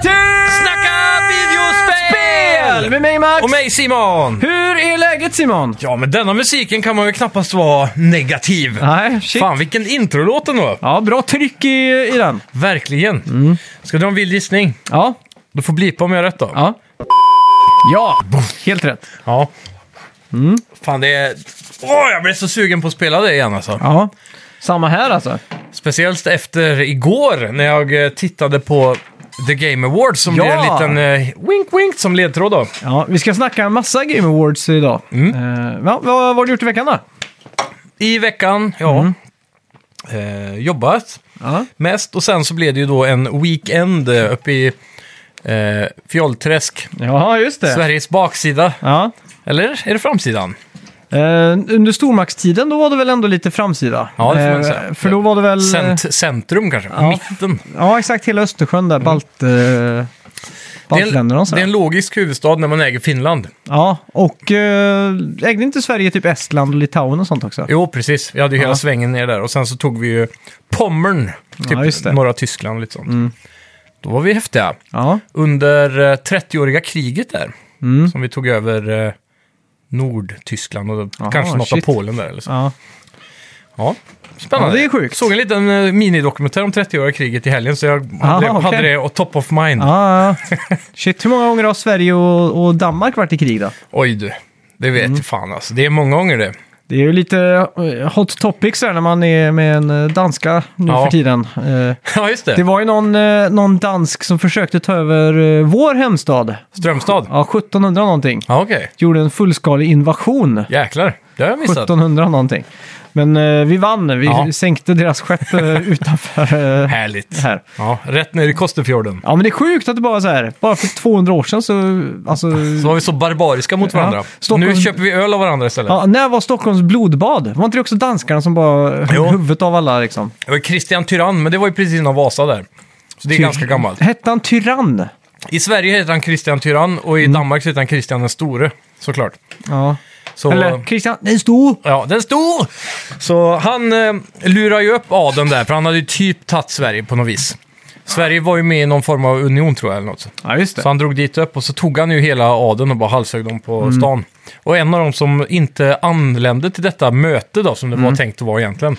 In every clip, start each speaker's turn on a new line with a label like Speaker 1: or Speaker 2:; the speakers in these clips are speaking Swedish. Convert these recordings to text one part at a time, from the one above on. Speaker 1: till
Speaker 2: Snacka videospel!
Speaker 1: Spel! Med mig Max!
Speaker 2: Och mig Simon!
Speaker 1: Hur är läget Simon?
Speaker 2: Ja, men denna musiken kan man ju knappast vara negativ.
Speaker 1: Nej, shit.
Speaker 2: Fan, vilken introlåt ändå.
Speaker 1: Ja, bra tryck i, i den.
Speaker 2: Verkligen. Ska du ha en vild gissning?
Speaker 1: Ja.
Speaker 2: Du får blipa om jag har rätt då.
Speaker 1: Ja. Ja, helt rätt.
Speaker 2: Ja. Fan, det är... Åh, jag blev så sugen på att spela det igen alltså.
Speaker 1: Ja. Samma här alltså.
Speaker 2: Speciellt efter igår när jag eh, tittade på The Game Awards som
Speaker 1: Ja!
Speaker 2: blev en liten eh, wink wink som ledtråd då.
Speaker 1: Ja, vi ska snacka en massa Game Awards idag. Eh, ja, vad vad har du gjort i veckan då?
Speaker 2: I veckan, ja. Eh, jobbat.
Speaker 1: Ja.
Speaker 2: mest. Och sen så blev det ju då en weekend eh, uppe i eh, Fjollträsk,
Speaker 1: Ja, just det.
Speaker 2: Sveriges baksida.
Speaker 1: Ja.
Speaker 2: Eller är det framsidan?
Speaker 1: Eh, under stormaktstiden då var det väl ändå lite framsida? Eh,
Speaker 2: Ja, det får man säga.
Speaker 1: för då var det väl...
Speaker 2: Cent centrum kanske,
Speaker 1: ja.
Speaker 2: mitten.
Speaker 1: Ja, exakt. Hela Östersjön där, Balt, eh,
Speaker 2: Det är, en,
Speaker 1: baltländerna och så.
Speaker 2: det är en logisk huvudstad när man äger Finland.
Speaker 1: Ja, och eh, ägde inte Sverige typ Estland och Litauen och sånt också?
Speaker 2: Jo, precis. Vi hade ju hela
Speaker 1: Ja.
Speaker 2: svängen ner där. Och sen så tog vi ju Pommern, typ
Speaker 1: Ja, just det. Mm.
Speaker 2: norra Tyskland och lite sånt. Då var vi häftiga.
Speaker 1: Ja,
Speaker 2: Under eh, 30-åriga kriget där,
Speaker 1: Mm.
Speaker 2: som vi tog över eh, Nordtyskland och
Speaker 1: Aha,
Speaker 2: kanske något
Speaker 1: shit.
Speaker 2: av Polen där. Eller så.
Speaker 1: ja.
Speaker 2: Ja, spännande.
Speaker 1: Ja, det är sjukt.
Speaker 2: Såg en liten eh, minidokumentär om 30-åriga kriget i helgen, så jag hade,
Speaker 1: Aha,
Speaker 2: det, hade
Speaker 1: okej.
Speaker 2: det och top of mind.
Speaker 1: ja, ja. Shit, hur många gånger har Sverige och, och Danmark varit i krig då?
Speaker 2: Oj du, det vet
Speaker 1: Mm.
Speaker 2: ju fan alltså. Det är många gånger det.
Speaker 1: Det är ju lite eh, hot topics där när man är med en eh, danska nu
Speaker 2: Ja.
Speaker 1: för tiden. Eh,
Speaker 2: Ja, just
Speaker 1: Det
Speaker 2: det.
Speaker 1: var ju någon, eh, någon dansk som försökte ta över eh, vår hemstad.
Speaker 2: Strömstad.
Speaker 1: Ja, 1700 någonting.
Speaker 2: Ja, okej.
Speaker 1: Gjorde en fullskalig invasion.
Speaker 2: Jäklar, det har jag missat.
Speaker 1: 1700 någonting. Men eh, vi vann. Vi
Speaker 2: Ja.
Speaker 1: sänkte deras skepp eh, utanför eh,
Speaker 2: Härligt.
Speaker 1: här.
Speaker 2: Ja, rätt ner i Kosterfjorden.
Speaker 1: Ja, men det är sjukt att det bara så här, bara för 200 år sedan så, alltså...
Speaker 2: Så var vi så barbariska mot
Speaker 1: Ja,
Speaker 2: varandra.
Speaker 1: Stockholm-
Speaker 2: Nu köper vi öl av varandra istället.
Speaker 1: Ja, när var Stockholms blodbad? Var inte det också danskarna som bara höll
Speaker 2: Jo.
Speaker 1: huvudet av alla liksom?
Speaker 2: Det var Christian Tyrann, men det var ju precis innan Vasa där. Så det är ganska gammalt.
Speaker 1: Hette han Tyrann?
Speaker 2: I Sverige heter han Christian Tyrann och
Speaker 1: Mm.
Speaker 2: i Danmark så heter han Christian den store, såklart.
Speaker 1: Ja.
Speaker 2: Så...
Speaker 1: Eller Kristian, den stod...
Speaker 2: Ja, den stod! Så han eh, lurade ju upp adeln där, för han hade ju typ tagit Sverige på något vis. Sverige var ju med i någon form av union tror jag, eller något.
Speaker 1: Ja, just det.
Speaker 2: Så han drog dit upp och så tog han ju hela adeln och bara halshögg dem på
Speaker 1: Mm.
Speaker 2: stan. Och en av dem som inte anlände till detta möte då, som det
Speaker 1: Mm.
Speaker 2: var tänkt att vara egentligen.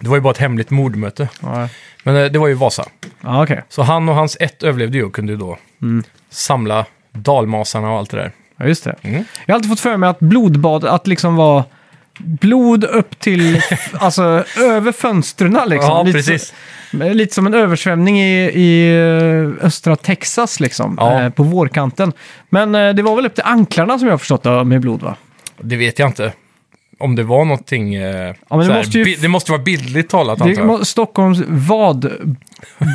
Speaker 2: Det var ju bara ett hemligt mordmöte.
Speaker 1: Ja,
Speaker 2: Men eh, det var ju Vasa.
Speaker 1: ja okej.
Speaker 2: Så han och hans ett överlevde ju och kunde ju då
Speaker 1: Mm.
Speaker 2: samla dalmasarna och allt det där.
Speaker 1: Ja, just det.
Speaker 2: Mm.
Speaker 1: Jag har alltid fått för mig att blodbad, att liksom vara blod upp till, alltså över fönstren liksom.
Speaker 2: Ja,
Speaker 1: Lite-
Speaker 2: precis.
Speaker 1: Lite som en översvämning i, i eh, östra Texas liksom,
Speaker 2: Ja.
Speaker 1: eh, på vårkanten. Men eh, det var väl upp till anklarna som jag har förstått det, med blod va?
Speaker 2: Det vet jag inte. Om det var någonting... Eh,
Speaker 1: men det
Speaker 2: såhär,
Speaker 1: måste ju-
Speaker 2: bi- det måste vara bildligt talat
Speaker 1: Det
Speaker 2: antar jag.
Speaker 1: är Stockholms vad,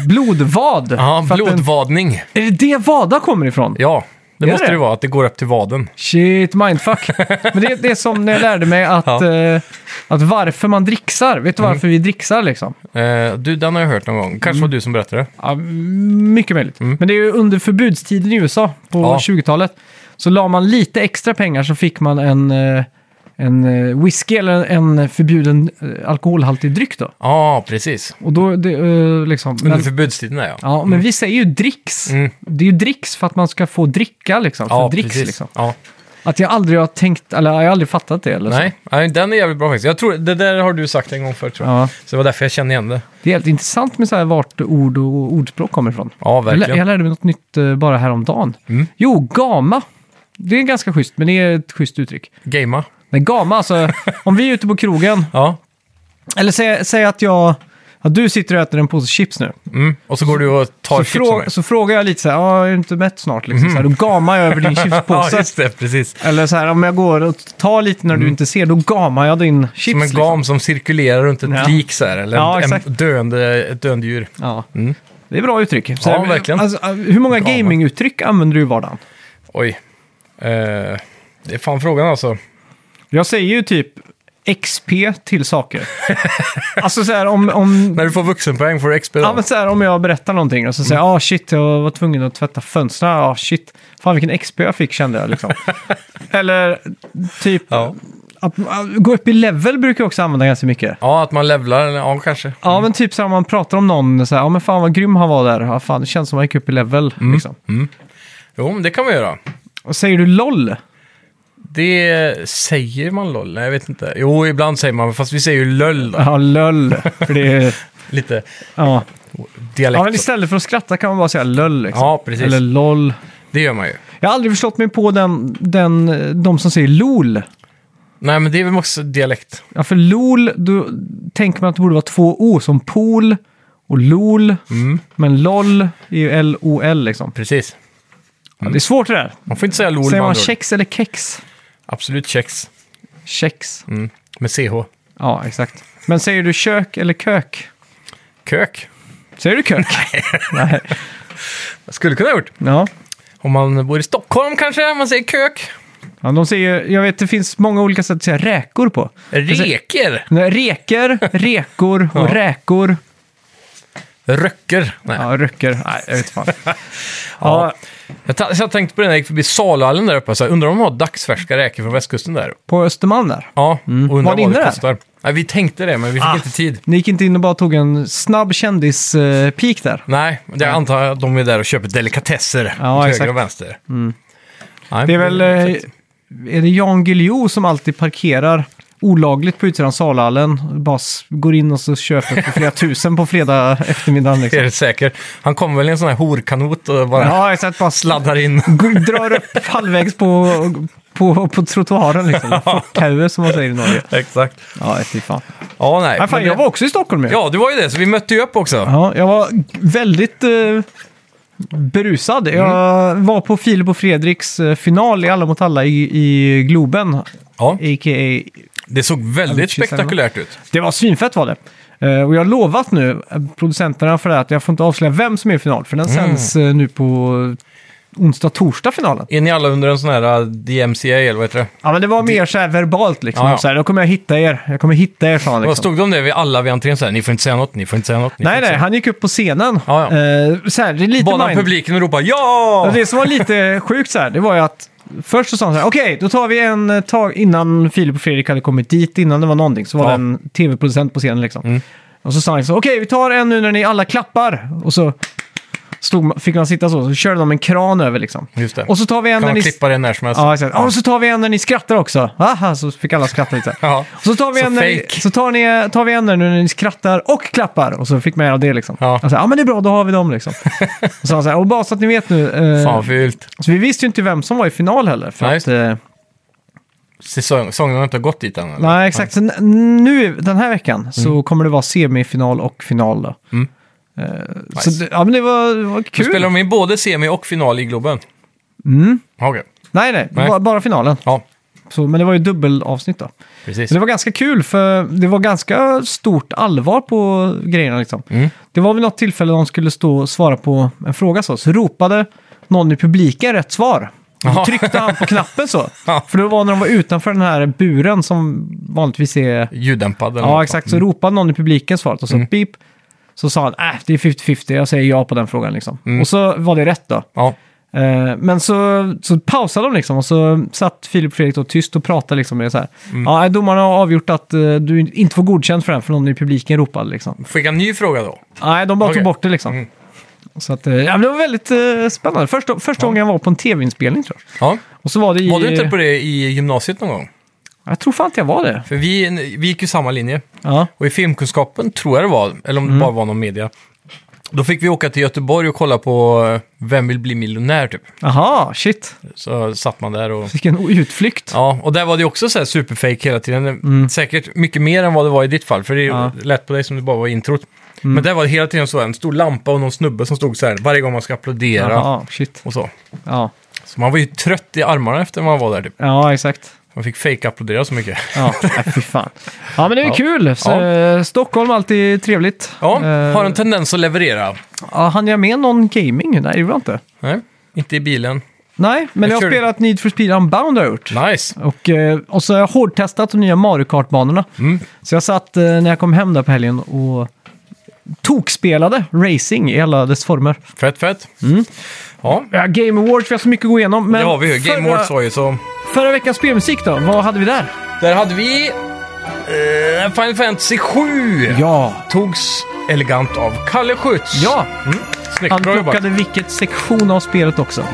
Speaker 1: blodvad.
Speaker 2: Ja,
Speaker 1: För att den-
Speaker 2: blodvadning.
Speaker 1: är det det Vada kommer ifrån?
Speaker 2: Ja, det
Speaker 1: Gör
Speaker 2: måste
Speaker 1: det?
Speaker 2: det vara. Att det går upp till vaden.
Speaker 1: Shit, mindfuck. Men det, det är som när jag lärde mig att,
Speaker 2: Ja. Mm.
Speaker 1: eh, att varför man dricksar. Vet du varför vi dricksar liksom?
Speaker 2: Eh, du, den har jag hört någon gång. Kanske
Speaker 1: Mm.
Speaker 2: var du som berättade.
Speaker 1: Ja, m- mycket möjligt. Men det är ju under förbudstiden i USA på
Speaker 2: Mm. Ja.
Speaker 1: 20-talet. Så la man lite extra pengar så fick man en, eh, en eh, whisky eller en förbjuden eh, alkoholhaltig dryck då.
Speaker 2: Ja, precis.
Speaker 1: Och då det, eh, liksom...
Speaker 2: Under
Speaker 1: Men,
Speaker 2: förbudstiden där ja.
Speaker 1: ja, men vi säger ju dricks.
Speaker 2: Mm.
Speaker 1: Det är ju dricks för att man ska få dricka liksom. För
Speaker 2: Ja,
Speaker 1: dricks
Speaker 2: precis.
Speaker 1: liksom.
Speaker 2: Ja.
Speaker 1: Att jag aldrig har tänkt, eller jag har aldrig fattat det eller så.
Speaker 2: Nej, nej, den är jävligt bra faktiskt. Jag tror, det där har du sagt en gång förut tror jag.
Speaker 1: Ja,
Speaker 2: Så det var därför jag kände igen det.
Speaker 1: det är helt intressant med så här vart ord och ordspråk kommer ifrån.
Speaker 2: Ja,
Speaker 1: Jag, lär,
Speaker 2: verkligen.
Speaker 1: jag lärde mig något nytt eh, bara häromdagen.
Speaker 2: Mm.
Speaker 1: Jo, gama. Det är ganska schysst, men det är ett schysst uttryck.
Speaker 2: Gamea.
Speaker 1: Men gama, alltså om vi är ute på krogen,
Speaker 2: Ja.
Speaker 1: eller säg, säg att jag... Att du sitter och äter en påse chips nu.
Speaker 2: Mm. Och så går du och tar
Speaker 1: Så,
Speaker 2: chips av mig.
Speaker 1: frå, så frågar jag lite så här, "Ja, är du inte mätt snart? Liksom, så här, då gamar jag över din
Speaker 2: Mm. Ja,
Speaker 1: chipspåse.
Speaker 2: just det. Precis.
Speaker 1: eller så här, om jag går och tar lite när du inte ser, då gamar jag din chips.
Speaker 2: Mm. Som en
Speaker 1: liksom.
Speaker 2: gam som cirkulerar runt ett
Speaker 1: Ja.
Speaker 2: lik så här, eller en-
Speaker 1: Ja, exakt.
Speaker 2: en döende, ett döende djur.
Speaker 1: liksom. Ja.
Speaker 2: Mm.
Speaker 1: Det är bra uttryck. Så
Speaker 2: Ja,
Speaker 1: här,
Speaker 2: verkligen.
Speaker 1: Alltså, hur många
Speaker 2: Gama.
Speaker 1: gaminguttryck använder du i vardagen?
Speaker 2: Oj. Eh, det är fan frågan alltså.
Speaker 1: Jag säger ju typ XP till saker. alltså så här om... om
Speaker 2: När du får vuxenpoäng får du XP då.
Speaker 1: Ja, men så här, om jag berättar någonting och så säger jag
Speaker 2: Mm.
Speaker 1: ah shit, jag var tvungen att tvätta fönstren. Ah shit, fan vilken XP jag fick kände jag liksom. Eller typ,
Speaker 2: Ja.
Speaker 1: Att, att gå upp i level brukar jag också använda ganska mycket.
Speaker 2: Ja, att man levlar. Ja, kanske.
Speaker 1: Ja, men typ så här, om man pratar om någon, så här, ja men fan vad grym han var där. Ja, fan, det känns som han gick upp i level.
Speaker 2: Mm.
Speaker 1: Liksom.
Speaker 2: Jo, men det kan man göra.
Speaker 1: Och säger du LOL?
Speaker 2: Det säger man LOL? Nej, jag vet inte. Jo, ibland säger man, fast vi säger ju LÖL då.
Speaker 1: Ja, LOL. För det är,
Speaker 2: Lite
Speaker 1: ja. ja, men
Speaker 2: dialekt.
Speaker 1: istället för att skratta kan man bara säga LOL. Liksom.
Speaker 2: Ja, precis.
Speaker 1: Eller LOL.
Speaker 2: Det gör man ju.
Speaker 1: Jag har aldrig förstått mig på den, den, de som säger LOL.
Speaker 2: Nej, men det är väl också dialekt.
Speaker 1: Ja, för LOL, då tänker man att det borde vara två O som pool och LOL.
Speaker 2: Mm.
Speaker 1: Men LOL är ju L-O-L liksom.
Speaker 2: Precis.
Speaker 1: Ja, det är svårt det där.
Speaker 2: Man får inte säga LOL
Speaker 1: Säger
Speaker 2: med
Speaker 1: man
Speaker 2: andra ord.
Speaker 1: kex eller kex?
Speaker 2: Absolut kex.
Speaker 1: Kex.
Speaker 2: Mm. Med CH.
Speaker 1: Ja, exakt. Men säger du kök eller kök?
Speaker 2: Kök.
Speaker 1: Säger du kök? Nej.
Speaker 2: Jag skulle kunna ha gjort.
Speaker 1: Ja.
Speaker 2: Om man bor i Stockholm kanske, man säger kök.
Speaker 1: ja, de säger Jag vet, det finns många olika sätt att säga räkor på.
Speaker 2: Reker.
Speaker 1: Nej, Reker, rekor och
Speaker 2: Ja.
Speaker 1: räkor.
Speaker 2: Röcker. Nej.
Speaker 1: Ja, röcker. Nej, jag vet fan. Ja,
Speaker 2: Jag, ta- så jag tänkte på det när jag gick förbi Saluhallen där uppe. Så här, undrar om de har dagsfärska räkor från västkusten där.
Speaker 1: på Östermalm där.
Speaker 2: Ja, och
Speaker 1: Mm.
Speaker 2: undrar
Speaker 1: Var ni
Speaker 2: vad
Speaker 1: inne
Speaker 2: det
Speaker 1: där?
Speaker 2: kostar. Nej, vi tänkte det, men vi fick
Speaker 1: Ah.
Speaker 2: inte tid.
Speaker 1: Ni gick inte in och bara tog en snabb kändis-peak där?
Speaker 2: Nej, det jag antar jag att de är där och köper delikatesser.
Speaker 1: Ja,
Speaker 2: åt höger
Speaker 1: exakt. Mm.
Speaker 2: och vänster. Nej,
Speaker 1: Det är väl... eh, Är det Jan Guillou som alltid parkerar olagligt på utsidan av Salhallen? Bara s- går in och så köper för flera tusen på fredag eftermiddag.
Speaker 2: Det är
Speaker 1: Liksom.
Speaker 2: det säkert. Han kommer väl i en sån här horkanot och bara
Speaker 1: Ja, exakt. Bara sl-
Speaker 2: sladdar in.
Speaker 1: går- drar upp halvvägs på, på, på trottoaren liksom. Fortkauer som man säger i Norge.
Speaker 2: Exakt.
Speaker 1: Ja, fy fan.
Speaker 2: Ja, nej.
Speaker 1: Nej, fan
Speaker 2: men det-
Speaker 1: jag var också i Stockholm ju.
Speaker 2: Ja, det var ju det, så vi mötte ju upp också.
Speaker 1: Ja, jag var väldigt eh, berusad.
Speaker 2: Mm.
Speaker 1: Jag var på Filip och Fredriks eh, final i Alla mot alla i, i Globen,
Speaker 2: Ja,
Speaker 1: a.k.a.
Speaker 2: det såg
Speaker 1: Ja,
Speaker 2: väldigt
Speaker 1: precis,
Speaker 2: spektakulärt ut.
Speaker 1: Det var svinfett var det. Eh, och jag har lovat nu eh, producenterna för det här att jag får inte avslöja vem som är i final, för den
Speaker 2: Mm.
Speaker 1: sänds eh, nu på eh, onsdag, torsdag finalen.
Speaker 2: Är ni alla under en sån här eh, DMCA, eller vad heter det?
Speaker 1: Ja, men det var mer så här verbalt liksom.
Speaker 2: Ja, ja.
Speaker 1: Så här, då kommer jag hitta er, jag kommer hitta er, sa han.
Speaker 2: Vad
Speaker 1: Liksom.
Speaker 2: Stod det om det vid alla vid entrén så här, ni får inte säga något, ni får inte säga något. Ni får
Speaker 1: Nej,
Speaker 2: inte
Speaker 1: nej,
Speaker 2: säga
Speaker 1: han gick upp på scenen.
Speaker 2: Ja,
Speaker 1: Eh, så här, det är lite
Speaker 2: något." Bara
Speaker 1: mind-
Speaker 2: publiken och ropar
Speaker 1: Och
Speaker 2: ja!
Speaker 1: Alltså, det som var lite sjukt så här, det var ju att först så sa han så här, okej, då tar vi en eh, tag innan Filip och Fredrik hade kommit dit, innan det var någonting, så var
Speaker 2: Ja. Mm.
Speaker 1: det en tv-producent på scenen liksom. Och så sa han så, okej, vi tar en nu när ni alla klappar. Och så stod, man- fick man sitta så, så körde de en kran över liksom.
Speaker 2: Just det.
Speaker 1: Och så tar vi en
Speaker 2: kan
Speaker 1: när
Speaker 2: man
Speaker 1: ni...
Speaker 2: klippa alltså? det när som helst.
Speaker 1: Ja, exakt. Ja, Och så tar vi en när ni skrattar också. Aha, så fick alla skratta lite.
Speaker 2: Ja.
Speaker 1: Och så tar vi
Speaker 2: Så
Speaker 1: en, när ni,
Speaker 2: fake.
Speaker 1: så tar ni, tar vi en där nu när ni skrattar och klappar. Och så fick man göra det liksom.
Speaker 2: Ja.
Speaker 1: Och så, ja men det är bra, då har vi dem liksom. och, så, han så här, och bara så att ni vet nu. eh,
Speaker 2: Fan vad fult.
Speaker 1: så vi visste ju inte vem som var i final heller. För
Speaker 2: Nej,
Speaker 1: att, eh,
Speaker 2: Säsong- Säsongen har inte gått dit än. eller?
Speaker 1: nej, exakt. Så n- nu den här veckan så kommer det vara semifinal och final. Då.
Speaker 2: Mm.
Speaker 1: Eh,
Speaker 2: Nice.
Speaker 1: Så det, ja, men det var, det var
Speaker 2: Nu
Speaker 1: kul.
Speaker 2: spelar de in både semi och final i Globen.
Speaker 1: Mm.
Speaker 2: Ja, Okej.
Speaker 1: Nej, nej,
Speaker 2: Nej.
Speaker 1: Bara, bara finalen.
Speaker 2: Ja,
Speaker 1: Så, men det var ju dubbelavsnitt då.
Speaker 2: precis.
Speaker 1: Men det var ganska kul för det var ganska stort allvar på grejerna liksom.
Speaker 2: Mm.
Speaker 1: Det var vid något tillfälle de skulle stå och svara på en fråga så, så ropade någon i publiken rätt svar. Och Då
Speaker 2: Ja.
Speaker 1: tryckte han på knappen så.
Speaker 2: Ja.
Speaker 1: För det var när de var utanför den här buren som vanligtvis är...
Speaker 2: Ljuddämpad eller
Speaker 1: Ja,
Speaker 2: något. Mm.
Speaker 1: exakt. Så ropade någon i publiken svaret och så beep. Så sa han, äh, det är 50-50, jag säger ja på den frågan liksom.
Speaker 2: Mm.
Speaker 1: Och så var det rätt då.
Speaker 2: Ja.
Speaker 1: Eh, men så, så pausade de liksom och så satt Filip och Fredrik då tyst och pratade liksom med så här.
Speaker 2: Mm.
Speaker 1: Ja, domarna har avgjort att eh, du inte får godkänt för den för någon i publiken ropade liksom.
Speaker 2: Fick jag en ny fråga då?
Speaker 1: Nej, de bara
Speaker 2: Mm.
Speaker 1: tog
Speaker 2: Okej.
Speaker 1: bort det liksom.
Speaker 2: Mm.
Speaker 1: Så att, eh, ja, men det var väldigt eh, spännande. Första, första gången jag var på en tv-inspelning tror jag.
Speaker 2: Ja.
Speaker 1: Och så var det i...
Speaker 2: Var du inte på det i gymnasiet någon gång?
Speaker 1: Jag tror fan inte jag var det.
Speaker 2: För vi, vi gick ju samma linje.
Speaker 1: Ja.
Speaker 2: Och i filmkunskapen, tror jag det var, eller
Speaker 1: Mm.
Speaker 2: om det bara var någon media, då fick vi åka till Göteborg och kolla på eh, Vem vill bli miljonär typ.
Speaker 1: Aha, shit.
Speaker 2: Så satt man där och...
Speaker 1: Vilken utflykt.
Speaker 2: Ja, och där var det ju också så här superfake hela tiden. Säkert mycket mer än vad det var i ditt fall, för det
Speaker 1: Mm. Ja. Mm.
Speaker 2: lät på dig som det bara var introt. Men där var det hela tiden så en stor lampa och någon snubbe som stod så här varje gång man ska applådera
Speaker 1: Aha, shit.
Speaker 2: och så.
Speaker 1: Ja.
Speaker 2: Så man var ju trött i armarna efter man var där typ.
Speaker 1: ja, exakt.
Speaker 2: Man fick fake-applådera så mycket.
Speaker 1: Ja, nej, fy fan. Ja, men det är
Speaker 2: Ja.
Speaker 1: kul. Så,
Speaker 2: Ja.
Speaker 1: eh, Stockholm, alltid trevligt.
Speaker 2: Ja,
Speaker 1: Eh,
Speaker 2: har en tendens att leverera.
Speaker 1: Ja, hann jag med någon gaming? Nej, det gjorde jag inte.
Speaker 2: Nej, inte i bilen.
Speaker 1: Nej, men jag,
Speaker 2: Jag
Speaker 1: har
Speaker 2: körde-
Speaker 1: spelat Need for speed Unbound har jag gjort.
Speaker 2: Nice!
Speaker 1: Och, eh, och så har jag hårdtestat de nya Mario Kart-banorna.
Speaker 2: Mm.
Speaker 1: Så jag satt eh, när jag kom hem där på helgen och tokspelade racing i alla dess former.
Speaker 2: Fett, fett. Ja,
Speaker 1: Ja, Game Awards, vi har så mycket att gå igenom. Mm. Men
Speaker 2: det har vi ju. Game
Speaker 1: förra,
Speaker 2: Awards var ju så...
Speaker 1: förra veckans spelmusik då, vad hade vi där?
Speaker 2: Där hade vi eh, Final Fantasy 7.
Speaker 1: Ja.
Speaker 2: Togs elegant av Kalle Schütz.
Speaker 1: Ja,
Speaker 2: Snyggt,
Speaker 1: han
Speaker 2: bra jobbat. Mm.
Speaker 1: plockade vilket sektion av spelet också.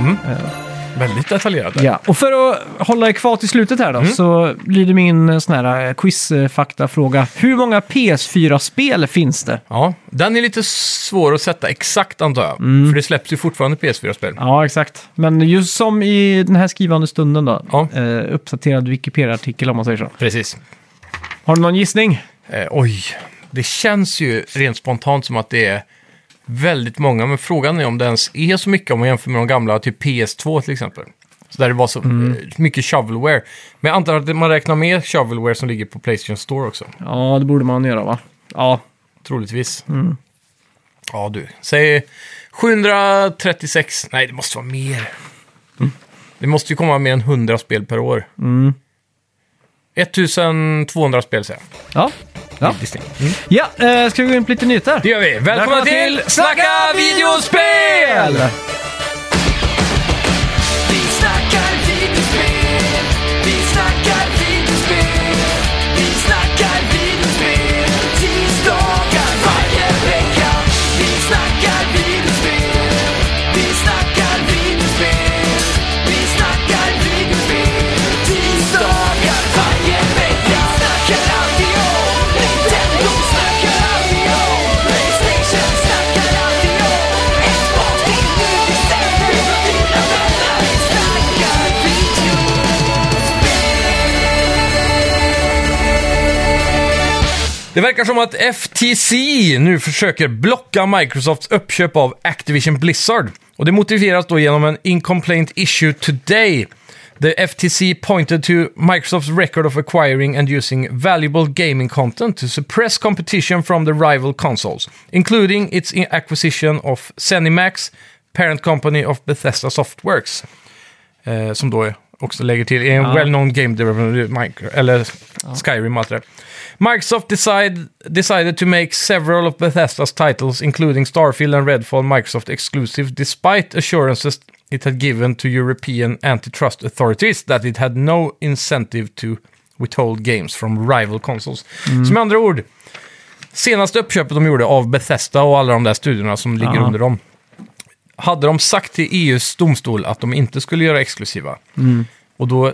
Speaker 2: Väldigt detaljerat där.
Speaker 1: Ja, och för att hålla er kvar till slutet här då, så blir det min eh, sån här eh, quizfaktafråga. Hur många PS4-spel finns det?
Speaker 2: Ja, den är lite svår att sätta exakt antar jag. För det släpps ju fortfarande PS4-spel.
Speaker 1: Mm. Ja, exakt. Men just som i den här skrivande stunden då,
Speaker 2: Ja.
Speaker 1: eh, uppdaterad Wikipedia-artikel om man säger så.
Speaker 2: Precis.
Speaker 1: Har du någon gissning?
Speaker 2: Eh, oj, det känns ju rent spontant som att det är väldigt många, men frågan är om det ens är så mycket om man jämför med de gamla, typ PS2 till exempel. Så där det var så
Speaker 1: Mm.
Speaker 2: eh, mycket shovelware. Men jag antar att man räknar med shovelware som ligger på Playstation Store också,
Speaker 1: Ja, det borde man göra va? Ja,
Speaker 2: troligtvis. Ja du, säg 736, nej det måste vara mer. Det måste ju komma mer än 100 spel per år. 1200 spel säger jag.
Speaker 1: ja. Ja,
Speaker 2: Distinkt.
Speaker 1: ja eh, ska vi gå in på lite nyheter?
Speaker 2: Det gör vi. Välkomna,
Speaker 1: Välkomna
Speaker 2: till
Speaker 1: till
Speaker 2: Snacka videospel!
Speaker 3: Vi snackar videospel, vi snackar videospel, vi snackar videospel, tisdagar varje vecka. Vi snackar videospel, vi snackar videospel, vi snackar videospel, tisdagar varje vecka. Snackar alltid om Nintendo, snackar alltid om Playstation, snackar alltid om Xbox, till nu december, dina vänner. Vi snackar video.
Speaker 2: Det verkar som att FTC nu försöker blocka Microsofts uppköp av Activision Blizzard. Och det motiveras då genom en incomplaint issue today. The FTC pointed to Microsoft's record of acquiring and using valuable gaming content to suppress competition from the rival consoles, including its acquisition of ZeniMax, parent company of Bethesda Softworks. Eh, som då också lägger till, är en well-known game developer, Micro- eller Skyrim och allt det där. Microsoft decide, decided to make several of Bethesdas titles, including Starfield and Redfall, Microsoft exclusive, despite assurances it had given to European antitrust authorities that it had no incentive to withhold games from rival consoles. Så med andra ord, senaste uppköpet de gjorde av Bethesda och alla de där studierna som ligger
Speaker 1: Ja.
Speaker 2: under dem, hade de sagt till EUs domstol att de inte skulle göra exklusiva,
Speaker 1: Mm.
Speaker 2: och då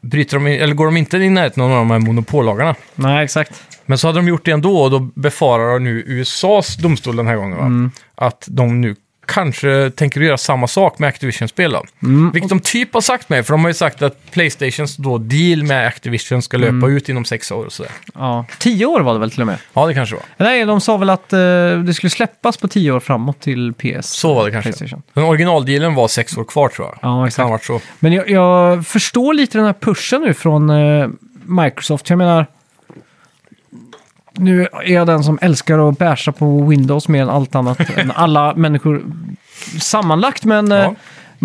Speaker 2: bryter de, in- eller går de inte i närheten av någon av de här monopollagarna.
Speaker 1: Nej, exakt.
Speaker 2: Men så hade de gjort det ändå och då befarar nu USAs domstol den här gången. Va?
Speaker 1: Mm.
Speaker 2: Att de nu kanske tänker göra samma sak med Activision-spel. då.
Speaker 1: Mm.
Speaker 2: Vilket de typ har sagt mig, för de har ju sagt att Playstations då deal med Activision ska löpa
Speaker 1: Mm.
Speaker 2: ut inom sex år. Och sådär.
Speaker 1: Ja. Tio år var det väl till och med?
Speaker 2: Ja, det kanske var.
Speaker 1: Nej, de sa väl att eh, det skulle släppas på tio år framåt till PS.
Speaker 2: Så var det kanske.
Speaker 1: Playstation.
Speaker 2: Den originaldealen var sex år kvar tror jag.
Speaker 1: Ja,
Speaker 2: Det kan
Speaker 1: exakt.
Speaker 2: ha varit så.
Speaker 1: Men jag, jag förstår lite den här pushen nu från eh, Microsoft. Jag menar, nu är jag den som älskar att basha på Windows mer än allt annat, än alla människor sammanlagt. Men eh,
Speaker 2: Ja.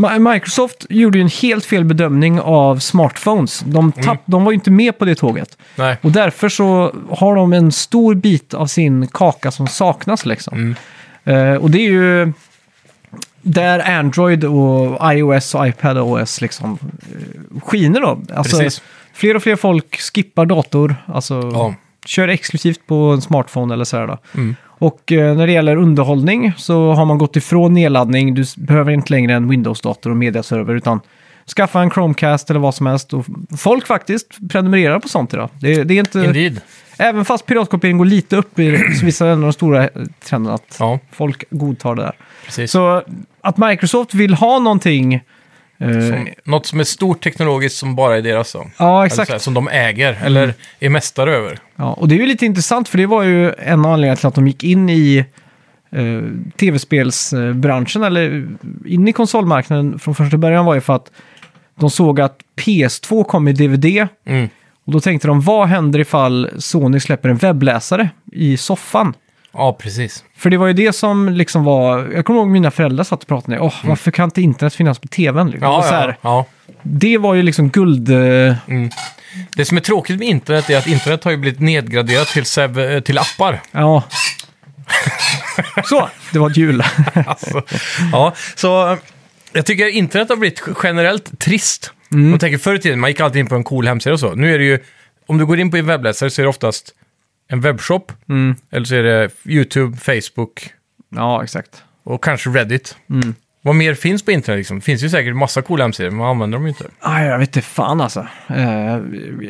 Speaker 1: Ma- Microsoft gjorde ju en helt fel bedömning av smartphones. De,
Speaker 2: Mm.
Speaker 1: tapp, de var ju inte med på det tåget.
Speaker 2: Nej.
Speaker 1: Och därför så har de en stor bit av sin kaka som saknas liksom.
Speaker 2: Mm.
Speaker 1: Eh, och det är ju där Android och iOS och iPadOS liksom eh, skiner då. Alltså,
Speaker 2: Precis.
Speaker 1: Fler och fler folk skippar dator, alltså
Speaker 2: Ja.
Speaker 1: kör exklusivt på en smartphone eller sådär då.
Speaker 2: Mm.
Speaker 1: Och eh, när det gäller underhållning så har man gått ifrån nedladdning. Du s- behöver inte längre en Windows-dator och mediaserver utan skaffa en Chromecast eller vad som helst. Och f- folk faktiskt prenumererar på sånt idag. Det, det är inte...
Speaker 2: Indeed.
Speaker 1: Även fast piratkopiering går lite upp i det så visar ändå de stora eh, trenderna att
Speaker 2: Ja,
Speaker 1: folk godtar det där.
Speaker 2: precis.
Speaker 1: Så att Microsoft vill ha någonting... eh,
Speaker 2: Som, något som är stort teknologiskt som bara är deras. Då.
Speaker 1: ja,
Speaker 2: Eller
Speaker 1: exakt. Mm.
Speaker 2: så här, som de äger eller är mästare över.
Speaker 1: Ja, och det är ju lite intressant för det var ju en av anledningarna till att de gick in i eh, tv-spelsbranschen eller eh, in i konsolmarknaden från första början var ju för att de såg att PS2 kom i DVD
Speaker 2: Mm.
Speaker 1: och då tänkte de vad händer ifall Sony släpper en webbläsare i soffan?
Speaker 2: Ja, precis.
Speaker 1: För det var ju det som liksom var, jag kommer ihåg mina föräldrar satt och pratade med, åh varför kan inte internet finnas på tvn? Liksom. Och
Speaker 2: Ja,
Speaker 1: så
Speaker 2: ja,
Speaker 1: här,
Speaker 2: ja.
Speaker 1: Det var ju liksom guld... eh,
Speaker 2: Det som är tråkigt med internet är att internet har ju blivit nedgraderat till, sev- eh, till appar.
Speaker 1: Ja. Så, det var ett hjul.
Speaker 2: Alltså. ja, så eh, jag tycker
Speaker 1: Mm.
Speaker 2: internet har blivit generellt trist. Man tänker förr i tiden, man gick alltid in på en cool hemsida och så. Nu är det ju om du går in på en webbläsare så är det oftast en webbshop,
Speaker 1: Mm.
Speaker 2: eller så är det YouTube, Facebook
Speaker 1: Ja, exakt.
Speaker 2: och kanske Reddit.
Speaker 1: Mm.
Speaker 2: Vad mer finns på internet liksom? Det finns ju säkert massa coola hemsidor, men man använder dem ju inte.
Speaker 1: Aj, Ah, jag vet inte fan alltså. Eh,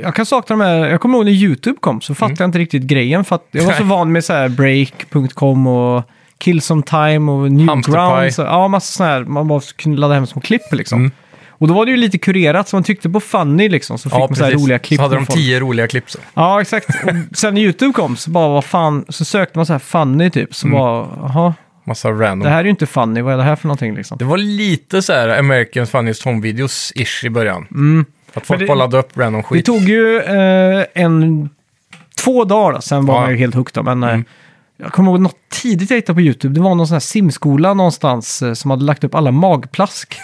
Speaker 1: jag kan sakna de här. Jag kommer ihåg när YouTube kom så fattade jag inte riktigt grejen. För att jag var så
Speaker 2: Mm. Nej.
Speaker 1: van med så här break.com och Kill Some Time och
Speaker 2: Hamsterpaj.
Speaker 1: Newgrounds. och- Ja, massa sådana här. Man bara kunde ladda hem små klipp liksom.
Speaker 2: Mm.
Speaker 1: Och då var det ju lite kurerat, så man tyckte på Funny liksom. Så fick man så här roliga klipp.
Speaker 2: så hade de
Speaker 1: från folk.
Speaker 2: tio roliga klipp. Så.
Speaker 1: Ja, exakt. Och sen när YouTube kom så bara vad fan, så sökte man så här Funny typ. Så
Speaker 2: Mm.
Speaker 1: bara, jaha,
Speaker 2: Massa random.
Speaker 1: det här är ju inte Funny, vad är det här för någonting liksom?
Speaker 2: Det var lite så här Americans Funniest Home-videos-ish i början. Att folk
Speaker 1: Mm. Men det-
Speaker 2: bara laddade upp random
Speaker 1: Det
Speaker 2: skit.
Speaker 1: tog ju eh, en... Två dagar, då, sen var
Speaker 2: Ja. Mm.
Speaker 1: man ju helt hooked. Då, men eh, jag kommer ihåg något tidigt jag hittade på YouTube. Det var någon sån här simskola någonstans eh, som hade lagt upp alla magplask.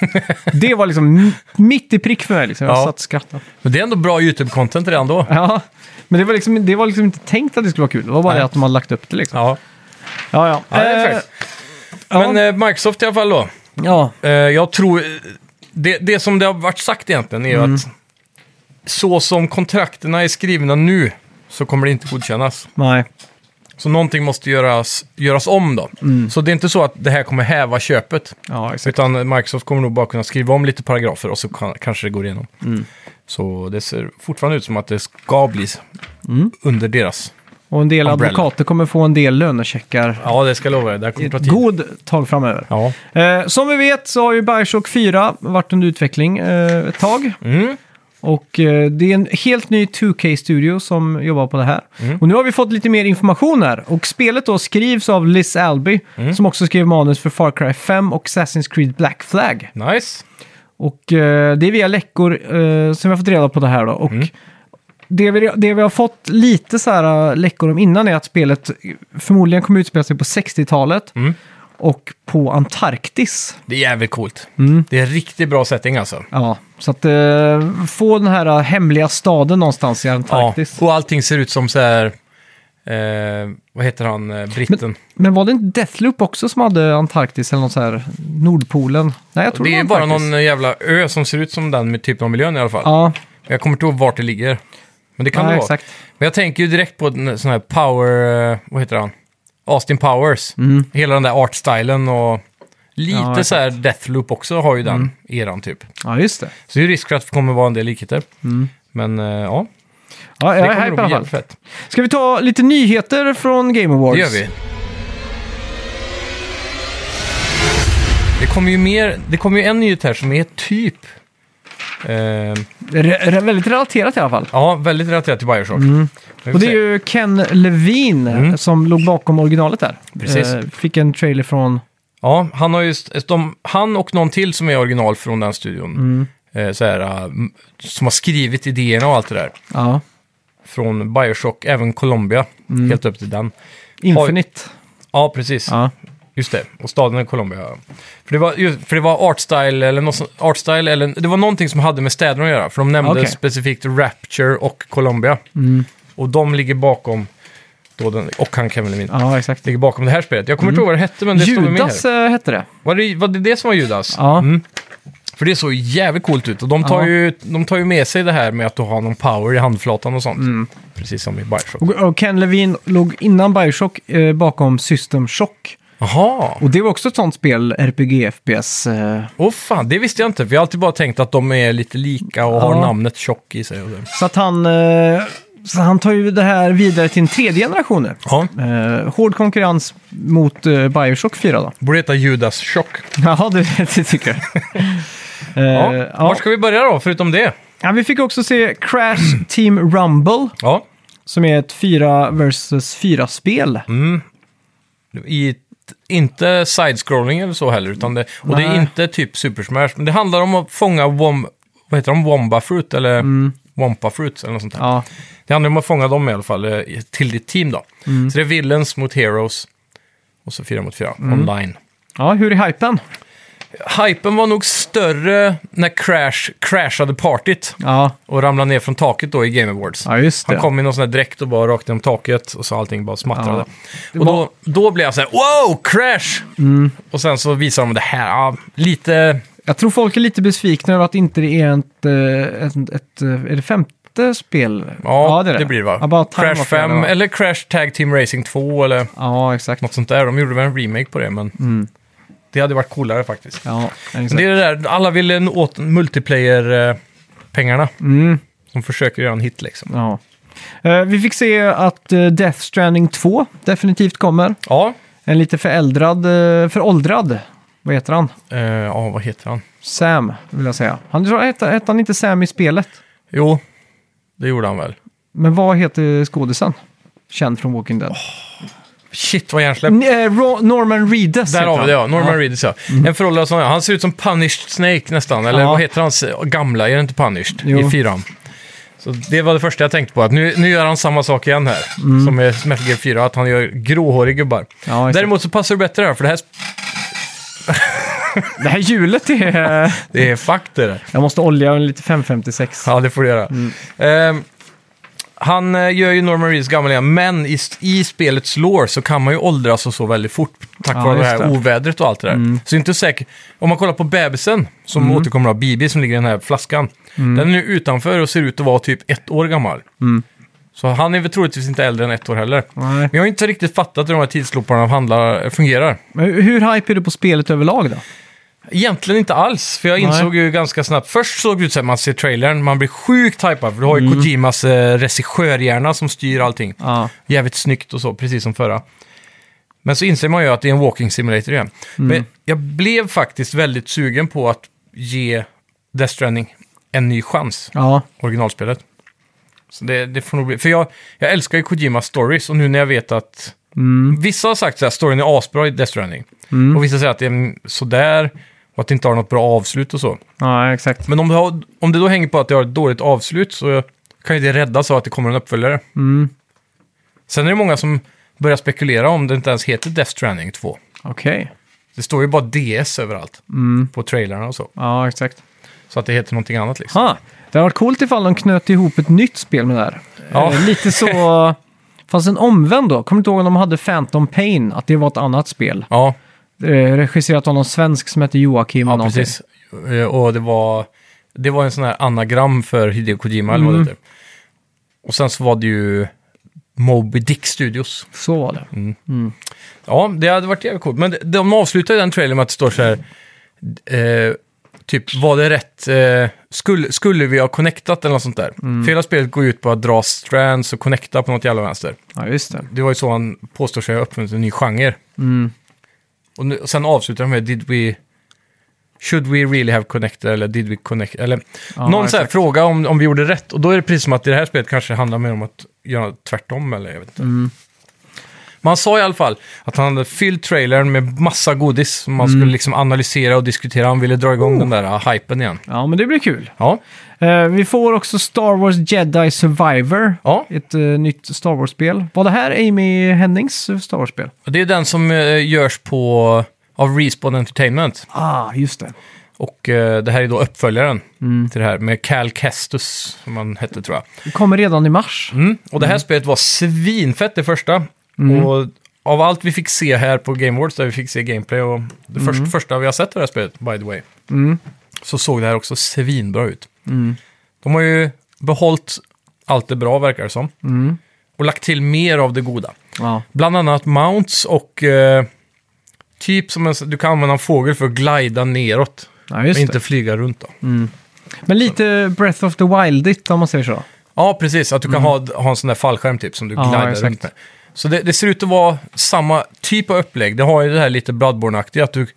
Speaker 1: det var liksom m- mitt i prick för mig. Liksom. Jag
Speaker 2: Ja.
Speaker 1: satt och skrattade.
Speaker 2: Men det är ändå bra YouTube-content redan då.
Speaker 1: Ja. Men det var, liksom, det var liksom inte tänkt att det skulle vara kul. Det var bara
Speaker 2: Nej.
Speaker 1: det att de hade lagt upp det liksom.
Speaker 2: Ja,
Speaker 1: Ja, ja.
Speaker 2: ja det är
Speaker 1: Eh,
Speaker 2: fair. Men eh, Microsoft i alla fall då.
Speaker 1: ja.
Speaker 2: Eh, jag tror... eh, Det, det som det har varit sagt egentligen är ju
Speaker 1: Mm.
Speaker 2: att så som kontrakterna är skrivna nu så kommer det inte godkännas.
Speaker 1: Nej.
Speaker 2: Så någonting måste göras, göras om då.
Speaker 1: Mm.
Speaker 2: Så det är inte så att det här kommer häva köpet.
Speaker 1: Ja, exakt.
Speaker 2: Utan Microsoft kommer nog bara kunna skriva om lite paragrafer och så kan, kanske det går igenom.
Speaker 1: Mm.
Speaker 2: Så det ser fortfarande ut som att det ska bli s-
Speaker 1: Mm.
Speaker 2: under deras.
Speaker 1: Och en del
Speaker 2: Umbrella.
Speaker 1: advokater kommer få en del lönecheckar.
Speaker 2: Ja, det ska jag lova dig. Det här kommer ta
Speaker 1: Ett
Speaker 2: tid.
Speaker 1: god tag framöver.
Speaker 2: Ja.
Speaker 1: Eh, som vi vet så har ju Bioshock 4 varit under utveckling eh, ett tag.
Speaker 2: Mm.
Speaker 1: Och eh, det är en helt ny 2K-studio som jobbar på det här. Och nu har vi fått lite mer information här. Och spelet då skrivs av Liz Alby, som också skrev manus för Far Cry 5 och Assassin's Creed Black Flag.
Speaker 2: Nice.
Speaker 1: Och eh, det är via läckor eh, som vi har fått reda på det här då. Och det, vi, det vi har fått lite så här eh, läckor om innan är att spelet förmodligen kommer utspela sig på 60-talet. Och på Antarktis.
Speaker 2: Det är jävligt coolt.
Speaker 1: Mm.
Speaker 2: Det är en riktigt bra setting alltså.
Speaker 1: Ja, så att eh, få den här eh, hemliga staden någonstans i Antarktis.
Speaker 2: Ja. Och allting ser ut som så här... Eh, vad heter han, eh, britten?
Speaker 1: Men var det inte Deathloop också som hade Antarktis eller något så här Nordpolen? Nej, jag tror det,
Speaker 2: det är
Speaker 1: var
Speaker 2: bara
Speaker 1: Antarktis.
Speaker 2: någon jävla ö som ser ut som den med typen av miljön i alla fall.
Speaker 1: Ja,
Speaker 2: Jag kommer inte ihåg vart det ligger. Men det kan
Speaker 1: ja
Speaker 2: det vara.
Speaker 1: exakt.
Speaker 2: Men jag tänker ju direkt på en sån här power... eh, Vad heter han? Austin Powers. Hela den där artstylen och lite
Speaker 1: Mm. Ja, exakt. Mm.
Speaker 2: så här Deathloop också har ju den eran typ.
Speaker 1: Ja, just det.
Speaker 2: Så det är ju risk för att det kommer vara en del likheter.
Speaker 1: Mm.
Speaker 2: Men eh, ja,
Speaker 1: Ja,
Speaker 2: det
Speaker 1: jag är
Speaker 2: kommer
Speaker 1: hype
Speaker 2: nog
Speaker 1: i
Speaker 2: bli
Speaker 1: alla fall.
Speaker 2: jävligt fett.
Speaker 1: Ska vi ta lite nyheter från Game Awards?
Speaker 2: Det gör vi. Det kommer ju mer... Det kommer ju en nyhet här som är typ... Eh,
Speaker 1: Re- re- väldigt relaterat i alla fall.
Speaker 2: ja, väldigt relaterat till Bioshock. Vi får
Speaker 1: Mm. Och det är
Speaker 2: se. Mm.
Speaker 1: ju Ken Levine som låg bakom originalet där.
Speaker 2: Precis.
Speaker 1: Eh, fick en trailer från...
Speaker 2: Ja, han har just, de, han och någon till som är original från den studion.
Speaker 1: Mm.
Speaker 2: Eh, så här, eh, m- som har skrivit idéerna och allt det där.
Speaker 1: Ja,
Speaker 2: Från Bioshock, även Colombia. Helt upp till den.
Speaker 1: Infinite.
Speaker 2: Ja, precis.
Speaker 1: Mm. Ja.
Speaker 2: Just det. Och staden är Colombia. För det var, ju- för det var artstyle eller, något, sånt- artstyle eller det var någonting som hade med städerna att göra. För de nämnde
Speaker 1: Okej. Mm.
Speaker 2: specifikt Rapture och Colombia. Och de ligger bakom, då den, och han Kevin Levine,
Speaker 1: ja, exakt.
Speaker 2: ligger bakom det här spelet. Jag kommer inte ihåg vad det hette, men det står med mig här.
Speaker 1: Judas eh, hette det.
Speaker 2: Var det, var det det som var Judas?
Speaker 1: Ja.
Speaker 2: Mm. För det såg ju jävligt coolt ut. Och de tar,
Speaker 1: Ja.
Speaker 2: ju, de tar ju med sig det här med att du har någon power i handflatan och sånt.
Speaker 1: Mm.
Speaker 2: Precis som i Bioshock.
Speaker 1: Och, och Ken Levine låg innan Bioshock eh, bakom System Shock.
Speaker 2: Jaha!
Speaker 1: Och det var också ett sånt spel, RPG, FPS. Eh,
Speaker 2: Åh fan, det visste jag inte. Vi har alltid bara tänkt att de är lite lika och har
Speaker 1: Ja.
Speaker 2: namnet Tjock i sig. Och så.
Speaker 1: så att han, eh, så han tar ju det här vidare till en tredje generation nu.
Speaker 2: Ja.
Speaker 1: Eh, hård konkurrens mot eh, Bioshock 4 då.
Speaker 2: Borde heta Judas Tjock.
Speaker 1: Jaha, det, det tycker jag.
Speaker 2: Ja.
Speaker 1: Eh, ja.
Speaker 2: Var ska vi börja då, förutom det?
Speaker 1: ja, vi fick också se Crash Team Rumble,
Speaker 2: Ja.
Speaker 1: som är ett 4 vs 4-spel.
Speaker 2: Mm. I, t- inte side-scrolling eller så heller. Utan det, och det är
Speaker 1: Nej.
Speaker 2: inte typ Super Smash. Men det handlar om att fånga wom, vad heter de? Womba Fruit eller
Speaker 1: Mm.
Speaker 2: Wompa Fruit eller något sånt där.
Speaker 1: Ja,
Speaker 2: Det handlar om att fånga dem i alla fall eh, till ditt team då.
Speaker 1: Mm.
Speaker 2: Så det är villains mot heroes och så fyra mot fyra
Speaker 1: Mm.
Speaker 2: online.
Speaker 1: ja hur är hypen?
Speaker 2: Hypen var nog större när Crash crashade partyt
Speaker 1: Ja,
Speaker 2: och ramlade ner från taket då i Game Awards.
Speaker 1: ja just det.
Speaker 2: Han kom i någon sån här dräkt och bara rakt genom taket och så allting bara smattrade.
Speaker 1: Ja.
Speaker 2: Och då, då blev jag så här, wow, Crash!
Speaker 1: Mm.
Speaker 2: Och sen så visar de det här, ja, lite...
Speaker 1: Jag tror folk är lite besvikna över att inte det är ett, eh, ett, ett, eh, är det fem, hette spel?
Speaker 2: Ja, det, blir det va?
Speaker 1: About Time
Speaker 2: Crash
Speaker 1: var fel,
Speaker 2: 5
Speaker 1: va?
Speaker 2: eller Crash Tag Team Racing 2 eller
Speaker 1: Ja, exakt.
Speaker 2: något sånt där. De gjorde väl en remake på det, men
Speaker 1: Mm.
Speaker 2: det hade varit coolare faktiskt.
Speaker 1: Ja,
Speaker 2: Men
Speaker 1: exakt.
Speaker 2: det är det där, alla vill en- åt multiplayer-pengarna.
Speaker 1: Mm,
Speaker 2: Som försöker göra en hit liksom.
Speaker 1: ja. Eh, vi fick se att eh, Death Stranding 2 definitivt kommer.
Speaker 2: Ja,
Speaker 1: En lite föräldrad, eh, föråldrad, vad heter han?
Speaker 2: eh, ja vad heter han?
Speaker 1: Sam, vill jag säga. Han hette, hette han inte Sam i spelet?
Speaker 2: Jo, det gjorde han väl.
Speaker 1: Men vad heter skådisen? Känd från Walking
Speaker 2: Oh.
Speaker 1: Dead.
Speaker 2: Shit vad hjärnsläpp.
Speaker 1: N- eh, Ro- Norman Reedus
Speaker 2: Där
Speaker 1: heter
Speaker 2: har
Speaker 1: han.
Speaker 2: vi
Speaker 1: Mm.
Speaker 2: det ja, Norman Reedus ja. En föråldrad sån, ja. han ser ut som Punished Snake nästan, eller
Speaker 1: Ja.
Speaker 2: vad heter hans eh, gamla, är det inte Punished?
Speaker 1: Jo.
Speaker 2: I fyran. Så det var det första jag tänkte på, att nu, nu gör han samma sak igen här, som är Metal Gear 4, att han gör gråhåriga gubbar.
Speaker 1: Mm. Ja, exakt.
Speaker 2: Däremot så passar det bättre här, för det här,
Speaker 1: Det här hjulet är... eh,
Speaker 2: det är fuck det där.
Speaker 1: Jag måste olja en lite 556.
Speaker 2: Ja, det får du göra. Ehm, han eh, gör ju Norman Reedus gammal igen, men i, i spelets lore så kan man ju åldras och så väldigt fort tack
Speaker 1: Ja,
Speaker 2: vare det Mm.
Speaker 1: just
Speaker 2: här
Speaker 1: det.
Speaker 2: ovädret och allt det där. Så det är inte säkert. Om man kollar på bebisen som återkommer av Bibi som ligger i den här flaskan. Den är nu utanför och ser ut att vara typ ett år gammal. Så han är väl troligtvis inte äldre än ett år heller.
Speaker 1: Nej.
Speaker 2: Men jag har inte riktigt fattat hur de här tidsloparna handlar, fungerar.
Speaker 1: Men hur hype är du på spelet överlag då?
Speaker 2: Egentligen inte alls, för jag
Speaker 1: Nej.
Speaker 2: insåg ju ganska snabbt. Först såg det ut som att man ser trailern, man blir sjukt hypad för du har ju Kojimas eh, regissörhjärna som styr allting.
Speaker 1: Mm. Ja,
Speaker 2: Jävligt snyggt och så, precis som förra. Men så inser man ju att det är en walking simulator igen.
Speaker 1: Mm.
Speaker 2: Men jag blev faktiskt väldigt sugen på att ge Death Stranding en ny chans,
Speaker 1: ja,
Speaker 2: originalspelet. Så det, det får nog bli... För jag, jag älskar ju Kojimas stories och nu när jag vet att... Vissa har sagt att storyn är asbra i Death Stranding. Och vissa säger att det är mm, sådär och att det inte har något bra avslut och så.
Speaker 1: ja exakt.
Speaker 2: Men om det, har, om det då hänger på att det har ett dåligt avslut så kan ju det räddas av att det kommer en uppföljare. Sen är det många som börjar spekulera om det inte ens heter Death Stranding 2.
Speaker 1: Okej.
Speaker 2: Det står ju bara DS överallt på trailrarna och så.
Speaker 1: Ja, exakt.
Speaker 2: Så att det heter någonting annat liksom.
Speaker 1: Ha. Det hade varit coolt ifall de knöt ihop ett nytt spel med det här.
Speaker 2: Ja.
Speaker 1: Eh, Lite så... Fast en omvänd då. Kommer du inte ihåg om de hade Phantom Pain? Att det var ett annat spel.
Speaker 2: Ja,
Speaker 1: Eh, regisserat av någon svensk som heter Joakim.
Speaker 2: ja
Speaker 1: eller någonting.
Speaker 2: precis. Eh, Och det var, det var en sån här anagram för Hideo Kojima eller vad det heter. Och sen så var det ju Moby Dick Studios.
Speaker 1: Så var det.
Speaker 2: Ja, det hade varit jävligt coolt. Men de- de avslutar ju den trailern med att det står så här... Eh, typ, var det rätt? Eh, skulle, skulle vi ha connectat eller något sånt där? För hela spelet går ju ut på att dra strands och connecta på något jävla vänster.
Speaker 1: Ja, just det. Mm.
Speaker 2: Det var ju så han påstår sig ha uppfunnit en ny genre. Och, nu, och sen avslutar de med Did we... Should we really have connected? Eller did we connect? Eller
Speaker 1: Ja,
Speaker 2: någon så här
Speaker 1: exakt.
Speaker 2: fråga om, om vi gjorde rätt. Och då är det precis som att i det här spelet kanske handlar mer om att göra tvärtom eller jag vet inte.
Speaker 1: Mm.
Speaker 2: Man sa i alla fall att han hade fyllt trailern med massa godis. som Man
Speaker 1: Mm.
Speaker 2: skulle liksom analysera och diskutera. Han ville dra
Speaker 1: Oh.
Speaker 2: igång den där ah, hypen igen.
Speaker 1: Ja, men det blir kul.
Speaker 2: Ja,
Speaker 1: Eh, vi får också Star Wars Jedi Survivor.
Speaker 2: ja.
Speaker 1: Ett eh, nytt Star Wars-spel. Var det här Amy Hennings eh, Star Wars-spel?
Speaker 2: Och det är den som eh, görs på av Respawn Entertainment.
Speaker 1: Ah, just det.
Speaker 2: Och eh, det här är då uppföljaren
Speaker 1: Mm.
Speaker 2: till det här med Cal Kestus, som han hette tror jag.
Speaker 1: Det kommer redan i mars.
Speaker 2: Mm. Och det här spelet var svinfett det första.
Speaker 1: Mm.
Speaker 2: Och av allt vi fick se här på Game Awards, där vi fick se gameplay och det
Speaker 1: Mm.
Speaker 2: först, första vi har sett av det här spelet, by the way, så såg det här också svinbra ut.
Speaker 1: Mm.
Speaker 2: De har ju behållit allt det bra, verkar det som. Och lagt till mer av det goda.
Speaker 1: Mm. Ja.
Speaker 2: Bland annat mounts och eh, typ som en, du kan använda en fågel för att glida neråt.
Speaker 1: Ja, just
Speaker 2: men
Speaker 1: det.
Speaker 2: inte flyga runt då.
Speaker 1: Men lite Breath of the Wild-igt om man säger så.
Speaker 2: Ja, precis. Att du kan ha, ha en sån där fallskärm typ som du
Speaker 1: Mm. Ja,
Speaker 2: glidar
Speaker 1: exakt.
Speaker 2: runt med. Så det, det ser ut att vara samma typ av upplägg. Det har ju det här lite Bloodborne-aktiga, att du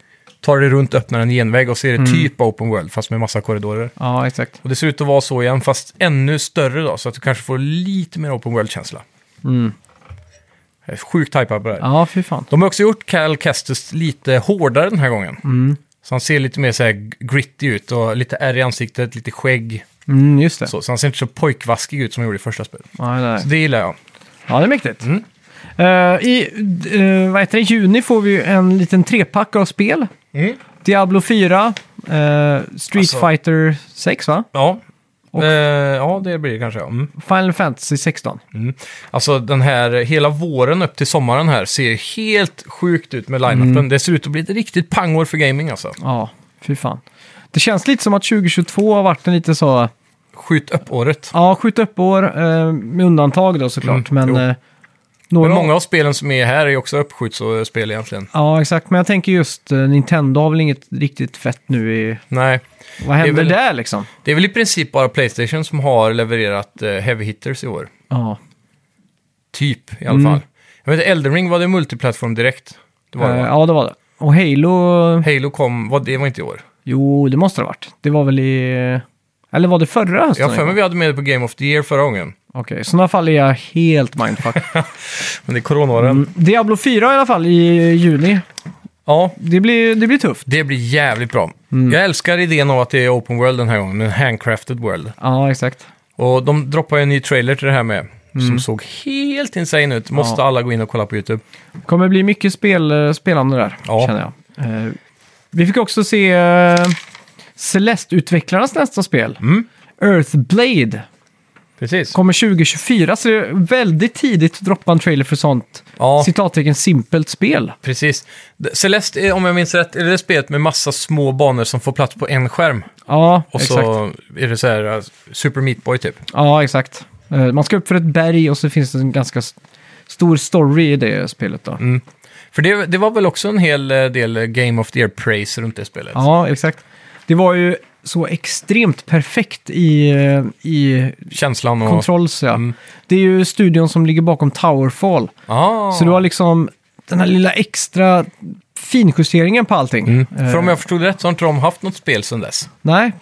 Speaker 2: tar dig runt, öppnar en genväg och ser
Speaker 1: Mm.
Speaker 2: det typ open world, fast med massa korridorer.
Speaker 1: Ja, exakt.
Speaker 2: Och det ser ut att vara så igen, fast ännu större då, så att du kanske får lite mer open world-känsla. Jag är sjukt hypad på det här.
Speaker 1: Mm. Ja, fy fan.
Speaker 2: De har också gjort Cal Kestis lite hårdare den här gången.
Speaker 1: Mm.
Speaker 2: Så han ser lite mer så här gritty ut och lite ärr i ansiktet, lite skägg.
Speaker 1: Mm, just det.
Speaker 2: Så, så han ser inte så pojkvaskig ut som han gjorde i första spelet.
Speaker 1: Ja, det,
Speaker 2: Så
Speaker 1: där.
Speaker 2: det gillar jag.
Speaker 1: ja, det är mäktigt. Eh, I eh, vad heter det, juni får vi ju en liten trepack av spel. Diablo 4, eh, Street
Speaker 2: Alltså-
Speaker 1: Fighter 6 va?
Speaker 2: Ja.
Speaker 1: Och-
Speaker 2: Eh, ja, det blir det kanske. ja. Mm.
Speaker 1: Final Fantasy 16.
Speaker 2: Mm. Alltså den här, hela våren upp till sommaren här ser helt sjukt ut med line-upen. Det ser ut att bli ett riktigt pangår för gaming alltså.
Speaker 1: Ja, fy fan. Det känns lite som att 2022 har varit en lite så
Speaker 2: skjut upp-året.
Speaker 1: Ja, skjut upp år eh, med undantag då såklart.
Speaker 2: Mm,
Speaker 1: men
Speaker 2: jo.
Speaker 1: eh, några...
Speaker 2: Men många av spelen som är här är ju också uppskjutsspel egentligen.
Speaker 1: Ja, exakt. Men jag tänker just eh, Nintendo har väl inget riktigt fett nu i...
Speaker 2: Nej,
Speaker 1: Vad händer
Speaker 2: väl-
Speaker 1: där liksom?
Speaker 2: det är väl i princip bara Playstation som har levererat eh, heavy hitters i år.
Speaker 1: Ja,
Speaker 2: Typ i alla fall. Jag vet inte, Elden Ring var det multiplattform direkt. Det var det,
Speaker 1: Eh,
Speaker 2: va?
Speaker 1: ja det var det. Och Halo...
Speaker 2: Halo kom, var, det var inte i år.
Speaker 1: Jo, det måste det ha varit. Det var väl i... Eller var det förra hösten?
Speaker 2: Jag har för mig vi hade med det på Game of the Year förra gången.
Speaker 1: Okej, i sådana fall är jag helt mindfuck.
Speaker 2: Men det är coronaåren.
Speaker 1: Mm, Diablo 4 i alla fall i juni.
Speaker 2: Ja,
Speaker 1: Det blir, det blir tufft.
Speaker 2: det blir jävligt bra.
Speaker 1: Mm.
Speaker 2: Jag älskar idén om att det är open world den här gången, men handcrafted world.
Speaker 1: Ja, exakt.
Speaker 2: Och de droppar ju en ny trailer till det här med. Som såg helt insane ut. Måste
Speaker 1: Mm. Ja.
Speaker 2: alla gå in och kolla på YouTube.
Speaker 1: Det kommer bli mycket spel, eh, spelande där,
Speaker 2: Ja.
Speaker 1: känner jag. Eh, vi fick också se eh, Celeste-utvecklarnas nästa spel.
Speaker 2: Mm.
Speaker 1: Earthblade
Speaker 2: Precis.
Speaker 1: kommer 2024, så det är väldigt tidigt att droppa en trailer för sånt
Speaker 2: Ja.
Speaker 1: citattecken simpelt spel.
Speaker 2: Precis. D- Celeste, är, om jag minns rätt, är det spelet med massa små banor som får plats på en skärm.
Speaker 1: Ja,
Speaker 2: Och
Speaker 1: exakt.
Speaker 2: så är det så här eh, Super Meat Boy typ.
Speaker 1: Ja, exakt. Eh, Man ska upp för ett berg och så finns det en ganska s- stor story i det spelet då.
Speaker 2: Mm. För det, det var väl också en hel eh, del Game of the Year-praise runt det spelet.
Speaker 1: Ja, exakt. Det var ju så extremt perfekt i, eh, i
Speaker 2: Känslan och...
Speaker 1: controls, ja.
Speaker 2: Mm.
Speaker 1: Det är ju studion som ligger bakom Towerfall.
Speaker 2: Ah.
Speaker 1: Så du har liksom den här lilla extra finjusteringen på allting.
Speaker 2: Mm.
Speaker 1: Eh,
Speaker 2: För om jag förstod rätt så har inte de haft något spel sedan dess.
Speaker 1: Nej.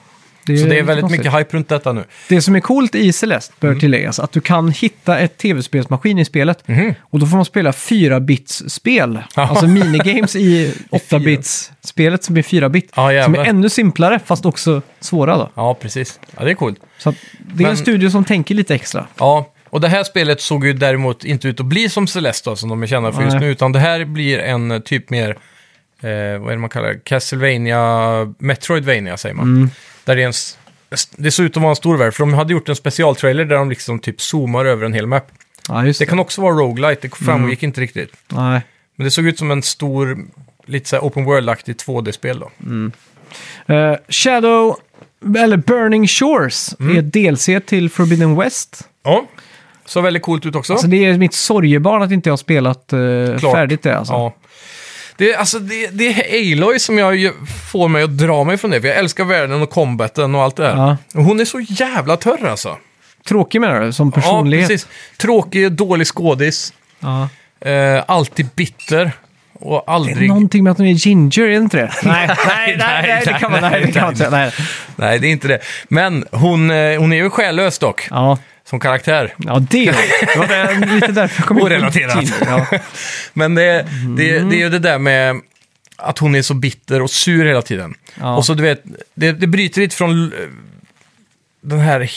Speaker 2: Så det är
Speaker 1: lite
Speaker 2: väldigt
Speaker 1: konstigt.
Speaker 2: mycket Mm. hype runt detta nu.
Speaker 1: Det som är coolt i Celeste bör tilläggas att du kan hitta ett tv-spelsmaskin i spelet.
Speaker 2: Mhm.
Speaker 1: Och då får man spela 4-bits-spel. Alltså minigames i 8-bits-spelet som är 4-bit.
Speaker 2: Ja, jävlar.
Speaker 1: som är ännu simplare fast också svåra då.
Speaker 2: Ja, precis. Ja, det är coolt.
Speaker 1: Så att det är
Speaker 2: Men-
Speaker 1: en studio som tänker lite extra.
Speaker 2: Ja, och det här spelet såg ju däremot inte ut att bli som Celeste då, som de är kända för just
Speaker 1: Nej.
Speaker 2: nu, utan det här blir en eh, typ mer, eh, vad är det man kallar det? Castlevania, Metroidvania säger man.
Speaker 1: Mm.
Speaker 2: Där det, är en, s- s- det såg ut att vara en stor värld, för de hade gjort en specialtrailer där de liksom typ zoomar över en hel map.
Speaker 1: Ja, just
Speaker 2: Det
Speaker 1: det.
Speaker 2: kan också vara roguelite, det
Speaker 1: Mm.
Speaker 2: framgick inte riktigt.
Speaker 1: Nej.
Speaker 2: Men det såg ut som en stor, lite så här open world-aktig 2D-spel då.
Speaker 1: Eh, Shadow, eller Burning Shores, är ett DLC till Forbidden West.
Speaker 2: Mm. Ja, såg väldigt coolt ut också.
Speaker 1: Alltså det är mitt sorgebarn att inte jag har spelat eh,
Speaker 2: Klart.
Speaker 1: färdigt det alltså.
Speaker 2: Ja. Det, är- alltså, det, det är Aloy som jag ju- får mig att dra mig från det, för jag älskar världen och combaten och allt det där.
Speaker 1: Ja.
Speaker 2: Och hon är så jävla törr alltså.
Speaker 1: Tråkig menar du, som personlighet?
Speaker 2: precis. Tråkig, dålig skådis,
Speaker 1: Ja.
Speaker 2: eh, alltid bitter och aldrig...
Speaker 1: Någonting med att hon är ginger, är det inte det? Nej, nej,
Speaker 2: nej, nej, nej.
Speaker 1: nej.
Speaker 2: Nej, det är inte det. Men hon, eh, hon är ju själlös dock,
Speaker 1: Ja,
Speaker 2: som karaktär.
Speaker 1: ja det är hon. det. var där- lite därför jag kom in på
Speaker 2: Orelaterat.
Speaker 1: ginger, Ja.
Speaker 2: Men det,
Speaker 1: Mm.
Speaker 2: det, det är ju det där med att hon är så bitter och sur hela tiden.
Speaker 1: Ja.
Speaker 2: Och så du vet, det, det bryter lite från eh, den här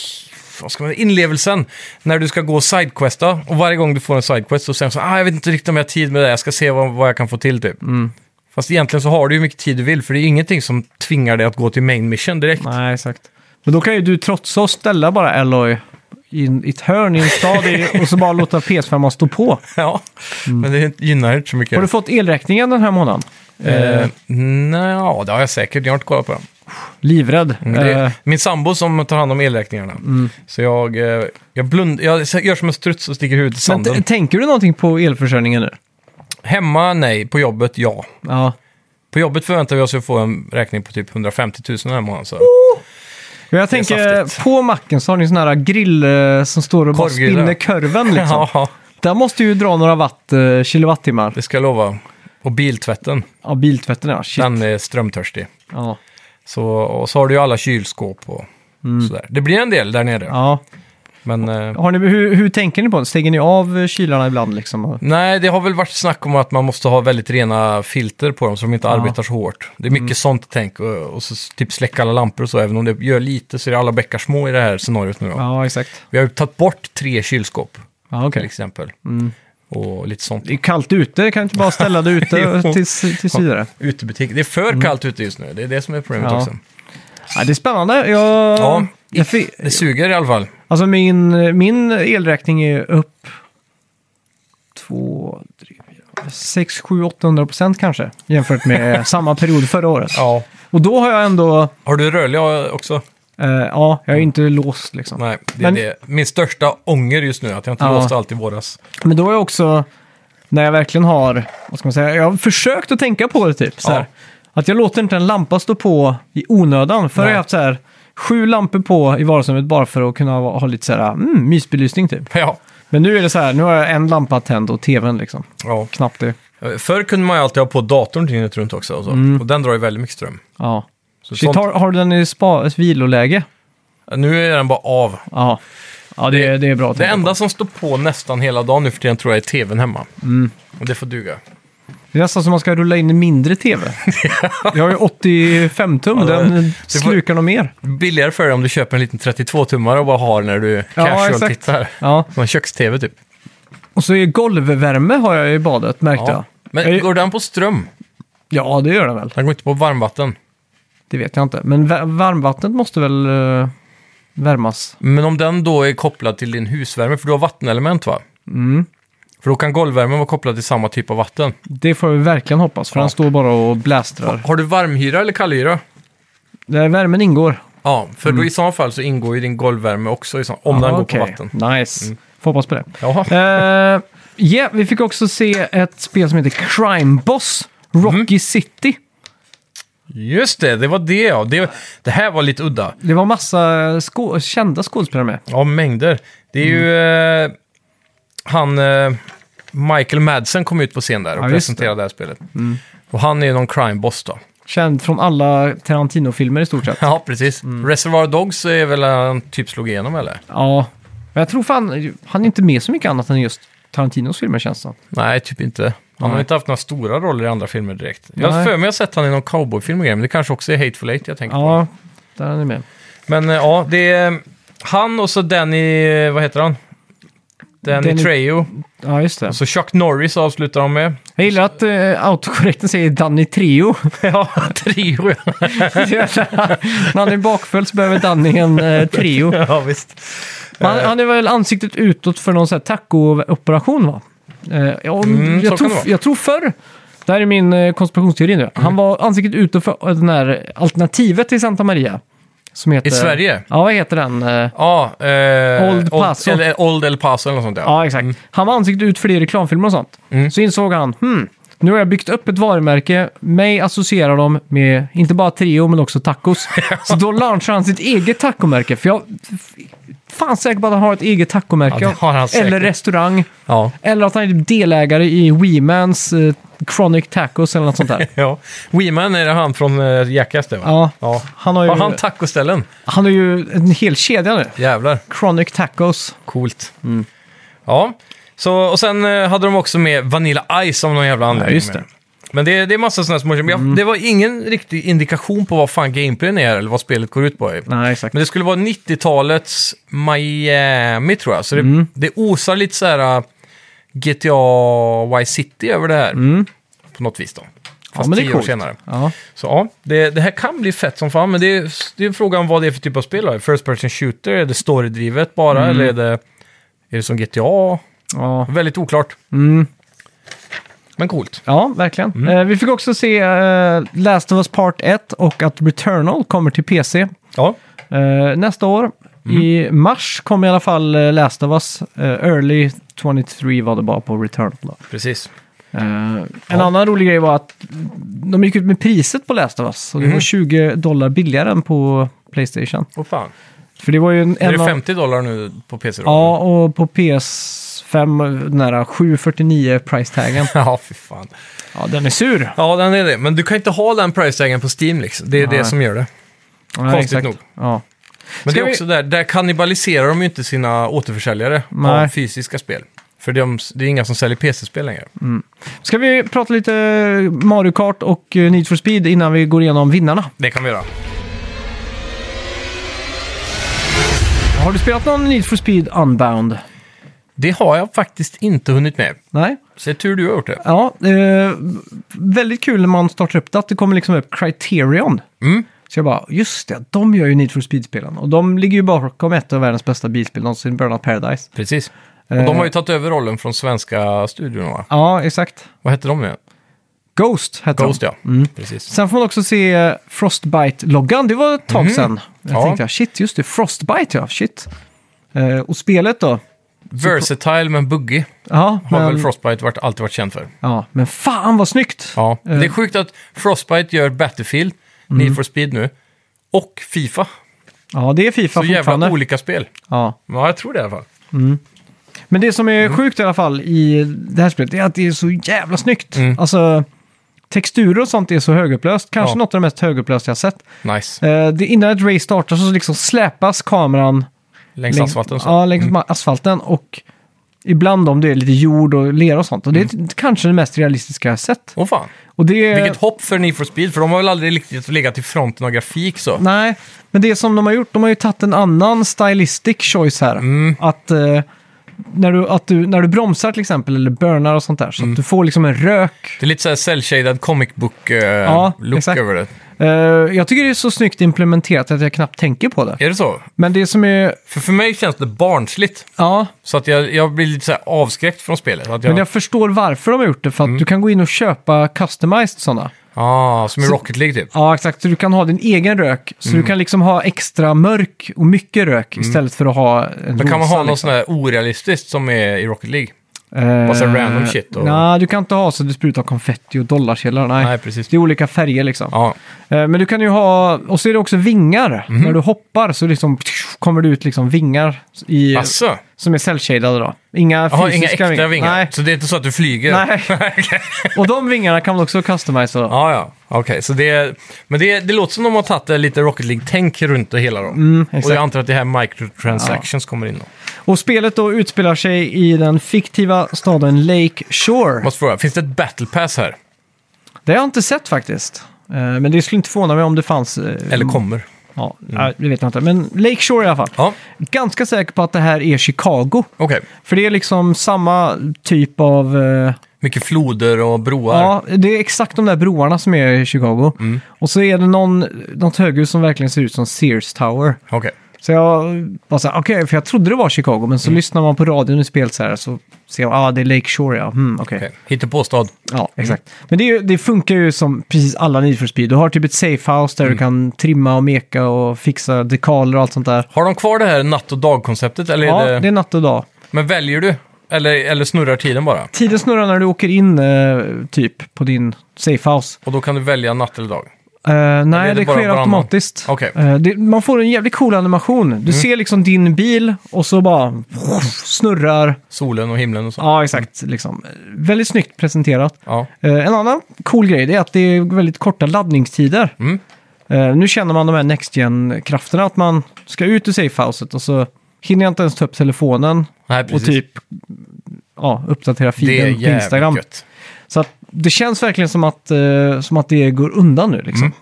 Speaker 2: vad ska man, inlevelsen när du ska gå och sidequesta. Och varje gång du får en sidequest så säger du så ah, jag vet inte riktigt om jag har tid med det, jag ska se vad, vad jag kan få till typ.
Speaker 1: Mm.
Speaker 2: Fast egentligen så har du ju mycket tid du vill, för det är ingenting som tvingar dig att gå till main mission direkt.
Speaker 1: Nej, exakt. Men då kan ju du trotsa och ställa bara Alloy i, en- i ett hörn i en stad i- och så bara låta PS5 stå på.
Speaker 2: Ja, men det gynnar inte så mycket.
Speaker 1: Mm. Har du fått elräkningen den här månaden?
Speaker 2: eh, nej, ja, det har jag säkert, jag har inte kollat på den.
Speaker 1: Livrädd.
Speaker 2: Men Mm, Det
Speaker 1: Eh, Mm.
Speaker 2: är min sambo som tar hand om elräkningarna. Så jag, eh, jag, blund, jag gör som en struts och sticker huvudet i
Speaker 1: men
Speaker 2: sanden.
Speaker 1: t- tänker du någonting på elförsörjningen nu?
Speaker 2: Hemma, nej. På jobbet, ja.
Speaker 1: Ja.
Speaker 2: På jobbet förväntar vi oss att få en räkning på typ 150 000 den här månaden. Så.
Speaker 1: Men Jag tänker,
Speaker 2: saftigt.
Speaker 1: på macken så har ni sån här grill eh, som står och bara
Speaker 2: Korvgrill,
Speaker 1: spinner
Speaker 2: ja.
Speaker 1: kurven liksom.
Speaker 2: Ja,
Speaker 1: Där måste ju dra några watt, eh, kilowattimmar.
Speaker 2: det ska jag lova. Och biltvätten,
Speaker 1: Ja, biltvätten ja. Shit.
Speaker 2: den är strömtörstig.
Speaker 1: Ja.
Speaker 2: Så, och så har du ju alla kylskåp och sådär. Det blir en del där nere.
Speaker 1: Mm. Ja.
Speaker 2: Men eh,
Speaker 1: Har ni, hur, hur tänker ni på det? Stänger ni av eh, kylarna ibland liksom?
Speaker 2: nej, det har väl varit snack om att man måste ha väldigt rena filter på dem så de inte arbetar så hårt. Det är
Speaker 1: Mm.
Speaker 2: mycket sånt tänk. Och, och så typ släcka alla lampor och så. Även om det gör lite så är det alla bäckar små i det här scenariot nu då.
Speaker 1: Ja, exakt.
Speaker 2: Vi har ju tagit bort tre kylskåp
Speaker 1: Ja,
Speaker 2: till
Speaker 1: okay.
Speaker 2: exempel.
Speaker 1: Mm.
Speaker 2: Och lite sånt.
Speaker 1: Det är kallt ute, kan du inte bara ställa det ute
Speaker 2: Jo.
Speaker 1: tills, tills vidare?
Speaker 2: Utebutik. Det är för kallt ute just nu. Det är det som är problemet
Speaker 1: Mm. Ja.
Speaker 2: också.
Speaker 1: Ja, det är spännande. Jag,
Speaker 2: Ja.
Speaker 1: jag fi,
Speaker 2: Det suger i alla fall.
Speaker 1: alltså min, min elräkning är upp 2, 6, 7, 800 procent kanske jämfört med samma period förra året.
Speaker 2: Ja.
Speaker 1: Och då har jag ändå
Speaker 2: Har du rörlig också?
Speaker 1: Eh, ja, jag är ju inte låst liksom.
Speaker 2: Nej, det
Speaker 1: Men-
Speaker 2: är det. Min största ånger just nu, att jag inte
Speaker 1: Ja.
Speaker 2: låste allt i våras.
Speaker 1: Men då är jag också, när jag verkligen har, vad ska man säga, jag har försökt att tänka på det typ. Så här, Att jag låter inte en lampa stå på i onödan. För jag
Speaker 2: Nej.
Speaker 1: har haft så här, sju lampor på i vardagsrummet bara för att kunna ha, ha lite så här, mm, mysbelysning typ.
Speaker 2: Ja.
Speaker 1: Men nu är det så här, nu har jag en lampa tänd och tvn liksom.
Speaker 2: ja.
Speaker 1: Knappt det.
Speaker 2: Förr kunde man ju alltid ha på datorn dygnet runt också. Och, så.
Speaker 1: Mm.
Speaker 2: och den drar ju väldigt mycket ström.
Speaker 1: Ja.
Speaker 2: Så
Speaker 1: Shit, har, har du den i spa, ett viloläge?
Speaker 2: Nu är den bara av.
Speaker 1: Ja. Ja, det, det, är bra att
Speaker 2: Det
Speaker 1: tänka på.
Speaker 2: enda som står på nästan hela dagen nu för tiden tror jag är tvn hemma.
Speaker 1: Mm.
Speaker 2: Och det får duga.
Speaker 1: Det är nästan som man ska rulla in en mindre tv. jag har ju 85 tum,
Speaker 2: Ja, det-
Speaker 1: den
Speaker 2: får-
Speaker 1: slukar nog mer.
Speaker 2: Billigare för dig om du köper en liten 32-tummare och bara har när du casual
Speaker 1: exakt.
Speaker 2: tittar.
Speaker 1: Ja.
Speaker 2: Som en köks-tv typ.
Speaker 1: Och så är golvvärme har jag i badet, märkte jag.
Speaker 2: Men
Speaker 1: jag.
Speaker 2: går den på ström?
Speaker 1: Ja, det gör den väl.
Speaker 2: Den går inte på varmvatten.
Speaker 1: Det vet jag inte. Men vä- varmvattnet måste väl eh, värmas?
Speaker 2: Men om den då är kopplad till din husvärme, för du har vattenelement va?
Speaker 1: Mm.
Speaker 2: För då kan golvvärmen vara kopplad till samma typ av vatten.
Speaker 1: Det får vi verkligen hoppas, för
Speaker 2: Ja.
Speaker 1: den står bara och blästrar.
Speaker 2: Har du varmhyra eller kallhyra?
Speaker 1: Där värmen ingår.
Speaker 2: Ja, för då i så fall så ingår ju din golvvärme också, i så- om den
Speaker 1: Ah,
Speaker 2: går
Speaker 1: Mm. okej.
Speaker 2: på vatten. Mm.
Speaker 1: Nice. Får hoppas på det.
Speaker 2: Jaha.
Speaker 1: Eh, ja, vi fick också se ett spel som heter Crime Boss, Rocky City.
Speaker 2: Just det, det var det ja. Det, det här var lite udda.
Speaker 1: Det var massa skå- kända skådespelare med.
Speaker 2: Ja, mängder. Det är ju... Eh, han... Eh, Michael Madsen kom ut på scen där och
Speaker 1: Ja, just
Speaker 2: presenterade det. här spelet. Och han är ju någon crime boss då.
Speaker 1: Känd från alla Tarantino-filmer i stort sett.
Speaker 2: Ja, precis. Mm. Reservoir Dogs är väl han typ slog igenom eller?
Speaker 1: Ja, men jag tror fan han är inte med så mycket annat än just Tarantinos filmer känns det som.
Speaker 2: Nej, typ inte. Han har
Speaker 1: Nej.
Speaker 2: inte haft några stora roller i andra filmer direkt. Jag har
Speaker 1: Nej.
Speaker 2: för mig att sett han i någon cowboyfilm och grejer, men det kanske också är Hateful Eight jag tänker på.
Speaker 1: Ja, där är han med.
Speaker 2: Men eh, ja, det är han och så Danny, eh, vad heter han? Danny,
Speaker 1: Danny-
Speaker 2: Trejo.
Speaker 1: Ja, just det.
Speaker 2: Så Chuck Norris avslutar de med.
Speaker 1: Jag gillar att eh, autokorrekten säger Danny Trio.
Speaker 2: ja, Trejo.
Speaker 1: När han är bakfull så behöver Danny en eh, trio.
Speaker 2: ja, visst.
Speaker 1: Han,
Speaker 2: Eh.
Speaker 1: han är väl ansiktet utåt för någon sån här taco-operation va? Eh, ja,
Speaker 2: Mm, så
Speaker 1: jag,
Speaker 2: kan
Speaker 1: tror,
Speaker 2: det vara. Mm.
Speaker 1: jag tror förr, det här är min eh, konspirationsteori nu, han var ansiktet utåt för eh, den här alternativet till Santa Maria. Som heter,
Speaker 2: I Sverige?
Speaker 1: Ja, vad heter den? Eh,
Speaker 2: Ja, eh,
Speaker 1: Old Paso.
Speaker 2: eller, Old El Paso eller något sånt där.
Speaker 1: Ja, exakt. Han var ansiktet ut för det i reklamfilmer och sånt.
Speaker 2: Mm.
Speaker 1: Så insåg han, hmm, nu har jag byggt upp ett varumärke. Mig associerar de med, inte bara Trio, men också tacos. så då launchar han sitt eget tacomärke. För jag är fan säker på att han har ett eget tacomärke.
Speaker 2: Ja, det har han säkert.
Speaker 1: eller restaurang.
Speaker 2: Ja.
Speaker 1: Eller att han är delägare i Weemans eh, Chronic Tacos eller något sånt där.
Speaker 2: ja. Weeman är det han från eh, Jackass det va?
Speaker 1: Ja.
Speaker 2: ja.
Speaker 1: Han har ju,
Speaker 2: Har han tacoställen?
Speaker 1: han har ju en hel kedja nu.
Speaker 2: Jävlar.
Speaker 1: Chronic Tacos.
Speaker 2: Coolt.
Speaker 1: Mm.
Speaker 2: Ja, så, och sen eh, hade de också med Vanilla Ice av någon jävla anledning.
Speaker 1: just det. Mm.
Speaker 2: Men det, det är massa sådana små... men Jag, Det var ingen riktig indikation på vad fan gameplayen är eller vad spelet går ut på.
Speaker 1: Nej, exakt.
Speaker 2: Men det skulle vara 90-talets Miami tror jag. Så det,
Speaker 1: Mm.
Speaker 2: det osar lite så här äh, GTA Vice City över det här. På något vis då. Fast
Speaker 1: Mm. men det är
Speaker 2: tio år
Speaker 1: coolt.
Speaker 2: senare.
Speaker 1: Ja.
Speaker 2: Så ja, det, det här kan bli fett som fan, men det är, det är frågan vad det är för typ av spel. Då. First person shooter, är det storydrivet bara,
Speaker 1: Mm.
Speaker 2: eller är det, är det som GTA?
Speaker 1: ja.
Speaker 2: Väldigt oklart.
Speaker 1: Mm.
Speaker 2: Men coolt.
Speaker 1: Ja, verkligen. Eh, vi fick också se eh, Last of Us Part 1 och att Returnal kommer till PC
Speaker 2: Ja,
Speaker 1: eh, nästa år. I mars kommer i alla fall eh, Last of Us. Eh, early 23 var det bara på Returnal. Då.
Speaker 2: precis.
Speaker 1: Eh, En annan rolig grej var att de gick ut med priset på Last of Us. Och det var 20 dollar billigare än på Playstation.
Speaker 2: Åh fan.
Speaker 1: För det var ju en,
Speaker 2: Är
Speaker 1: en
Speaker 2: det
Speaker 1: av-
Speaker 2: 50 dollar nu på pc då?
Speaker 1: Ja, och på PS5 nära 749 price-taggen.
Speaker 2: Ja, fy fan.
Speaker 1: ja, den är sur.
Speaker 2: Ja, den är det. Men du kan inte ha den price-taggen på Steam liksom. Det är det
Speaker 1: Nej.
Speaker 2: som gör det.
Speaker 1: Ja,
Speaker 2: Konstigt
Speaker 1: exakt.
Speaker 2: nog.
Speaker 1: Ja.
Speaker 2: Men
Speaker 1: Ska
Speaker 2: det är
Speaker 1: vi-
Speaker 2: också där, där kannibaliserar de ju inte sina återförsäljare av
Speaker 1: Nej.
Speaker 2: fysiska spel. För de, det är inga som säljer PC-spel längre.
Speaker 1: Ska vi prata lite Mario Kart och eh, Need for Speed innan vi går igenom vinnarna?
Speaker 2: Det kan vi göra.
Speaker 1: Har du spelat någon Need for Speed Unbound?
Speaker 2: Det har jag faktiskt inte hunnit med.
Speaker 1: Nej?
Speaker 2: Så det är tur du har gjort det.
Speaker 1: Ja, eh, väldigt kul när man startar upp det att det kommer liksom upp Criterion.
Speaker 2: Mm.
Speaker 1: Så jag bara, just det, de gör ju Need for Speed-spelen. Och de ligger ju bakom ett av världens bästa bilspel någonsin, Burnout Paradise.
Speaker 2: Precis.
Speaker 1: Eh.
Speaker 2: Och de har ju tagit över rollen från svenska studion va?
Speaker 1: Ja, exakt.
Speaker 2: Vad hette de nu?
Speaker 1: Ghost heter
Speaker 2: Ghost,
Speaker 1: de.
Speaker 2: ja. Precis.
Speaker 1: Sen får man också se eh, Frostbite-loggan. Det var ett tag sedan. Jag
Speaker 2: Mhm. Ja.
Speaker 1: tänkte jag, shit, just det, Frostbite ja, shit. Eh, och spelet då?
Speaker 2: Versatile men buggig
Speaker 1: Ja,
Speaker 2: har
Speaker 1: men,
Speaker 2: väl Frostbite varit, alltid varit känd för.
Speaker 1: ja, men fan vad snyggt!
Speaker 2: Ja. Det är sjukt att Frostbite gör Battlefield,
Speaker 1: Mm.
Speaker 2: Need for Speed nu, och Fifa.
Speaker 1: Ja, det är Fifa
Speaker 2: Så jävla
Speaker 1: fortfarande.
Speaker 2: olika spel.
Speaker 1: ja.
Speaker 2: Ja, jag tror det i alla fall.
Speaker 1: Men det som är
Speaker 2: Mm.
Speaker 1: sjukt i alla fall i det här spelet är att det är så jävla snyggt.
Speaker 2: Mm.
Speaker 1: Alltså, texturer och sånt är så högupplöst. Kanske
Speaker 2: Ja.
Speaker 1: något av det mest högupplösta jag sett.
Speaker 2: Nice.
Speaker 1: Eh, det, innan ett race startar så liksom släpas kameran
Speaker 2: Längs asfalten så. Mm.
Speaker 1: Ja, längs ma- asfalten. Och ibland om det är lite jord och lera och sånt. Och det är t- kanske det mest realistiska jag sett.
Speaker 2: Åh fan.
Speaker 1: Och det är...
Speaker 2: Mm. Vilket hopp för Need for Speed, för de har väl aldrig riktigt legat i fronten av grafik så.
Speaker 1: Nej, men det som de har gjort, de har ju tagit en annan stylistic choice här.
Speaker 2: Mm.
Speaker 1: Att, eh, när du, att du, när du bromsar till exempel, eller burnar och sånt där,
Speaker 2: Mm.
Speaker 1: så att du får liksom en rök
Speaker 2: Det är lite såhär cell-shaded comic book-look
Speaker 1: exakt.
Speaker 2: över det.
Speaker 1: Eh, jag tycker det är så snyggt implementerat att jag knappt tänker på det.
Speaker 2: Är det så?
Speaker 1: Men det som är...
Speaker 2: För, för mig känns det barnsligt.
Speaker 1: Ja,
Speaker 2: Så att jag, jag blir lite så här avskräckt från spelet. Att jag,
Speaker 1: men jag förstår varför de har gjort det.
Speaker 2: Mm.
Speaker 1: För att du kan gå in och köpa customized sådana.
Speaker 2: ah, som i Rocket League typ.
Speaker 1: Ja, exakt. Så du kan ha din egen rök. Så
Speaker 2: Mm.
Speaker 1: du kan liksom ha extra mörk och mycket rök istället för att ha en
Speaker 2: Då Mm. kan man ha
Speaker 1: rosa, liksom.
Speaker 2: något sån här orealistiskt som är i Rocket League.
Speaker 1: Eh,
Speaker 2: massa random shit och-
Speaker 1: Nej, du kan inte ha så att du sprutar konfetti och dollarkällor. Nej.
Speaker 2: Nej, precis.
Speaker 1: Det är olika färger liksom.
Speaker 2: Ja,
Speaker 1: Eh, Men du kan ju ha, och så är det också vingar.
Speaker 2: Mm.
Speaker 1: När du hoppar så liksom kommer det ut liksom vingar i,
Speaker 2: asså.
Speaker 1: som är cellshadade då. Inga
Speaker 2: Jaha, inga
Speaker 1: fysiska
Speaker 2: äkta vingar.
Speaker 1: Nej.
Speaker 2: Så det är inte så att du flyger?
Speaker 1: Nej. och de vingarna kan man också customisa. då.
Speaker 2: Ja, ja. Okej, så det är... Men det, är- det låter som de har tagit det lite Rocket League-tänk runt det hela då. Och
Speaker 1: Mm, exakt.
Speaker 2: jag antar att det här microtransactions kommer in då.
Speaker 1: Och spelet då utspelar sig i den fiktiva staden Lake Shore.
Speaker 2: Måste fråga, finns det ett battle pass här?
Speaker 1: Mm. Det har jag inte sett faktiskt. Eh, Men det skulle inte förvåna mig om det fanns. eh,
Speaker 2: Eller kommer?
Speaker 1: Ja, nej, det vet jag inte. Men Lake Shore i alla fall.
Speaker 2: Ja,
Speaker 1: Ganska säker på att det här är Chicago.
Speaker 2: okej.
Speaker 1: För det är liksom samma typ av... eh,
Speaker 2: Mycket floder och broar.
Speaker 1: Ja, det är exakt de där broarna som är i Chicago.
Speaker 2: Mm.
Speaker 1: Och så är det någon, något höghus som verkligen ser ut som Sears Tower.
Speaker 2: Okej.
Speaker 1: Så jag bara så här, okej, för jag trodde det var Chicago, men så
Speaker 2: Mm.
Speaker 1: lyssnar man på radion i spelet så här så ser jag, ah, det är Lake Shore ja, mm, okej.
Speaker 2: okej. Mm. Hittepåstad.
Speaker 1: Ja, exakt. Men det, är ju, det funkar ju som precis alla Need for Speed. Du har typ ett safehouse
Speaker 2: Mm.
Speaker 1: där du kan trimma och meka och fixa dekaler och allt sånt där.
Speaker 2: Har de kvar det här natt och dag-konceptet? Eller
Speaker 1: Ja,
Speaker 2: är det...
Speaker 1: det är natt och dag.
Speaker 2: Men väljer du? Eller, eller snurrar tiden bara?
Speaker 1: Tiden snurrar när du åker in eh, typ på din safehouse.
Speaker 2: Och då kan du välja natt eller dag?
Speaker 1: Eh,
Speaker 2: Eller är
Speaker 1: nej,
Speaker 2: det
Speaker 1: det,
Speaker 2: bara
Speaker 1: sker
Speaker 2: varannan?
Speaker 1: automatiskt.
Speaker 2: Okej. Mm.
Speaker 1: Eh, det, man får en jävligt cool animation. Du ser liksom din bil och så bara snurrar.
Speaker 2: Solen och himlen och så?
Speaker 1: Ja, exakt. Liksom. Eh, Väldigt snyggt presenterat.
Speaker 2: Ja.
Speaker 1: Eh, en annan cool grej det är att det är väldigt korta laddningstider.
Speaker 2: Mm.
Speaker 1: Eh, nu känner man de här Next Gen-krafterna att man ska ut ur safehouset och så hinner jag inte ens ta upp telefonen
Speaker 2: Nej, precis.
Speaker 1: och typ ja, uppdatera
Speaker 2: det är
Speaker 1: feeden på
Speaker 2: jävligt
Speaker 1: Instagram.
Speaker 2: gött.
Speaker 1: Så att det känns verkligen som att, eh, som att det går undan nu. Liksom.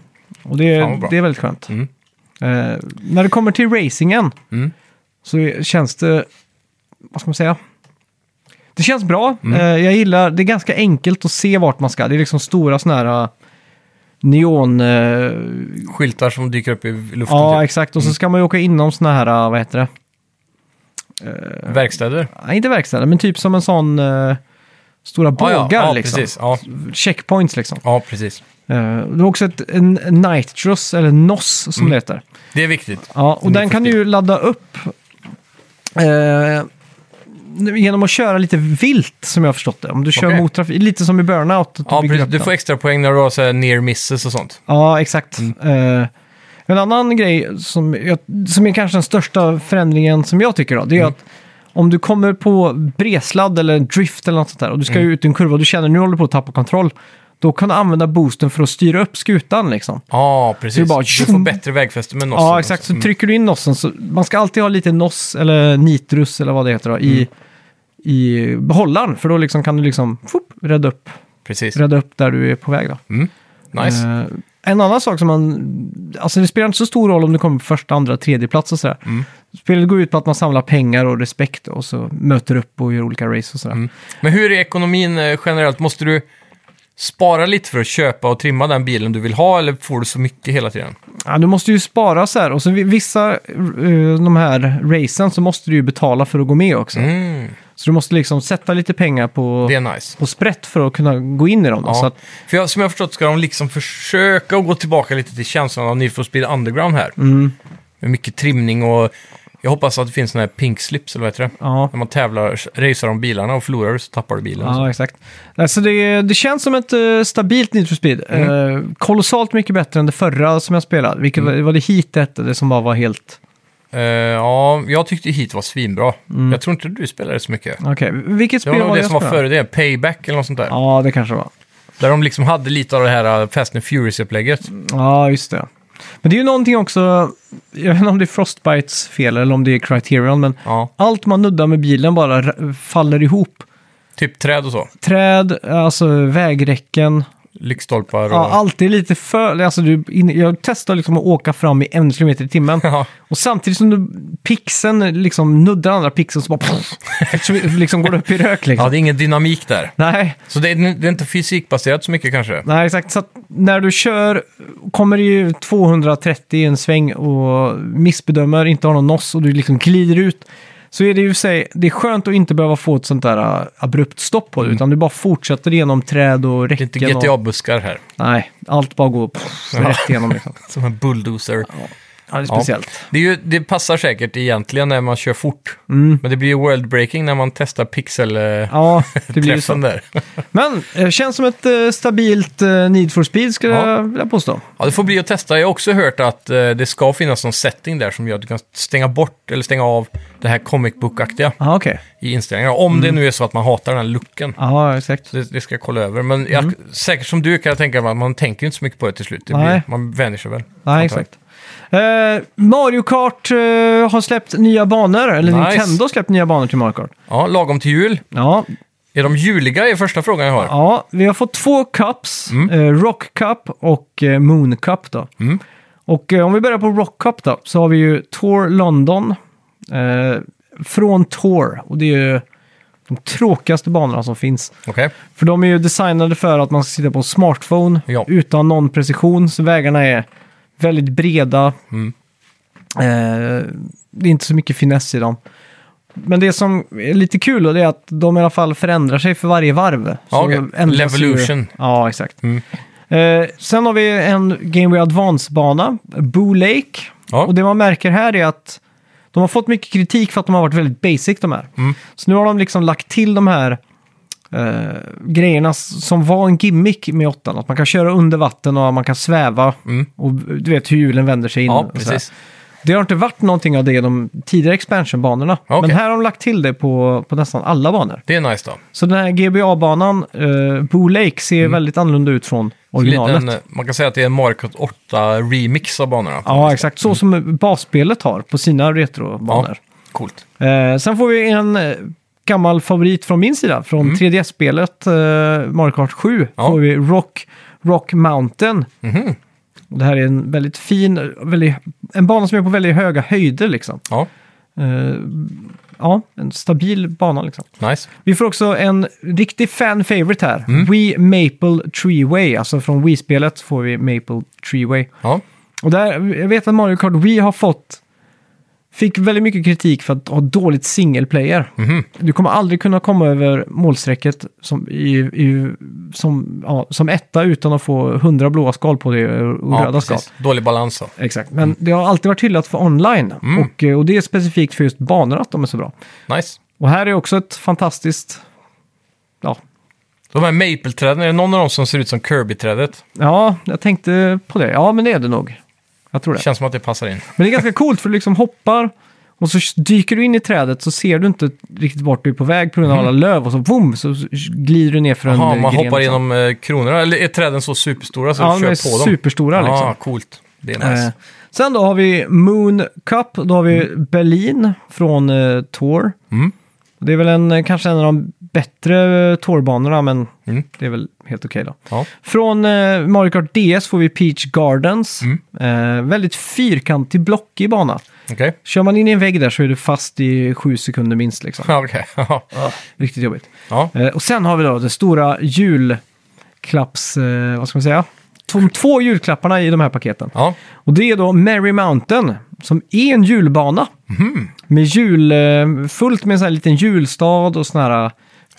Speaker 1: Och det,
Speaker 2: Mm. Fan vad bra.
Speaker 1: är- det är väldigt skönt.
Speaker 2: Mm.
Speaker 1: Eh, när det kommer till racingen
Speaker 2: Mm.
Speaker 1: så känns det, vad ska man säga? Det känns bra.
Speaker 2: Mm.
Speaker 1: Eh, jag gillar, det är ganska enkelt att se vart man ska. Det är liksom stora sådana här eh, neon... Eh,
Speaker 2: Skyltar som dyker upp i luften.
Speaker 1: ja,
Speaker 2: typ.
Speaker 1: exakt. Och så ska man ju åka inom sådana här, eh, vad heter det?
Speaker 2: Verkstäder.
Speaker 1: Nej, inte verkstäder, men typ som en sån... Eh, stora bågar
Speaker 2: ja, ja,
Speaker 1: liksom.
Speaker 2: precis. Ja.
Speaker 1: Checkpoints liksom.
Speaker 2: ja, precis.
Speaker 1: Eh, Det var också ett, en en Nitros, eller NOS som det heter.
Speaker 2: Det Mm. är viktigt.
Speaker 1: Ja, och den kan du ju ladda upp eh, nu- genom att köra lite vilt, som jag har förstått det. Om du kör
Speaker 2: Okej.
Speaker 1: mot trafik, lite som i Burnout. att du
Speaker 2: Ja,
Speaker 1: bygger
Speaker 2: precis.
Speaker 1: upp
Speaker 2: Du
Speaker 1: den.
Speaker 2: får extra poäng när du har så här near misses och sånt.
Speaker 1: Ja, exakt.
Speaker 2: Mm.
Speaker 1: Eh, en annan grej som, jag, som är kanske den största förändringen som jag tycker då, det är
Speaker 2: Mm.
Speaker 1: att om du kommer på bredsladd eller drift eller något sånt där och du ska
Speaker 2: Mm.
Speaker 1: ut i en kurva och du känner att nu håller du på att tappa kontroll, då kan du använda boosten för att styra upp skutan liksom.
Speaker 2: Ja, precis.
Speaker 1: Så det bara-
Speaker 2: du får bättre vägfäste med nossen.
Speaker 1: Ja, exakt. Så trycker du in nossen så man ska alltid ha lite noss eller nitrus eller vad det heter då,
Speaker 2: Mm.
Speaker 1: i, i behållaren. För då liksom kan du liksom fop, rädda, upp,
Speaker 2: Precis.
Speaker 1: rädda upp där du är på väg. Då.
Speaker 2: Nice.
Speaker 1: Eh, en annan sak som man... Alltså det spelar inte så stor roll om du kommer på första, andra, tredje plats och sådär.
Speaker 2: Mm.
Speaker 1: Spelet går ut på att man samlar pengar och respekt och så möter upp och gör olika race och sådär.
Speaker 2: Mm. Men hur är ekonomin eh, generellt? Måste du spara lite för att köpa och trimma den bilen du vill ha eller får du så mycket hela tiden?
Speaker 1: Ja, du måste ju spara så här och så vi- vissa eh, de här racen så måste du ju betala för att gå med också.
Speaker 2: Mm.
Speaker 1: Så du måste liksom sätta lite pengar på,
Speaker 2: Det är nice.
Speaker 1: på sprätt för att kunna gå in i dem. då. Så
Speaker 2: Ja.
Speaker 1: att,
Speaker 2: För jag, som jag har förstått ska de liksom försöka att gå tillbaka lite till känslan av Need for Speed Underground här.
Speaker 1: Mm.
Speaker 2: Med mycket trimning och jag hoppas att det finns sådana här pink slips, eller vad heter det?
Speaker 1: ja.
Speaker 2: När man tävlar, racear om bilarna och förlorar du så tappar du bilen.
Speaker 1: Ja, exakt. Alltså det, det känns som ett eh, stabilt Need for Speed.
Speaker 2: Mm.
Speaker 1: Eh, kolossalt mycket bättre än det förra som jag spelade. Vilket var- var det Heat det hette, det som bara var helt...
Speaker 2: Eh, ja, jag tyckte Heat var svinbra. Jag tror inte du spelade så mycket.
Speaker 1: Okej, vilket
Speaker 2: Det
Speaker 1: spel
Speaker 2: var nog
Speaker 1: var
Speaker 2: det
Speaker 1: jag
Speaker 2: som var
Speaker 1: Mm. spelade?
Speaker 2: före det, Payback eller något sånt där.
Speaker 1: Ja, det kanske det var.
Speaker 2: Där de liksom hade lite av det här eh, Fast and Furious-upplägget.
Speaker 1: Mm. Ja, just det. Men det är ju någonting också, jag vet inte om det är Frostbites fel eller om det är Criterion, men
Speaker 2: Ja,
Speaker 1: allt man nuddar med bilen bara r- faller ihop.
Speaker 2: typ träd och så.
Speaker 1: Träd, alltså vägräcken,
Speaker 2: Lyktstolpar och...
Speaker 1: ja, allt är lite för... Alltså du, in, jag testar liksom att åka fram i en kilometer i timmen.
Speaker 2: Ja.
Speaker 1: Och samtidigt som du, pixeln liksom nuddar andra pixeln så bara pff, så liksom går det upp i rök
Speaker 2: ja,
Speaker 1: liksom.
Speaker 2: det är ingen dynamik där.
Speaker 1: Nej,
Speaker 2: Så det är, det är inte fysikbaserat så mycket kanske.
Speaker 1: nej exakt. Så att när du kör kommer det ju 230 i en sväng och missbedömer, inte har någon noss och du liksom glider ut. Så är det ju i sig, det är skönt att inte behöva få ett sånt där äh, abrupt stopp
Speaker 2: Mm.
Speaker 1: på det, utan du bara fortsätter genom träd och
Speaker 2: Det är inte
Speaker 1: räcken. Och,
Speaker 2: GTA-buskar här.
Speaker 1: nej, allt bara går pff, rätt igenom liksom.
Speaker 2: Som en bulldozer.
Speaker 1: Ja, det är
Speaker 2: Ja.
Speaker 1: speciellt.
Speaker 2: Det, är ju, det passar säkert egentligen när man kör fort. Men det blir ju world-breaking när man testar pixel-träffen
Speaker 1: Mm. Ja, det blir ju så.
Speaker 2: där.
Speaker 1: Men eh, känns som ett eh, stabilt eh, Need for Speed skulle
Speaker 2: Ja.
Speaker 1: jag vilja påstå.
Speaker 2: Ja, det får bli att testa. Jag har också hört att eh, det ska finnas någon setting där som gör att du kan stänga bort eller stänga av det här comic book-aktiga
Speaker 1: Ja, okej.
Speaker 2: i inställningarna. Om det
Speaker 1: Mm.
Speaker 2: nu är så att man hatar den här looken.
Speaker 1: Ja, exakt.
Speaker 2: Det, det ska jag kolla över. Men
Speaker 1: Mm.
Speaker 2: jag, säkert som du kan jag tänka mig att man tänker inte så mycket på det till slut. Det
Speaker 1: Nej.
Speaker 2: blir, man vänjer sig väl.
Speaker 1: Nej,
Speaker 2: antar jag.
Speaker 1: exakt. Eh, Mario Kart eh, har släppt nya banor, eller
Speaker 2: Nice.
Speaker 1: Nintendo har släppt nya banor till Mario Kart.
Speaker 2: Ja, lagom till jul.
Speaker 1: Ja,
Speaker 2: Är de juliga är första frågan jag har.
Speaker 1: ja vi har fått två cups, eh, Rock Cup och eh, Moon Cup. Då. Och eh, om vi börjar på Rock Cup då, så har vi ju Tour London eh, från Tour. Och det är ju de tråkigaste banorna som finns.
Speaker 2: Okej.
Speaker 1: För de är ju designade för att man ska sitta på en smartphone
Speaker 2: Ja.
Speaker 1: utan någon precision. Så vägarna är väldigt breda.
Speaker 2: Mm.
Speaker 1: Eh, det är inte så mycket finess i dem. Men det som är lite kul då, det är att de i alla fall förändrar sig för varje varv.
Speaker 2: Ja, okej.
Speaker 1: ändras ju-
Speaker 2: Levolution.
Speaker 1: Ja, exakt.
Speaker 2: Mm.
Speaker 1: Eh, sen har vi en Game Boy Advance-bana, Boo Lake.
Speaker 2: Ja.
Speaker 1: Och det man märker här är att de har fått mycket kritik för att de har varit väldigt basic de här.
Speaker 2: Mm.
Speaker 1: Så nu har de liksom lagt till de här eh, grejerna s- som var en gimmick med åttan. Att man kan köra under vatten och man kan sväva.
Speaker 2: Mm.
Speaker 1: Och du vet hur hjulen vänder sig in.
Speaker 2: Ja,
Speaker 1: och så här.
Speaker 2: precis.
Speaker 1: Det har inte varit någonting av det i de tidigare expansionbanorna.
Speaker 2: Okej.
Speaker 1: Men här har de lagt till det på, på nästan alla banor.
Speaker 2: Det är nice då.
Speaker 1: Så den här GBA-banan, eh, Boo Lake, ser väldigt annorlunda ut från originalet.
Speaker 2: Liten, eh, man kan säga att det är Mm. en Mario Kart 8-remix av banorna.
Speaker 1: Ja, exakt.
Speaker 2: Mm.
Speaker 1: Så som basspelet har på sina retrobanor.
Speaker 2: Coolt.
Speaker 1: Eh, sen får vi en eh, gammal favorit från min sida, från 3DS-spelet eh, Mario Kart 7.
Speaker 2: Ja.
Speaker 1: får vi Rock, Rock Mountain.
Speaker 2: Mhm.
Speaker 1: Och det här är en väldigt fin, väldigt, en bana som är på väldigt höga höjder liksom.
Speaker 2: Ja,
Speaker 1: Eh, ja, en stabil bana liksom.
Speaker 2: nice.
Speaker 1: Vi får också en riktig fan-favorite här. Wii Maple Tree Way, alltså från Wii-spelet får vi Maple Tree Way.
Speaker 2: Ja,
Speaker 1: Och där, jag vet att Mario Kart Wii har fått, fick väldigt mycket kritik för att ha dåligt single player.
Speaker 2: Mhm.
Speaker 1: Du kommer aldrig kunna komma över målstrecket som, i, i, som, ja, som etta utan att få 100 blåa skal på dig och
Speaker 2: ja
Speaker 1: röda skal.
Speaker 2: precis. Dålig balans då.
Speaker 1: Exakt, men det har alltid varit hyllat för online
Speaker 2: Mm.
Speaker 1: och, eh, och det är specifikt för just banor att de är så bra.
Speaker 2: Nice.
Speaker 1: Och här är också ett fantastiskt... Ja,
Speaker 2: De här maple-träden, är det någon av dem som ser ut som Kirby-trädet?
Speaker 1: ja jag tänkte på det. Ja, men det är det nog. Jag tror det.
Speaker 2: Känns som att det passar in.
Speaker 1: Men det är ganska coolt för du liksom hoppar och så dyker du in i trädet så ser du inte riktigt vart du är på väg på grund av alla löv och så boom så glider du ner för en
Speaker 2: Mm. Jaha,
Speaker 1: eh,
Speaker 2: man
Speaker 1: gren
Speaker 2: hoppar
Speaker 1: och så.
Speaker 2: genom eh, kronorna. Eller är träden så superstora så
Speaker 1: Ja,
Speaker 2: du
Speaker 1: de
Speaker 2: kör
Speaker 1: är
Speaker 2: på dem?
Speaker 1: superstora liksom.
Speaker 2: Ja, coolt. Det är nice.
Speaker 1: Eh, sen då har vi Moon Cup, då har vi Berlin från eh, Tor.
Speaker 2: Mm.
Speaker 1: Det är väl en, eh, kanske en av de bättre eh, Tor-banorna men
Speaker 2: Mm.
Speaker 1: det är väl helt okej då.
Speaker 2: Ja.
Speaker 1: Från eh, Mario Kart DS får vi Peach Gardens.
Speaker 2: Mm.
Speaker 1: Eh, väldigt fyrkantig, blockig bana.
Speaker 2: Okej.
Speaker 1: Kör man in i en vägg där så är du fast i sju sekunder minst liksom.
Speaker 2: Ja, okej.
Speaker 1: Ah, Riktigt jobbigt.
Speaker 2: ja.
Speaker 1: Eh, och sen har vi då det stora julklapps... Eh, vad ska man säga? De två julklapparna i de här paketen.
Speaker 2: ja. Mhm.
Speaker 1: Och det är då Merry Mountain, som är en julbana. Med jul, eh, fullt med en sån här liten julstad och såna här... eh,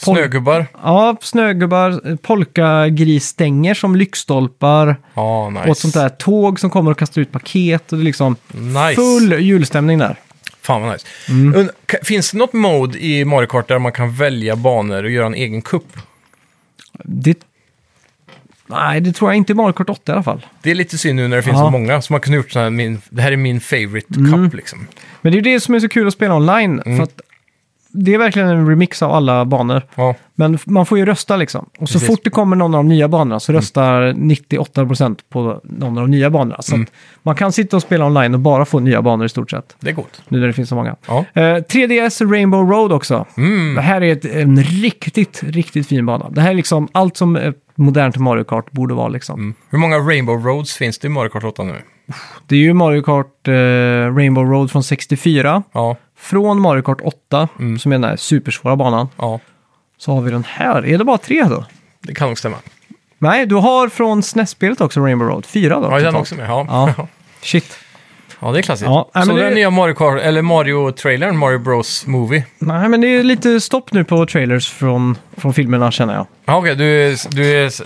Speaker 1: pol-
Speaker 2: Snögubbar.
Speaker 1: Ja, snögubbar, eh, polkagrisstänger som lyckstolpar
Speaker 2: Ja, nice.
Speaker 1: och ett sånt där tåg som kommer och kastar ut paket och det är liksom
Speaker 2: Nice.
Speaker 1: full julstämning där.
Speaker 2: Fan vad nice.
Speaker 1: Mm.
Speaker 2: Und- ka- Finns det något mode i Mario Kart där man kan välja banor och göra en egen kupp?
Speaker 1: Det... Nej, det tror jag inte i Mario Kart 8 i alla fall.
Speaker 2: Det är lite synd nu när det finns
Speaker 1: Ja. Mm.
Speaker 2: så många, så man kunde gjort så här, min, det här är min favorite cup liksom.
Speaker 1: Men det är ju det som är så kul att spela online.
Speaker 2: Mm.
Speaker 1: För att det är verkligen en remix av alla banor.
Speaker 2: Ja,
Speaker 1: Men f- man får ju rösta liksom. Och så
Speaker 2: Precis. Mm.
Speaker 1: fort det kommer någon av de nya banorna så röstar 98% på någon av de nya banorna. Så
Speaker 2: Mm.
Speaker 1: att man kan sitta och spela online och bara få nya banor i stort sett.
Speaker 2: det är gott.
Speaker 1: Nu när det finns så många.
Speaker 2: Ja. Mm.
Speaker 1: Eh, 3DS Rainbow Road också. Det här är ett, en riktigt, riktigt fin bana. Det här är liksom allt som ett modernt Mario Kart borde vara liksom.
Speaker 2: Mm. Hur många Rainbow Roads finns det i Mario Kart 8 nu?
Speaker 1: Det är ju Mario Kart eh, Rainbow Road från 64.
Speaker 2: Ja,
Speaker 1: Från Mario Kart 8,
Speaker 2: Mm.
Speaker 1: som är den här supersvåra banan,
Speaker 2: ja,
Speaker 1: så har vi den här. Är det bara tre då?
Speaker 2: det kan nog stämma.
Speaker 1: Nej, du har från SNES-spelet också Rainbow Road. Fyra då?
Speaker 2: Ja, den
Speaker 1: totalt.
Speaker 2: också med. Ja,
Speaker 1: Ja. Shit.
Speaker 2: ja det är klassiskt.
Speaker 1: Ja, nej,
Speaker 2: så
Speaker 1: men det-
Speaker 2: den nya Mario Kart, eller Mario-trailern, Mario Bros Movie.
Speaker 1: Nej, men det är lite stopp nu på trailers från, från filmerna känner jag.
Speaker 2: Ja, okej, du, är- du är s-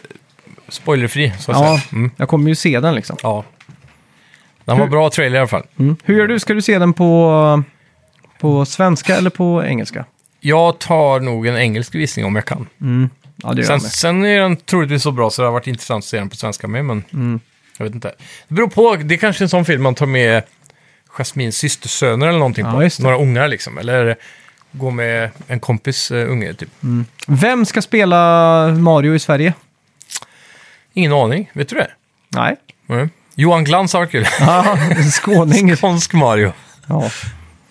Speaker 2: spoilerfri så att
Speaker 1: Ja,
Speaker 2: säga. Mm,
Speaker 1: jag kommer ju se den liksom.
Speaker 2: ja. Den var
Speaker 1: Hur- Mm.
Speaker 2: bra trailer i alla fall.
Speaker 1: Hur gör du? Ska du se den på, på svenska eller på engelska?
Speaker 2: Jag tar nog en engelsk visning om jag kan.
Speaker 1: Ja, det gör
Speaker 2: Sen,
Speaker 1: jag med.
Speaker 2: sen är den troligtvis så bra så det har varit intressant att se den på svenska med, men
Speaker 1: Mm.
Speaker 2: jag vet inte. Det beror på, det är kanske en sån film man tar med Jasmins systersöner eller någonting
Speaker 1: Ja,
Speaker 2: på.
Speaker 1: just det.
Speaker 2: Några ungar liksom, eller gå med en kompis eh, unge typ.
Speaker 1: Vem ska spela Mario i Sverige?
Speaker 2: Ingen aning, vet du det?
Speaker 1: Nej.
Speaker 2: Mm. Johan Glans har varit kul.
Speaker 1: Ja, en skåning.
Speaker 2: Skånsk Mario.
Speaker 1: Ja.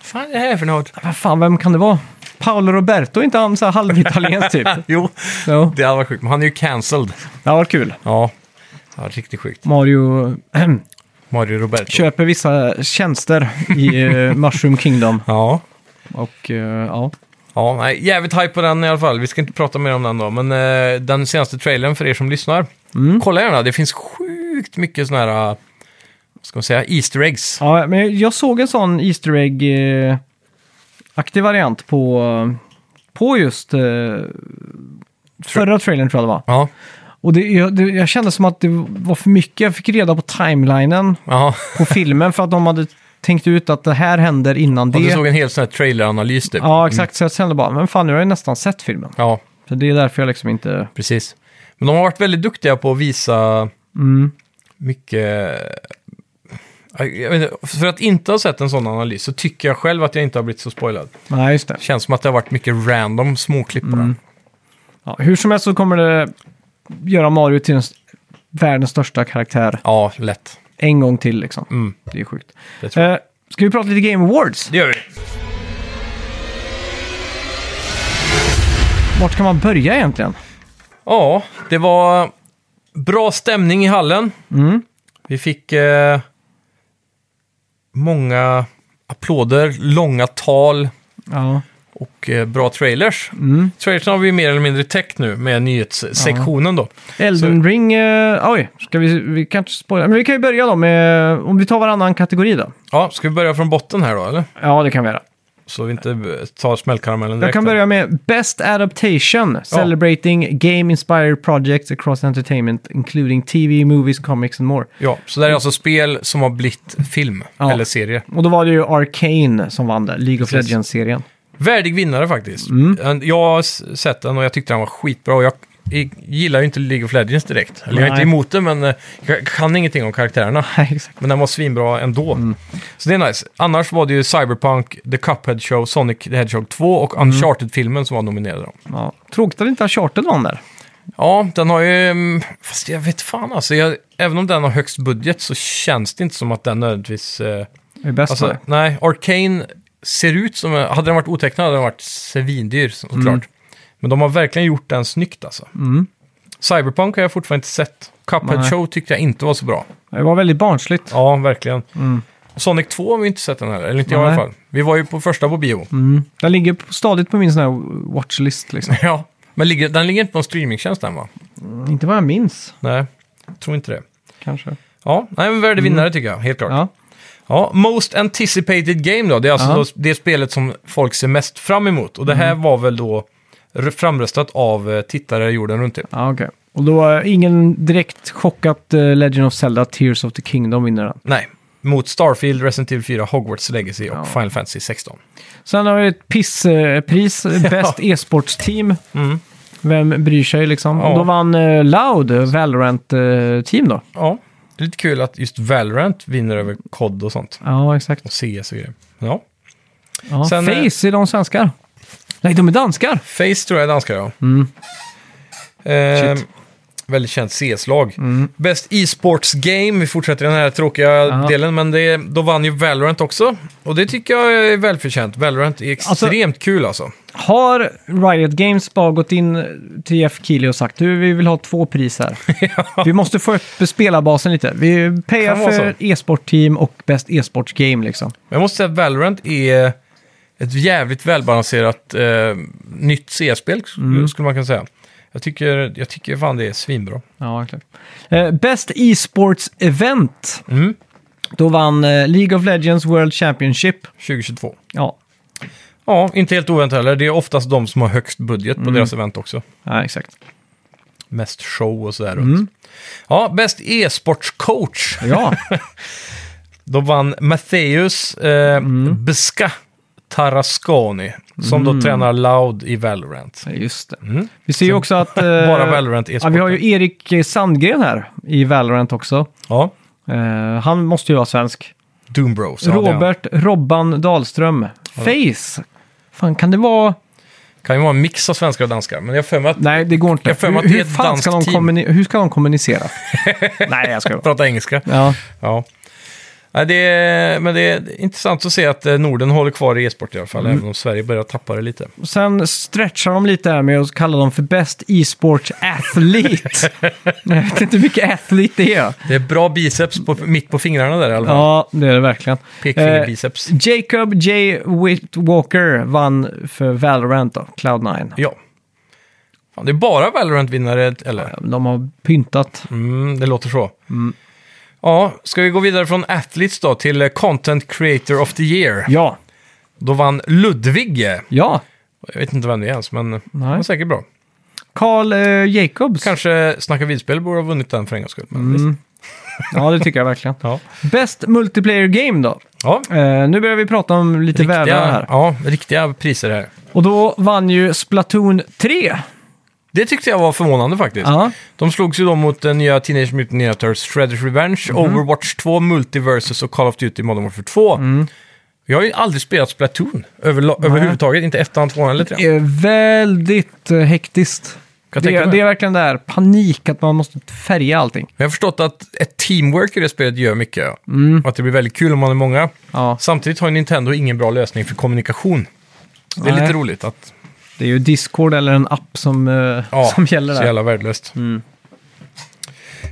Speaker 2: fan är det här för något?
Speaker 1: Vad fan, vem kan det vara? Paolo Roberto, är inte han så här halvitaliensk typ?
Speaker 2: Jo,
Speaker 1: Jo,
Speaker 2: det hade varit sjukt, men han är ju cancelled.
Speaker 1: det har varit kul.
Speaker 2: Ja, ja riktigt sjukt.
Speaker 1: Mario
Speaker 2: Mario Roberto.
Speaker 1: köper vissa tjänster i eh, Mushroom Kingdom.
Speaker 2: Ja.
Speaker 1: Och eh, ja,
Speaker 2: Ja, nej, jävligt hype på den i alla fall. Vi ska inte prata mer om den då, men eh, den senaste trailern för er som lyssnar.
Speaker 1: Mm.
Speaker 2: Kolla gärna, det finns sjukt mycket sådana här, eh, vad ska man säga, Easter eggs.
Speaker 1: ja men jag såg en sån Easter Egg-aktig variant på, på just eh, förra trailern tror jag det var.
Speaker 2: Ja,
Speaker 1: Och det, jag, det, jag kände som att det var för mycket. Jag fick reda på timelinen
Speaker 2: ja.
Speaker 1: på filmen för att de hade tänkt ut att det här händer innan
Speaker 2: Och du
Speaker 1: det.
Speaker 2: såg en hel sån här traileranalys typ.
Speaker 1: Ja, exakt. Så jag kände bara, men fan, nu har jag nästan sett filmen.
Speaker 2: ja,
Speaker 1: Så det är därför jag liksom inte...
Speaker 2: precis. Men de har varit väldigt duktiga på att visa
Speaker 1: Mm.
Speaker 2: mycket... Jag vet inte, För att inte ha sett en sån analys så tycker jag själv att jag inte har blivit så spoilad.
Speaker 1: Nej, just det.
Speaker 2: Känns som att det har varit mycket random småklipp bara.
Speaker 1: Ja, hur som helst så kommer det göra Mario till den st- världens största karaktär
Speaker 2: Ja, lätt.
Speaker 1: en gång till liksom.
Speaker 2: Mm.
Speaker 1: Det är sjukt.
Speaker 2: Det tror jag.
Speaker 1: Eh, ska vi prata lite Game Awards?
Speaker 2: Det gör vi.
Speaker 1: Vart kan man börja egentligen?
Speaker 2: Ja, det var bra stämning i hallen.
Speaker 1: Mm.
Speaker 2: Vi fick eh, många applåder, långa tal
Speaker 1: Ja,
Speaker 2: och eh, bra trailers. Trailers har vi mer eller mindre täckt nu med nyhetssektionen då.
Speaker 1: Elden Ring... Eh, oj, ska vi, vi kan inte spoila. Men vi kan ju börja då med... Om vi tar varannan kategori då.
Speaker 2: Ja, ska vi börja från botten här då, eller?
Speaker 1: Ja, det kan vi göra.
Speaker 2: Så vi inte b- tar smällkaramellen direkt.
Speaker 1: Jag kan börja med Best Adaptation, Celebrating Game Inspired Projects Across Entertainment, Including TV, Movies, Comics and More.
Speaker 2: Ja, så där är alltså spel som har blivit film
Speaker 1: Ja.
Speaker 2: eller serie.
Speaker 1: Och då var det ju Arcane som vann där, League of
Speaker 2: Precis.
Speaker 1: Legends-serien.
Speaker 2: Värdig vinnare faktiskt.
Speaker 1: Mm.
Speaker 2: En- Jag har s- sett den och jag tyckte den var skitbra. Och jag i- gillar ju inte League of Legends direkt. Eller jag är
Speaker 1: Nej.
Speaker 2: inte emot den, men eh, jag kan ingenting om karaktärerna.
Speaker 1: Nej, Mm. exakt.
Speaker 2: Men den var svinbra ändå. Så det är nice. Annars var det ju Cyberpunk, The Cuphead Show, Sonic the Hedgehog 2 och
Speaker 1: Mm.
Speaker 2: Uncharted-filmen som var nominerade. då.
Speaker 1: Ja. Tråkigt att inte Uncharted vann där.
Speaker 2: Ja, den har ju... mm, Fast jag vet fan alltså. Jag, även om den har högst budget så känns det inte som att den nödvändigtvis... Eh,
Speaker 1: Det är bäst
Speaker 2: Alltså,
Speaker 1: nej.
Speaker 2: nej, Arcane ser ut som... eh, Hade den varit otecknad hade den varit svindyr såklart. Men de har verkligen gjort den snyggt alltså.
Speaker 1: Mm.
Speaker 2: Cyberpunk har jag fortfarande inte sett. Cuphead
Speaker 1: Nej.
Speaker 2: Show tyckte jag inte var så bra.
Speaker 1: Det var väldigt barnsligt.
Speaker 2: Ja, verkligen. Sonic 2 har vi inte sett den heller, eller inte jag i
Speaker 1: Nej.
Speaker 2: alla fall. Vi var ju på första på bio.
Speaker 1: Den Mm. ligger på- stadigt på min sån här watchlist liksom.
Speaker 2: Ja, men ligger, den ligger inte på en streamingtjänst den va?
Speaker 1: Mm. Inte vad jag minns,
Speaker 2: Nej, jag tror inte det.
Speaker 1: kanske.
Speaker 2: Ja, nej, men värdig vinnare tycker jag, helt klart.
Speaker 1: Ja.
Speaker 2: Ja. Ja, Most Anticipated Game då. Det är alltså
Speaker 1: Ja.
Speaker 2: då det spelet som folk ser mest fram emot. Och det här var väl då r- framröstat av eh, tittare jorden runt. Typ.
Speaker 1: Ja, okej. Och då är ingen direkt chockat eh, Legend of Zelda Tears of the Kingdom vinner den.
Speaker 2: Nej, mot Starfield, Resident Evil 4, Hogwarts Legacy och Final Fantasy 16.
Speaker 1: Sen har vi ett pisspris, Best e-sportsteam. Vem bryr sig liksom?
Speaker 2: Ja.
Speaker 1: Och då vann eh, Loud, Valorant-team då.
Speaker 2: Ja, det är lite kul att just Valorant vinner över COD och sånt.
Speaker 1: Ja, exakt.
Speaker 2: Och CS och grejer. Ja.
Speaker 1: Ja,
Speaker 2: Sen, eh,
Speaker 1: Face, är de svenskar? Nej, de är danskar!
Speaker 2: Face tror jag är danskar, ja.
Speaker 1: Mm.
Speaker 2: Ehm, väldigt känt CS-lag. Bäst e-sports game, vi fortsätter den här tråkiga
Speaker 1: Mm. Ja.
Speaker 2: delen, men det, då vann ju Valorant också. Och det tycker jag är välförtjänt. Valorant är
Speaker 1: Alltså-
Speaker 2: extremt kul alltså.
Speaker 1: Har Riot Games bara gått in till Jeff Keely och sagt du, vi vill ha två pris här. Vi måste få upp spelarbasen lite. Vi payar
Speaker 2: Kan vara
Speaker 1: för e-sportteam och bäst e-sportsgame liksom.
Speaker 2: Men jag måste säga att Valorant är ett jävligt välbalanserat eh, nytt CS-spel, sk-
Speaker 1: Mm.
Speaker 2: skulle man kunna säga. Jag tycker, jag tycker fan det är svinbra.
Speaker 1: Ja, exakt. Eh, bäst e-sports event.
Speaker 2: Mm.
Speaker 1: Då vann eh, League of Legends World Championship.
Speaker 2: 2022.
Speaker 1: Ja,
Speaker 2: Ja, inte helt oväntat heller. Det är oftast de som har högst budget
Speaker 1: Mm.
Speaker 2: på deras event också.
Speaker 1: ja exakt.
Speaker 2: Mest show och sådär
Speaker 1: Mm.
Speaker 2: runt. Ja, bäst e-sportscoach.
Speaker 1: Ja,
Speaker 2: Då vann Matteus eh,
Speaker 1: Mm.
Speaker 2: Beska Tarasconi, som då tränar Loud i Valorant.
Speaker 1: just det.
Speaker 2: Mm.
Speaker 1: Vi ser ju också att... eh,
Speaker 2: Bara Valorant
Speaker 1: ja,
Speaker 2: e-sport.
Speaker 1: vi har ju Erik Sandgren här i Valorant också.
Speaker 2: Ja,
Speaker 1: Eh, han måste ju vara svensk.
Speaker 2: Doom Bros. Ja, det är han.
Speaker 1: Robert Robban Dahlström. Face. Fan, kan det vara...
Speaker 2: Kan ju vara en mix av svenskar och danskar, men jag har för mig att
Speaker 1: Nej, det går inte.
Speaker 2: Jag har för mig
Speaker 1: hur,
Speaker 2: att det är
Speaker 1: hur,
Speaker 2: ett
Speaker 1: fan ska de
Speaker 2: danskt team.
Speaker 1: kommuni- hur ska de kommunicera? Nej, jag ska
Speaker 2: prata engelska.
Speaker 1: Ja,
Speaker 2: Ja. Nej, det är, men det är intressant att se att eh, Norden håller kvar i e-sport i alla
Speaker 1: Mm.
Speaker 2: fall, även om Sverige börjar tappa det lite.
Speaker 1: och Sen stretchar de lite här med att kalla dem för bäst e-sports athlete. jag vet inte hur mycket athlete det är.
Speaker 2: Det är bra biceps på, mitt på fingrarna där i alla fall.
Speaker 1: Ja, det är det verkligen. Eh,
Speaker 2: Pekfingerbiceps.
Speaker 1: Jacob J. Whitwalker vann för Valorant då, Cloud9.
Speaker 2: Ja. Fan, det är bara Valorant-vinnare, eller?
Speaker 1: De har pyntat.
Speaker 2: Mm, det låter så. Ja, ska vi gå vidare från Athletes då till eh, Content Creator of the Year.
Speaker 1: Ja,
Speaker 2: Då vann Ludvig. Jag
Speaker 1: ja.
Speaker 2: vet inte vem det är ens, men han var säkert bra.
Speaker 1: Carl eh, Jacobs.
Speaker 2: Kanske Snacka vidspel borde ha vunnit den för en gångs skull. Men
Speaker 1: Mm.
Speaker 2: visst.
Speaker 1: Ja, det tycker jag verkligen.
Speaker 2: ja.
Speaker 1: Bäst multiplayer game då?
Speaker 2: ja,
Speaker 1: Eh, nu börjar vi prata om lite
Speaker 2: riktiga,
Speaker 1: världar här.
Speaker 2: ja, riktiga priser här.
Speaker 1: Och då vann ju Splatoon 3.
Speaker 2: Det tyckte jag var förvånande faktiskt.
Speaker 1: Ja,
Speaker 2: De slogs ju då mot den nya Teenage Mutant Ninja Turtles, Shredder's Revenge,
Speaker 1: Mhm.
Speaker 2: Overwatch 2, Multiversus och Call of Duty Modern Warfare 2.
Speaker 1: Mm.
Speaker 2: Jag har ju aldrig spelat Splatoon över, överhuvudtaget, inte ettan, tvåan eller
Speaker 1: det
Speaker 2: trean.
Speaker 1: är väldigt eh, hektiskt.
Speaker 2: Kan jag
Speaker 1: det,
Speaker 2: tänka
Speaker 1: är-
Speaker 2: mig.
Speaker 1: det är verkligen där panik att man måste färga allting.
Speaker 2: Men jag har förstått att ett teamwork i det spelet gör mycket. ja. Och att det blir väldigt kul om man är många.
Speaker 1: Mm. Ja,
Speaker 2: Samtidigt har ju Nintendo ingen bra lösning för kommunikation. Det är
Speaker 1: Nej.
Speaker 2: lite roligt att...
Speaker 1: det är ju Discord eller en app som, eh,
Speaker 2: Ja,
Speaker 1: som gäller
Speaker 2: så
Speaker 1: där. Mm.
Speaker 2: jävla värdelöst.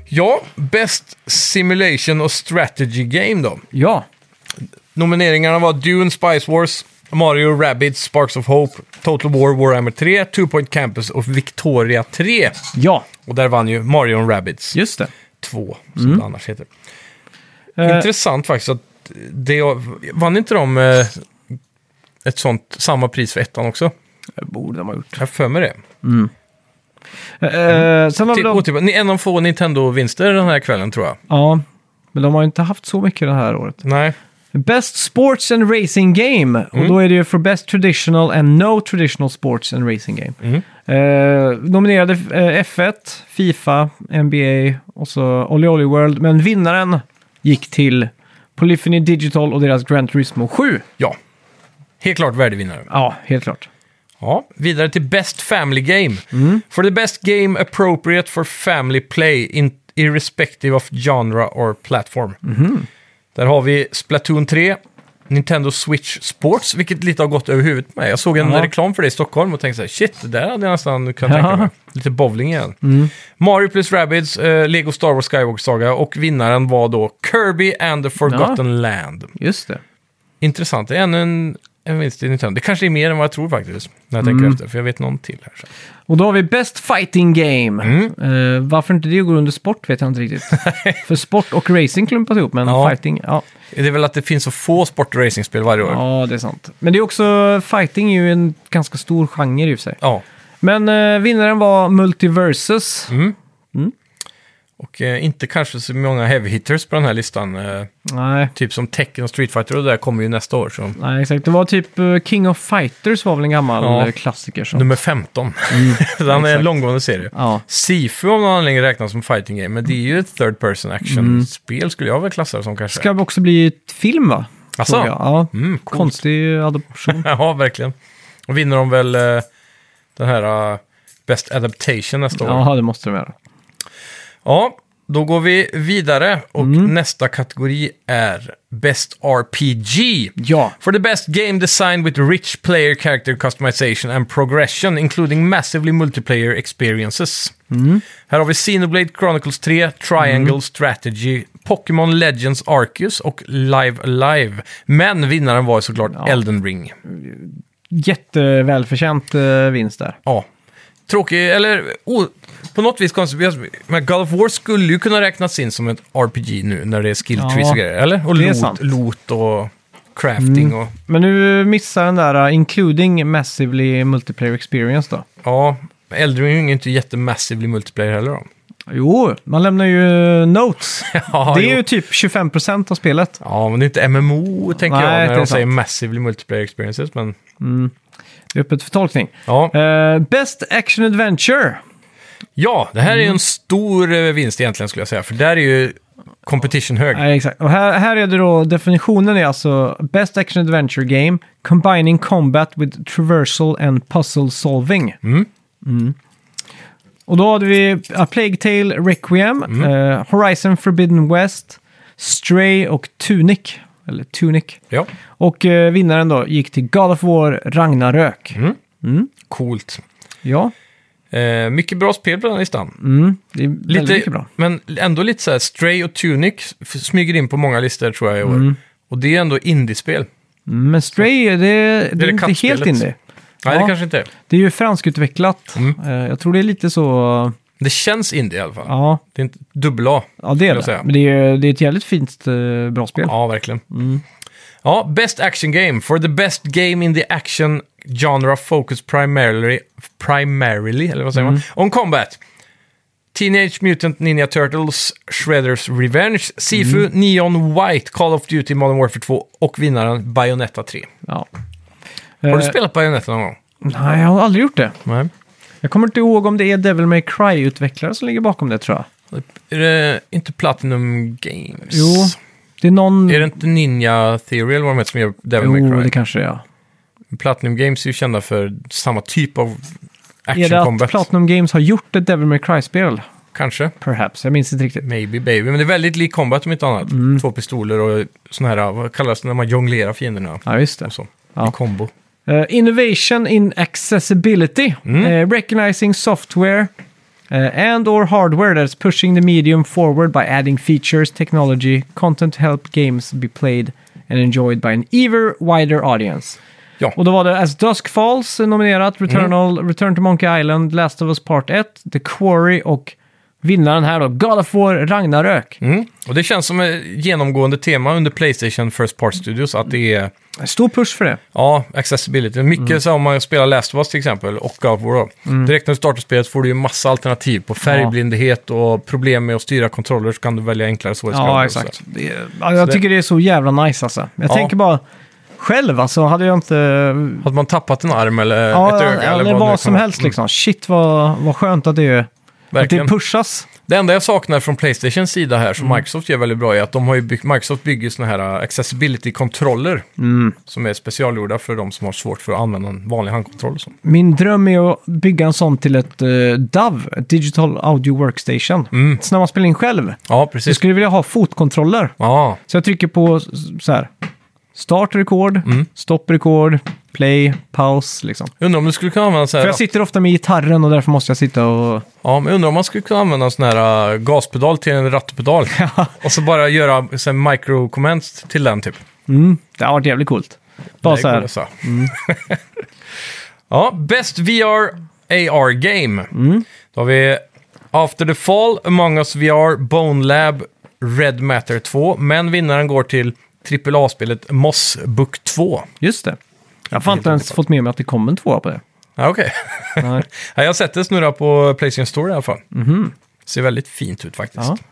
Speaker 2: Ja, Best Simulation och Strategy Game då.
Speaker 1: Ja,
Speaker 2: Nomineringarna var Dune, Spice Wars, Mario, Rabbids, Sparks of Hope, Total War, Warhammer 3, Two Point Campus och Victoria 3.
Speaker 1: ja,
Speaker 2: Och där vann ju Mario och Rabbids
Speaker 1: just det.
Speaker 2: 2, som det annars heter.
Speaker 1: Eh,
Speaker 2: Intressant faktiskt att det, vann inte de eh, ett sånt, samma pris för ettan också?
Speaker 1: det borde de ha gjort.
Speaker 2: Jag har för mig det.
Speaker 1: Eh, sen har vi
Speaker 2: Mm. Till,
Speaker 1: då,
Speaker 2: otippat. Ni- en av få Nintendo-vinster den här kvällen tror jag.
Speaker 1: ja, men de har ju inte haft så mycket det här året.
Speaker 2: Nej.
Speaker 1: Best Sports and Racing Game. Och då är det ju för Best Traditional and No Traditional Sports and Racing Game.
Speaker 2: Mm.
Speaker 1: Eh, nominerade eh, F1, Fifa, NBA och så Olly Olly World. Men vinnaren gick till Polyphony Digital och deras Gran Turismo 7.
Speaker 2: Ja. Helt klart värdevinnare.
Speaker 1: Ja, helt klart.
Speaker 2: Ja, vidare till Best Family Game.
Speaker 1: Mm.
Speaker 2: For the best game appropriate for family play in, irrespective of genre or platform.
Speaker 1: Mhm.
Speaker 2: Där har vi Splatoon 3, Nintendo Switch Sports, vilket lite har gått över huvudet på mig. Jag såg en
Speaker 1: Ja.
Speaker 2: reklam för det i Stockholm och tänkte så här, shit, det där hade jag nästan kunnat
Speaker 1: Ja. Mm.
Speaker 2: tänka mig. Lite bowling igen. Mario plus Rabbids, eh, Lego Star Wars Skywalker Saga och vinnaren var då Kirby and the Forgotten Land.
Speaker 1: Just det.
Speaker 2: Intressant, det är ännu en, en vinst i Nintendo. Det kanske är mer än vad jag tror faktiskt. När jag
Speaker 1: Mm.
Speaker 2: tänker efter, för jag vet någon till här. Så.
Speaker 1: Och då har vi Best Fighting Game. Eh, varför inte det går under sport vet jag inte riktigt. För sport och racing klumpas ihop, men
Speaker 2: Ja.
Speaker 1: fighting, ja.
Speaker 2: Det är väl att det finns så få sportracingspel varje år. Ja.
Speaker 1: ja, det är sant. Men det är också, fighting är ju en ganska stor genre i och för sig. Men eh, vinnaren var Multiversus.
Speaker 2: Mm. Och eh, inte kanske så många heavy hitters på den här listan. Eh,
Speaker 1: Nej,
Speaker 2: typ som Tekken och Street Fighter och det där kommer ju nästa år. Så.
Speaker 1: nej, exakt. Det var typ eh, King of Fighters var väl en gammal
Speaker 2: Ja.
Speaker 1: eh, klassiker. Som...
Speaker 2: Nummer 15. den är en
Speaker 1: Mm. exakt.
Speaker 2: långgående serie.
Speaker 1: Ja.
Speaker 2: Sifu om någon anledning räknas som fighting game, men det är ju ett third person action-spel skulle jag väl klassa det som kanske.
Speaker 1: Mm. Ska också bli ett film va?
Speaker 2: Asså?
Speaker 1: Tror jag. Ja.
Speaker 2: Mm, coolt.
Speaker 1: Konstig adoption.
Speaker 2: ja, verkligen. Och vinner de väl eh, den här eh, Best Adaptation nästa år.
Speaker 1: Jaha, det måste de göra.
Speaker 2: Ja, då går vi vidare och nästa kategori är Best RPG.
Speaker 1: Ja.
Speaker 2: For the best game design with rich player character customization and progression, including massively multiplayer experiences. Här har vi Xenoblade Chronicles 3, Triangle Strategy, Pokémon Legends Arceus och Live Alive. Men vinnaren var ju såklart Elden Ring.
Speaker 1: Jättevälförtjänt eh, vinst där.
Speaker 2: Ja. Tråkig, eller o- på något vis konstigt. Men God of War skulle ju kunna räknas in som ett RPG nu när det är skill trees
Speaker 1: Ja,
Speaker 2: och grejer, eller? Och
Speaker 1: det är
Speaker 2: loot,
Speaker 1: sant. Mm.
Speaker 2: loot och crafting och...
Speaker 1: Men nu missar den där uh, including massively multiplayer experience då.
Speaker 2: Ja, Elden Ring är ju inte jättemassively multiplayer heller då.
Speaker 1: Jo, man lämnar ju uh, notes.
Speaker 2: Ja,
Speaker 1: det är
Speaker 2: jo.
Speaker 1: ju typ 25% av spelet.
Speaker 2: Ja, men det är inte MMO, tänker
Speaker 1: Nej,
Speaker 2: jag,
Speaker 1: det
Speaker 2: när
Speaker 1: är
Speaker 2: de säger
Speaker 1: sant.
Speaker 2: massively multiplayer experiences, men...
Speaker 1: Det är öppet för tolkning.
Speaker 2: Ja,
Speaker 1: Eh, best action adventure.
Speaker 2: ja det här är ju
Speaker 1: Mm.
Speaker 2: en stor eh, vinst egentligen, skulle jag säga, för där är ju competition hög.
Speaker 1: Nej, exakt. Och här, här är det då, definitionen är alltså Best Action Adventure Game Combining Combat with Traversal and Puzzle Solving. Mm. Och då hade vi A Plague Tale Requiem, eh, Horizon Forbidden West, Stray och Tunic. Eller Tunic.
Speaker 2: Ja,
Speaker 1: Och eh, vinnaren då gick till God of War Ragnarök.
Speaker 2: coolt.
Speaker 1: Ja, mm.
Speaker 2: Eh, mycket bra spel på den här listan.
Speaker 1: det är väldigt
Speaker 2: Lite,
Speaker 1: mycket bra.
Speaker 2: men ändå lite så här, Stray och Tunic f- smyger in på många listor tror jag i år. Och det är ändå indiespel.
Speaker 1: Mm, Men Stray, det, det,
Speaker 2: det
Speaker 1: är inte helt
Speaker 2: kattspelet.
Speaker 1: indie.
Speaker 2: Nej,
Speaker 1: Ja.
Speaker 2: det kanske inte är.
Speaker 1: Det är ju fransktutvecklat.
Speaker 2: Mm.
Speaker 1: Eh, Jag tror det är lite så...
Speaker 2: Det känns indie i alla fall.
Speaker 1: Ja,
Speaker 2: Det är inte dubbel A.
Speaker 1: ja det är
Speaker 2: jag
Speaker 1: det.
Speaker 2: säga.
Speaker 1: Men det är, det är ett jävligt fint eh, bra spel.
Speaker 2: Ja, verkligen.
Speaker 1: Mm.
Speaker 2: Ja, Best Action Game. For the best game in the action genre focus primarily, primarily eller vad säger
Speaker 1: Mm.
Speaker 2: man, on combat. Teenage Mutant Ninja Turtles, Shredders Revenge, Sifu,
Speaker 1: Mm.
Speaker 2: Neon White, Call of Duty Modern Warfare 2 och vinnaren Bayonetta 3.
Speaker 1: Ja.
Speaker 2: Har du
Speaker 1: Eh,
Speaker 2: spelat Bayonetta någon gång?
Speaker 1: Nej, jag har aldrig gjort det.
Speaker 2: Nej.
Speaker 1: Jag kommer inte ihåg om det är Devil May Cry-utvecklare som ligger bakom det tror jag.
Speaker 2: Är det inte Platinum Games?
Speaker 1: Jo, det är någon...
Speaker 2: Är det inte Ninja Theory eller vad de heter som gör Devil
Speaker 1: jo,
Speaker 2: May Cry?
Speaker 1: det kanske det är. ja.
Speaker 2: Platinum Games är ju kända för samma typ av action
Speaker 1: Är det att
Speaker 2: combat.
Speaker 1: Platinum Games har gjort ett Devil May Cry-spel?
Speaker 2: Kanske.
Speaker 1: Perhaps, jag minns inte riktigt.
Speaker 2: Maybe baby. Men det är väldigt lik combat om inte annat.
Speaker 1: Mm.
Speaker 2: Två pistoler och såna här, vad kallas det när man jonglerar fienderna?
Speaker 1: Ja, just det.
Speaker 2: Och så.
Speaker 1: Ja.
Speaker 2: I kombo.
Speaker 1: Eh, innovation in accessibility. Eh, recognizing software eh, and or hardware that's pushing the medium forward by adding features, technology, content to help games be played and enjoyed by an ever wider audience.
Speaker 2: Ja.
Speaker 1: Och då var det As Dusk Falls eh, nominerat, Returnal, Return to Monkey Island, Last of Us Part 1, The Quarry och vinnaren här då, God of War Ragnarök.
Speaker 2: Mm. Och det känns som ett genomgående tema under Playstation First Part Studios att det är
Speaker 1: Stor push för det.
Speaker 2: Ja, accessibility. Mycket
Speaker 1: Mm.
Speaker 2: så om man spelar Last of Us till exempel och God of War. då. Direkt när du startar spelet får du ju massa alternativ på färgblindhet och problem med att styra kontroller så kan du välja enklare svårighetsgrader.
Speaker 1: Ja,
Speaker 2: och så.
Speaker 1: exakt. Det är, ja, jag tycker det är så jävla nice alltså. Jag
Speaker 2: Ja.
Speaker 1: tänker bara, själv alltså, hade jag inte...
Speaker 2: Hade man tappat en arm eller
Speaker 1: Ja,
Speaker 2: ett öga
Speaker 1: eller
Speaker 2: eller
Speaker 1: vad,
Speaker 2: det nu kan
Speaker 1: som
Speaker 2: vara. Mm.
Speaker 1: helst liksom. Shit vad, vad skönt att det, är, att det
Speaker 2: Verkligen.
Speaker 1: pushas.
Speaker 2: Mm. Det enda jag saknar från Playstations sida här,
Speaker 1: Mm.
Speaker 2: som Microsoft gör väldigt bra, är att de har ju byggt, Microsoft bygger såna här uh, accessibility-kontroller
Speaker 1: Mm.
Speaker 2: som är specialgjorda för de som har svårt för att använda en vanlig handkontroll. och så.
Speaker 1: Min dröm är att bygga en sån till ett eh, DAV, ett Digital Audio Workstation.
Speaker 2: Mm.
Speaker 1: Så när man spelar in själv.
Speaker 2: Ja,
Speaker 1: Jag
Speaker 2: precis.
Speaker 1: skulle vilja ha fotkontroller.
Speaker 2: Ja,
Speaker 1: Så jag trycker på s- så här, start rekord,
Speaker 2: Mm.
Speaker 1: stopp rekord, play, paus liksom.
Speaker 2: undrar om du skulle kunna använda så här...
Speaker 1: För jag sitter ofta med gitarren och därför måste jag sitta och...
Speaker 2: Ja, men jag undrar om man skulle kunna använda en sån här äh, gaspedal till en rattpedal. och så bara göra så här micro-comments till den typ.
Speaker 1: Mm, det har varit jävligt coolt. Bara
Speaker 2: Det
Speaker 1: så
Speaker 2: går
Speaker 1: här. Mm.
Speaker 2: så. ja, Best VR AR Game.
Speaker 1: Mm.
Speaker 2: Då har vi After the Fall, Among Us VR, Bone Lab, Red Matter 2. Men vinnaren går till AAA-spelet Moss Book 2.
Speaker 1: Just det. Jag har fan inte ens fått med mig att det kom en tvåa på det.
Speaker 2: Ja, okej.
Speaker 1: Nej.
Speaker 2: Ja, jag har sett det snurra på Playstation Store i alla fall. Ser väldigt fint ut faktiskt.
Speaker 1: Mhm. Ja.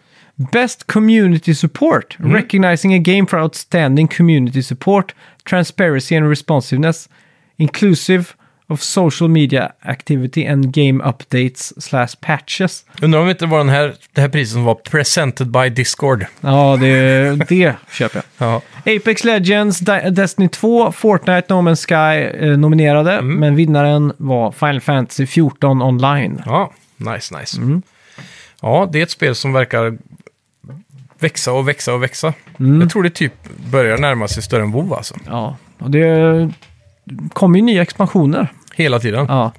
Speaker 1: Best Community Support. Recognizing a game for outstanding community support, transparency and responsiveness. Inclusive of social media activity and game updates slash patches.
Speaker 2: Undrar om det inte var den här, det här priset som var presented by Discord.
Speaker 1: Ja, det, det köper jag.
Speaker 2: Ja.
Speaker 1: Apex Legends, Di- Destiny 2, Fortnite, No Man's Sky eh, nominerade. Men vinnaren var Final Fantasy 14 online.
Speaker 2: Ja, nice, nice. Ja, det är ett spel som verkar växa och växa och växa. Jag tror det typ börjar närma sig större än WoW alltså.
Speaker 1: Ja, och det kommer ju nya expansioner.
Speaker 2: Hela tiden. Ja.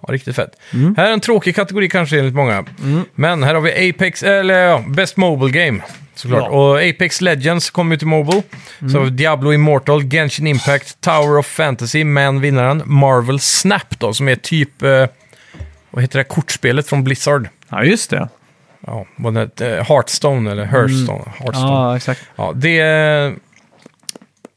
Speaker 1: Ja,
Speaker 2: riktigt fett.
Speaker 1: Mm.
Speaker 2: Här är en tråkig kategori kanske enligt många. Men här har vi Apex, eller ja, Best Mobile Game. Såklart.
Speaker 1: Ja. Mm.
Speaker 2: Och Apex Legends kom ju till Mobile. Så har vi Diablo Immortal, Genshin Impact, Tower of Fantasy, men vinnaren Marvel Snap då, som är typ... Eh, vad heter det här kortspelet från Blizzard?
Speaker 1: ja just det.
Speaker 2: Ja, vad det, eh, Hearthstone eller Hearthstone. Hearthstone.
Speaker 1: Mm. Ja, exakt.
Speaker 2: Ja, det eh,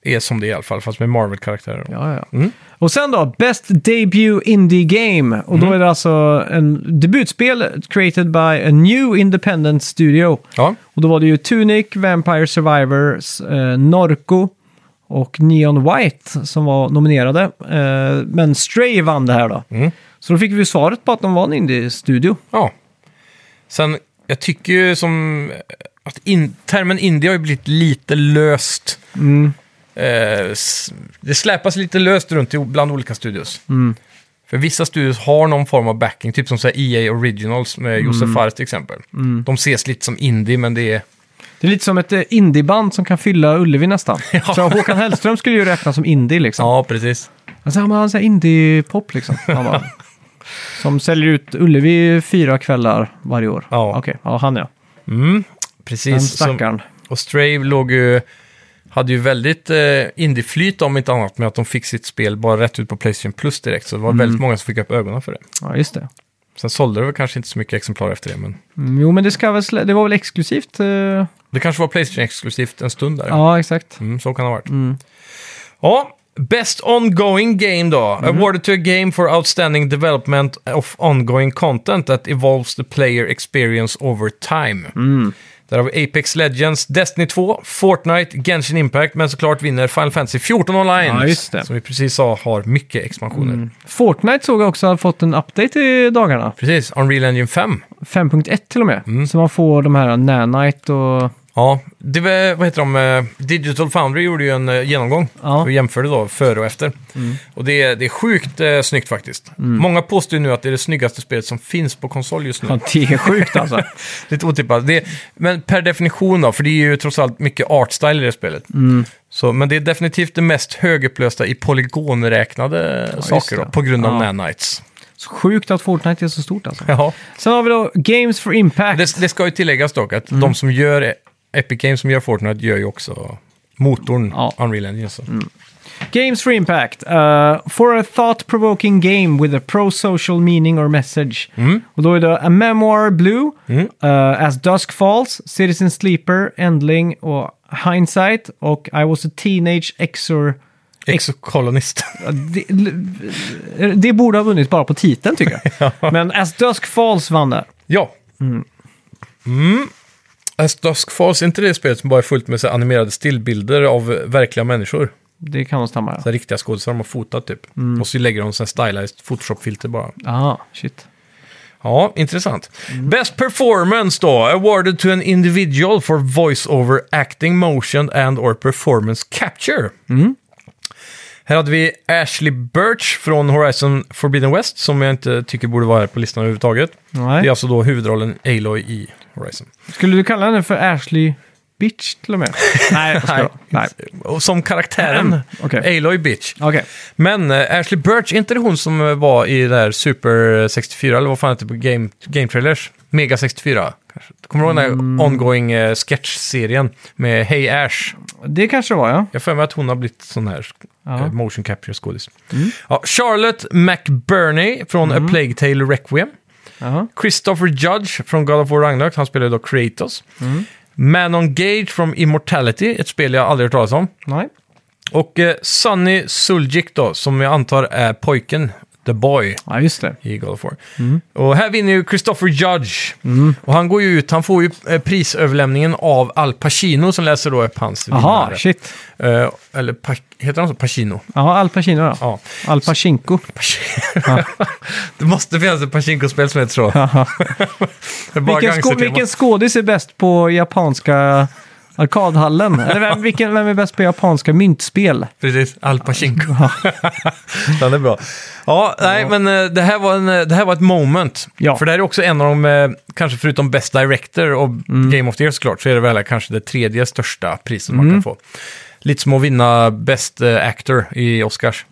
Speaker 2: är som det är i alla fall, fast med Marvel-karaktärer. Ja.
Speaker 1: Ja, ja. Mm. Och sen då, Best Debut Indie Game. Och då är det alltså en debutspel created by a new independent studio. Och då var det ju Tunic, Vampire Survivors, eh, Norco och Neon White som var nominerade. Eh, men Stray vann det här då. Så då fick vi ju svaret på att de var en indie-studio.
Speaker 2: ja. Sen, jag tycker ju som att in, termen indie har ju blivit lite löst. Eh, s- det släpas lite löst runt i, bland olika studios. För vissa studios har någon form av backing, typ som så här EA Originals med Josef Fares till exempel. De ses lite som indie, men det är...
Speaker 1: Det är lite som ett eh, indieband som kan fylla Ullevi nästan. Så Håkan Hellström skulle ju räknas som indie liksom.
Speaker 2: Ja, precis.
Speaker 1: Alltså, han har indie-pop liksom. Han bara, som säljer ut Ullevi fyra kvällar varje år.
Speaker 2: Ja.
Speaker 1: Okej, ja, han ja.
Speaker 2: Mm,
Speaker 1: Den
Speaker 2: precis. Som-
Speaker 1: stackaren.
Speaker 2: Och Stray låg ju, hade ju väldigt eh, indieflyt om inte annat med att de fick sitt spel bara rätt ut på Playstation Plus direkt. Så det var väldigt många som fick upp ögonen för det.
Speaker 1: Ja, just det.
Speaker 2: Sen sålde det väl kanske inte så mycket exemplar efter det, men
Speaker 1: Mm, jo, men det, ska väl slä- det var väl exklusivt? eh,
Speaker 2: det kanske var Playstation-exklusivt en stund där.
Speaker 1: Ja, exakt.
Speaker 2: Mm, så kan det ha varit. Ja, Best ongoing game då.
Speaker 1: Mm.
Speaker 2: Awarded to a game for outstanding development of ongoing content that evolves the player experience over time.
Speaker 1: Mm.
Speaker 2: Där har vi Apex Legends, Destiny 2, Fortnite, Genshin Impact, men såklart vinner Final Fantasy 14 online.
Speaker 1: Ja, just det. Mm.
Speaker 2: Som vi precis sa har mycket expansioner.
Speaker 1: Fortnite såg jag också har fått en update i dagarna.
Speaker 2: Precis, Unreal Engine 5.
Speaker 1: 5.1 till och med.
Speaker 2: Mm.
Speaker 1: Så man får de här Nanite och...
Speaker 2: Ja, det var, vad heter de? eh, Digital Foundry gjorde ju en eh, genomgång
Speaker 1: Ja. Mm.
Speaker 2: och jämförde då före och efter. Och det är, det är sjukt eh, snyggt faktiskt. Många påstår ju nu att det är det snyggaste spelet som finns på konsol just nu.
Speaker 1: Ja, det är sjukt alltså.
Speaker 2: Lite otippat. Det är, men per definition då, för det är ju trots allt mycket artstyle i det spelet.
Speaker 1: Mm.
Speaker 2: Så, men det är definitivt det mest högupplösta i polygonräknade saker då,
Speaker 1: det.
Speaker 2: på grund av
Speaker 1: Ja.
Speaker 2: nanites.
Speaker 1: Så sjukt att Fortnite är så stort alltså.
Speaker 2: Ja.
Speaker 1: Sen har vi då Games for Impact.
Speaker 2: Det, det ska ju tilläggas dock att
Speaker 1: Mm.
Speaker 2: de som gör Epic Games som gör Fortnite gör ju också motorn
Speaker 1: Ja.
Speaker 2: Unreal Engine. Så.
Speaker 1: Games for Impact. Uh, for a thought-provoking game with a pro-social meaning or message. Och då är det A Memoir Blue, uh, As Dusk Falls, Citizen Sleeper, Endling och Hindsight och I was a teenage exor...
Speaker 2: Exokolonist.
Speaker 1: Ja, Det, l- det borde ha vunnit bara på titeln tycker jag. Men As Dusk Falls vann där.
Speaker 2: ja. Mm. As Dusk Falls, är inte det spelet som bara är fullt med så här animerade stillbilder av eh, verkliga människor?
Speaker 1: Det kan nog stämma.
Speaker 2: Så här riktiga skådisar de har fotat typ. Och så lägger de så här stylized Photoshop-filter bara.
Speaker 1: Ja, ah, shit.
Speaker 2: Ja, intressant. Best performance då. Awarded to an individual for voice-over acting, motion and or performance capture. Här hade vi Ashley Birch från Horizon Forbidden West som jag inte tycker borde vara här på listan överhuvudtaget.
Speaker 1: Nej.
Speaker 2: Det är alltså då huvudrollen Aloy i Horizon.
Speaker 1: Skulle du kalla henne för Ashley Bitch till och med? Nej, jag skojar. Nej.
Speaker 2: Och som karaktären
Speaker 1: Okej.
Speaker 2: Aloy Bitch.
Speaker 1: Okej.
Speaker 2: Men eh, Ashley Birch, är inte det hon som eh, var i det här Super 64, eller vad fan heter det på Game, game Trailers? Mega 64, kanske. Kommer du ihåg den
Speaker 1: Mm.
Speaker 2: där ongoing eh, sketch-serien med Hey Ash?
Speaker 1: Det kanske det var, ja.
Speaker 2: Jag har för mig att hon har blivit sån här
Speaker 1: Ja. Mm.
Speaker 2: eh, motion capture skådis. Ja, Charlotte McBurney från A Plague Tale Requiem.
Speaker 1: Jaha.
Speaker 2: Christopher Judge från God of War Ragnarök, han spelar ju då Kratos.
Speaker 1: Mm.
Speaker 2: Manon Gage från Immortality, ett spel jag aldrig hört talas om.
Speaker 1: Nej.
Speaker 2: Och eh, Sunny Suljic då, som jag antar är pojken, the boy,
Speaker 1: Ja, just det.
Speaker 2: i God of War.
Speaker 1: Mm.
Speaker 2: Och här vinner ju Christopher Judge. Och han går ju ut, han får ju eh, prisöverlämningen av Al Pacino som läser då upp hans
Speaker 1: Jaha,
Speaker 2: vinnare.
Speaker 1: shit.
Speaker 2: Eh, eller pa- heter han så? Pacino?
Speaker 1: Jaha, Al Pacino då.
Speaker 2: Ja.
Speaker 1: Al Pachinko.
Speaker 2: det måste finnas ett Pachinko-spel som heter så.
Speaker 1: Jaha.
Speaker 2: Det är bara
Speaker 1: Vilken, skå-
Speaker 2: gangstertema.
Speaker 1: vilken skådis är bäst på japanska arkadhallen? Eller vem, vilken, vem är bäst på japanska myntspel?
Speaker 2: Precis, Al Pachinko. Den är bra. Ja, nej, men eh, det här, var en, eh, det här var ett moment.
Speaker 1: Ja.
Speaker 2: För det här är också en av de, eh, kanske förutom Best Director och Game of the Year såklart, så är det väl kanske det tredje största priset man kan få. Lite som att vinna Best eh, Actor i Oscars.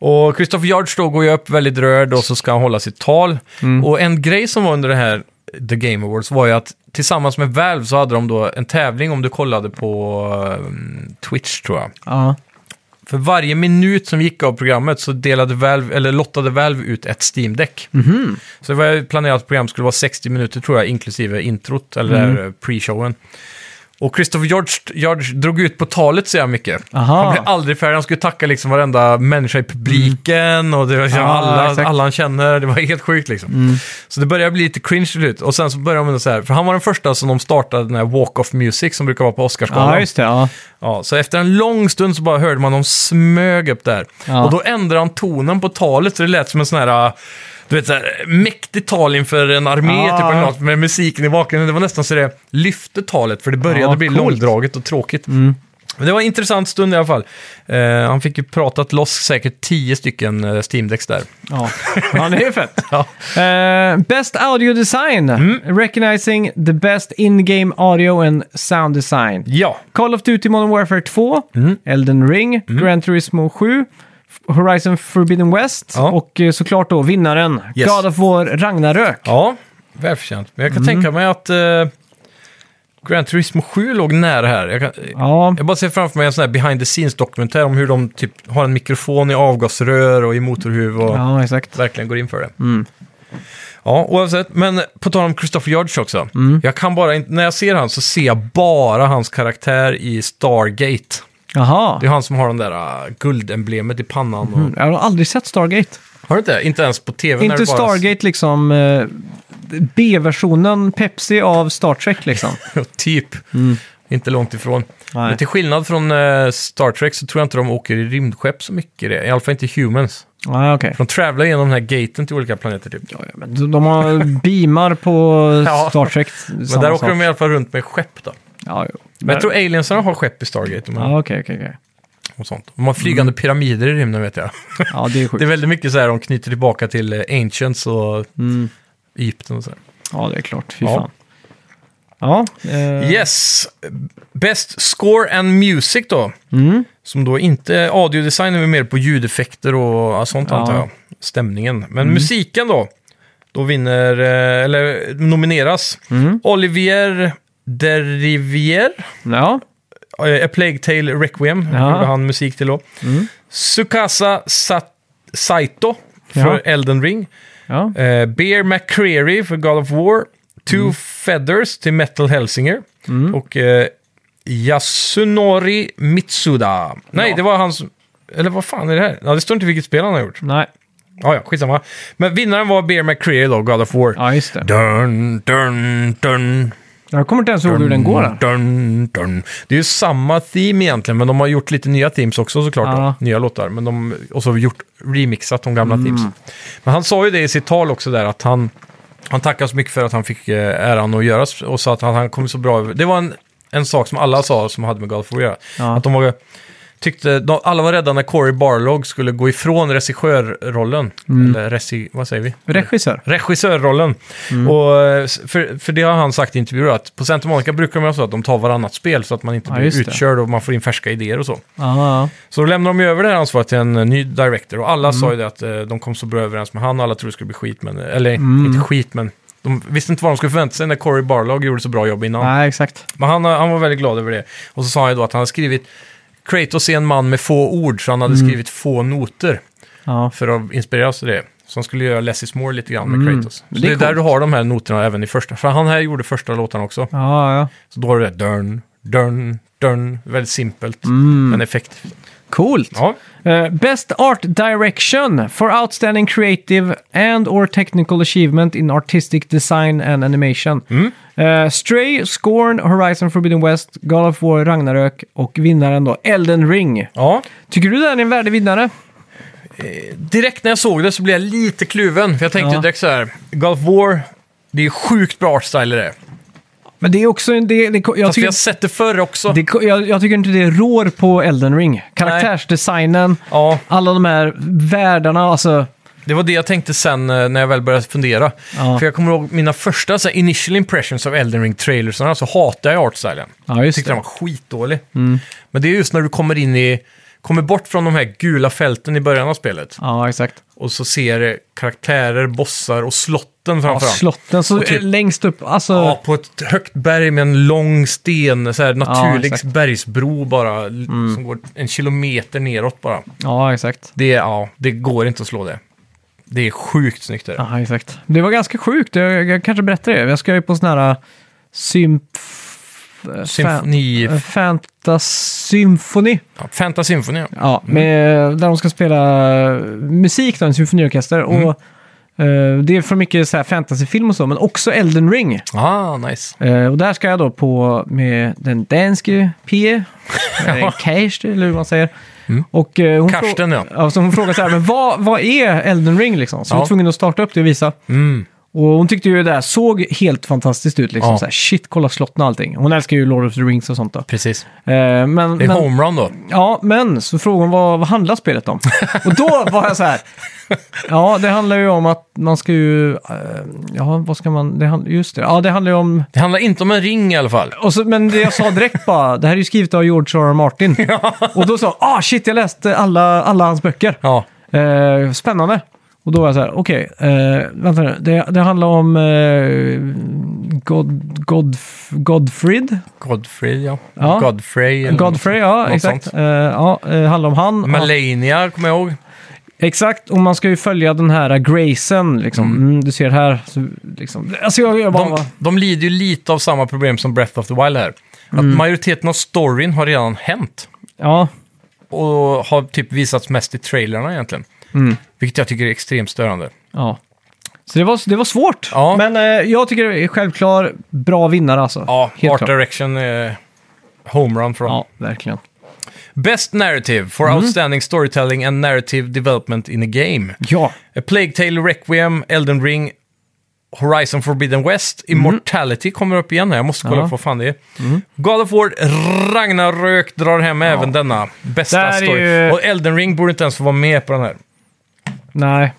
Speaker 2: Och Christopher Yard då går ju upp väldigt röd och så ska han hålla sitt tal. Och en grej som var under det här The Game Awards var ju att tillsammans med Valve så hade de då en tävling om du kollade på eh, Twitch tror jag.
Speaker 1: Ja.
Speaker 2: För varje minut som gick av programmet så delade Valve, eller lottade Valve ut ett Steam-däck.
Speaker 1: Mhm.
Speaker 2: Så det var ju planerat att programmet skulle vara 60 minuter tror jag, inklusive introt eller
Speaker 1: Mhm.
Speaker 2: eh, pre-showen. Och Christopher George, George drog ut på talet så jävla mycket.
Speaker 1: Aha.
Speaker 2: Han blev aldrig färdig, han skulle tacka liksom varenda människa i publiken och det var liksom
Speaker 1: Mm. Ja,
Speaker 2: alla,
Speaker 1: exakt. Mm.
Speaker 2: alla han känner. Det var helt sjukt liksom. Så det började bli lite cringe till slut. Och sen så började de med så här, för han var den första som de startade den här Walk of Music som brukar vara på Oscarsgalan.
Speaker 1: ja, just det. Ja.
Speaker 2: Ja, så efter en lång stund så bara hörde man dem smög upp där.
Speaker 1: Ja.
Speaker 2: Och då ändrade han tonen på talet så det lät som en sån här, du vet, så här mäktigt tal inför en armé,
Speaker 1: Ja.
Speaker 2: typ eller något, med musiken i bakgrunden. Det var nästan så det lyfte talet, för det började
Speaker 1: Ja,
Speaker 2: bli
Speaker 1: coolt. Mm.
Speaker 2: långdraget och tråkigt. Men det var en intressant stund i alla fall. Eh, han fick ju pratat loss säkert tio stycken eh, Steam-decks där.
Speaker 1: Ja. ja, det är ju fett.
Speaker 2: Ja. Mm.
Speaker 1: Eh, best audio design. Recognizing the best in-game audio and sound design.
Speaker 2: Ja,
Speaker 1: Call of Duty Modern Warfare 2,
Speaker 2: Mm.
Speaker 1: Elden Ring, Gran Turismo 7, F- Horizon Forbidden West
Speaker 2: Ja.
Speaker 1: och eh, såklart då vinnaren,
Speaker 2: Yes.
Speaker 1: God of War Ragnarök.
Speaker 2: ja välförtjänt. Men jag
Speaker 1: Mm.
Speaker 2: kan tänka mig att eh, Gran Turismo 7 låg nära här. Jag kan,
Speaker 1: Ja,
Speaker 2: Jag bara ser framför mig en sån här behind the scenes-dokumentär om hur de typ har en mikrofon i avgasrör och i motorhuv och
Speaker 1: ja Mm. exakt.
Speaker 2: verkligen går in för det. Ja, oavsett. Men på tal om Christopher Judge också.
Speaker 1: Mm.
Speaker 2: Jag kan bara inte, när jag ser han så ser jag bara hans karaktär i Stargate.
Speaker 1: Jaha.
Speaker 2: Det är han som har den där äh, guldemblemet i pannan. Och,
Speaker 1: Mm, Jag har aldrig sett Stargate.
Speaker 2: Har du inte? Inte ens på tv. när
Speaker 1: Inte
Speaker 2: du bara-
Speaker 1: Stargate liksom eh, B-versionen Pepsi av Star Trek liksom.
Speaker 2: typ. Inte långt ifrån.
Speaker 1: Mm. Nej.
Speaker 2: Men till skillnad från eh, Star Trek så tror jag inte de åker i rymdskepp så mycket. i det. I alla fall inte Humans.
Speaker 1: ah, okej.
Speaker 2: De travlar genom den här gaten till olika planeter typ.
Speaker 1: Ja, ja, men de- De har beamar på
Speaker 2: Ja.
Speaker 1: Star Trek.
Speaker 2: Men där åker de i alla fall runt med skepp då.
Speaker 1: Ja, jo.
Speaker 2: Men jag tror aliensarna har skepp i Stargate och,
Speaker 1: Ja, Mm. okej, okej, okej.
Speaker 2: och sånt. De har flygande pyramider i rymden vet jag.
Speaker 1: Ja, det är sjukt.
Speaker 2: Det är väldigt mycket så här de knyter tillbaka till eh, Ancients och
Speaker 1: Mm.
Speaker 2: Egypten och sådär.
Speaker 1: Ja, det är klart. Fy
Speaker 2: Ja.
Speaker 1: fan. Ja. eh,
Speaker 2: Yes! Best Score and Music då.
Speaker 1: Mm.
Speaker 2: Som då inte är audiodesign, men mer på ljudeffekter och ja, sånt
Speaker 1: Ja. Mm.
Speaker 2: antar jag. Stämningen. Men musiken då. Då vinner, eh, eller nomineras,
Speaker 1: Mm.
Speaker 2: Olivier Derivier.
Speaker 1: Ja.
Speaker 2: Eh, A Plague Tale Requiem
Speaker 1: Ja.
Speaker 2: gjorde han musik till då.
Speaker 1: Mm.
Speaker 2: Sukasa Sat- Saito för
Speaker 1: Ja.
Speaker 2: Elden Ring.
Speaker 1: ja.
Speaker 2: Eh, Bear McCreary för God of War. Two
Speaker 1: Mm.
Speaker 2: Feathers till Metal Helsinger. Och eh, Yasunori Mitsuda. Nej,
Speaker 1: Ja.
Speaker 2: det var hans... Eller vad fan är det här? Ja, det står inte vilket spel han har gjort.
Speaker 1: Nej.
Speaker 2: Ja, ja, skitsamma. Men vinnaren var Bear McCreary då, God of War.
Speaker 1: Ja, just det.
Speaker 2: Dun, dun, dun.
Speaker 1: Jag kommer inte ens ihåg hur den går.
Speaker 2: Mm.
Speaker 1: Där.
Speaker 2: Dun, dun. Det är ju samma theme egentligen, men de har gjort lite nya themes också såklart.
Speaker 1: Ja.
Speaker 2: Då, nya låtar. Men de, och så har vi gjort, remixat de gamla
Speaker 1: Mm.
Speaker 2: themes. Men han sa ju det i sitt tal också där, att han, han tackar så mycket för att han fick eh, äran att göra s- och sa att han, han kom så bra över- Det var en, en sak som alla sa som hade med God of War att göra.
Speaker 1: Ja.
Speaker 2: Att de var, tyckte, de, alla var rädda när Corey Barlog skulle gå ifrån regissörrollen.
Speaker 1: Mm.
Speaker 2: Eller regi, vad säger vi?
Speaker 1: Regissör.
Speaker 2: regissörrollen.
Speaker 1: Mm.
Speaker 2: Och, eh, s- för, för det har han sagt i intervjuer att på Santa Monica brukar de göra så att de tar varannat spel så att man inte
Speaker 1: Ja,
Speaker 2: blir
Speaker 1: just det.
Speaker 2: utkörd och man får in färska idéer och så.
Speaker 1: Ja,
Speaker 2: Så då lämnar de ju över det här ansvaret till en eh, ny director och alla
Speaker 1: Mm.
Speaker 2: sa ju det att eh, de kom så bra överens med han alla trodde det skulle bli skit men, eh, eller
Speaker 1: Mm.
Speaker 2: inte skit men de visste inte vad de skulle förvänta sig när Corey Barlog gjorde så bra jobb innan. eh,
Speaker 1: Nej, exakt.
Speaker 2: Men han, han var väldigt glad över det. Och så sa han ju då att han har skrivit Kratos är en man med få ord, så han hade
Speaker 1: Mm.
Speaker 2: skrivit få noter
Speaker 1: Ja.
Speaker 2: för att inspireras av det. Så han skulle göra Less is more lite grann med Kratos. Så
Speaker 1: Mm. det
Speaker 2: det
Speaker 1: är
Speaker 2: är, där
Speaker 1: coolt.
Speaker 2: du har de här noterna även i första. För han här gjorde första låtarna också.
Speaker 1: Ja, ja.
Speaker 2: Så då har du det dörn, dörn, dörn. Väldigt simpelt,
Speaker 1: Mm.
Speaker 2: men effektivt.
Speaker 1: Coolt.
Speaker 2: Ja,
Speaker 1: Eh, best Art Direction for Outstanding Creative and or Technical Achievement in Artistic Design and Animation. Eh, Stray, Scorn, Horizon Forbidden West, God of War, Ragnarök och vinnaren då, Elden Ring.
Speaker 2: ja.
Speaker 1: Tycker du det här är en värdig vinnare?
Speaker 2: direkt när jag såg det så blev jag lite kluven. För jag tänkte
Speaker 1: Ja.
Speaker 2: direkt så här, God of War, det är sjukt bra artstyle i det.
Speaker 1: Men det är också en... Det, det, jag,
Speaker 2: Fast vi
Speaker 1: tycker,
Speaker 2: har sett det förr också.
Speaker 1: det jag, jag tycker inte det rår på Elden Ring. Karaktärsdesignen,
Speaker 2: Ja,
Speaker 1: alla de här världarna, alltså...
Speaker 2: det var det jag tänkte sen eh, när jag väl började fundera.
Speaker 1: Ja.
Speaker 2: För jag kommer ihåg mina första så här, initial impressions av Elden ring trailersarna så hatade jag artstylen.
Speaker 1: Ja,
Speaker 2: Jag
Speaker 1: just
Speaker 2: tyckte den var skitdålig.
Speaker 1: Mm.
Speaker 2: Men det är just när du kommer in i, kommer bort från de här gula fälten i början av spelet
Speaker 1: Ja, exakt.
Speaker 2: och så ser eh, karaktärer, bossar och slotten
Speaker 1: Ja,
Speaker 2: framförallt.
Speaker 1: slotten, så
Speaker 2: Och typ-
Speaker 1: längst upp, alltså...
Speaker 2: Ja, på ett högt berg med en lång sten, så här naturlig
Speaker 1: exakt. Mm.
Speaker 2: bergsbro bara, l- som går en kilometer neråt bara.
Speaker 1: ja exakt.
Speaker 2: Det, är- ja, det går inte att slå det. Det är sjukt snyggt. Är det.
Speaker 1: Ja, exakt. Det var ganska sjukt. Jag, jag kanske berättar det. Jag ska ju på sån här symf...
Speaker 2: Symfoni...
Speaker 1: fan- äh, Fantas symfoni.
Speaker 2: ja, Fanta Symphony, ja.
Speaker 1: Ja, med, där de ska spela äh, musik, då, en symfoniorkester.
Speaker 2: Mhm.
Speaker 1: Och, eh, det är för mycket så här fantasyfilm och så, men också Elden Ring.
Speaker 2: Ah, nice.
Speaker 1: Eh, och där ska jag då på med den danske P. Kirsten, eller hur man säger. Och, eh, hon frå-
Speaker 2: Mm. Karsten, ja.
Speaker 1: ja. Så hon frågar så här, men vad, vad är Elden Ring liksom? Så vi
Speaker 2: Ja.
Speaker 1: var tvungen att starta upp det och visa.
Speaker 2: Mm.
Speaker 1: Och hon tyckte ju det där såg helt fantastiskt ut. Liksom.
Speaker 2: Ja.
Speaker 1: Så här, shit, kolla slotten och allting. Hon älskar ju Lord of the Rings och sånt då.
Speaker 2: Precis.
Speaker 1: Eh, men,
Speaker 2: Det är
Speaker 1: men,
Speaker 2: homerun då.
Speaker 1: ja, men så frågade hon vad, vad handlar spelet om? och då var jag så här. Ja, det handlar ju om att man ska ju... eh, ja, vad ska man... Det, hand- just det. Ja, det handlar ju om...
Speaker 2: Det handlar inte om en ring i alla fall.
Speaker 1: Och så, men det jag sa direkt bara, det här är ju skrivet av George R. R. Martin. Och då sa hon, ah shit, jag läste alla, alla hans böcker.
Speaker 2: Ja,
Speaker 1: Eh, spännande. Och då var jag så här, okej, eh, vänta nu. Det, det handlar om eh, God, God, Godfrid.
Speaker 2: Godfrey, ja.
Speaker 1: Ja.
Speaker 2: Godfrey. eller
Speaker 1: Godfrey,
Speaker 2: Mm. något-
Speaker 1: ja,
Speaker 2: något
Speaker 1: exakt.
Speaker 2: sånt.
Speaker 1: Eh, ja, eh, handlar om han. Ja,
Speaker 2: Melania, kommer jag ihåg.
Speaker 1: exakt, och man ska ju följa den här Grayson, liksom. Mm. du ser här. Så, liksom. Alltså jag, jag bara...
Speaker 2: De, de lider ju lite av samma problem som Breath of the Wild här. Att
Speaker 1: Mm.
Speaker 2: majoriteten av storyn har redan hänt.
Speaker 1: Ja,
Speaker 2: Och har typ visats mest i trailerna egentligen.
Speaker 1: Mm.
Speaker 2: Vilket jag tycker är extremt störande.
Speaker 1: Ja. Så det var, det var svårt.
Speaker 2: Ja.
Speaker 1: Men eh, jag tycker det är självklart bra vinnare alltså.
Speaker 2: Ja,
Speaker 1: Helt
Speaker 2: Art
Speaker 1: klart.
Speaker 2: Direction är homerun från.
Speaker 1: Ja, Mm. verkligen.
Speaker 2: Best Narrative for Outstanding Storytelling and Narrative Development in a Game.
Speaker 1: Ja.
Speaker 2: A Plague Tale Requiem, Elden Ring, Horizon Forbidden West, Immortality kommer upp igen här. Jag måste kolla
Speaker 1: Mhm. Ja. Mhm.
Speaker 2: upp vad fan det är. God of War, Ragnarök drar hem även denna.
Speaker 1: Där
Speaker 2: Bästa
Speaker 1: är
Speaker 2: story.
Speaker 1: ju-
Speaker 2: Och Elden Ring borde inte ens få vara med på den här.
Speaker 1: Nej,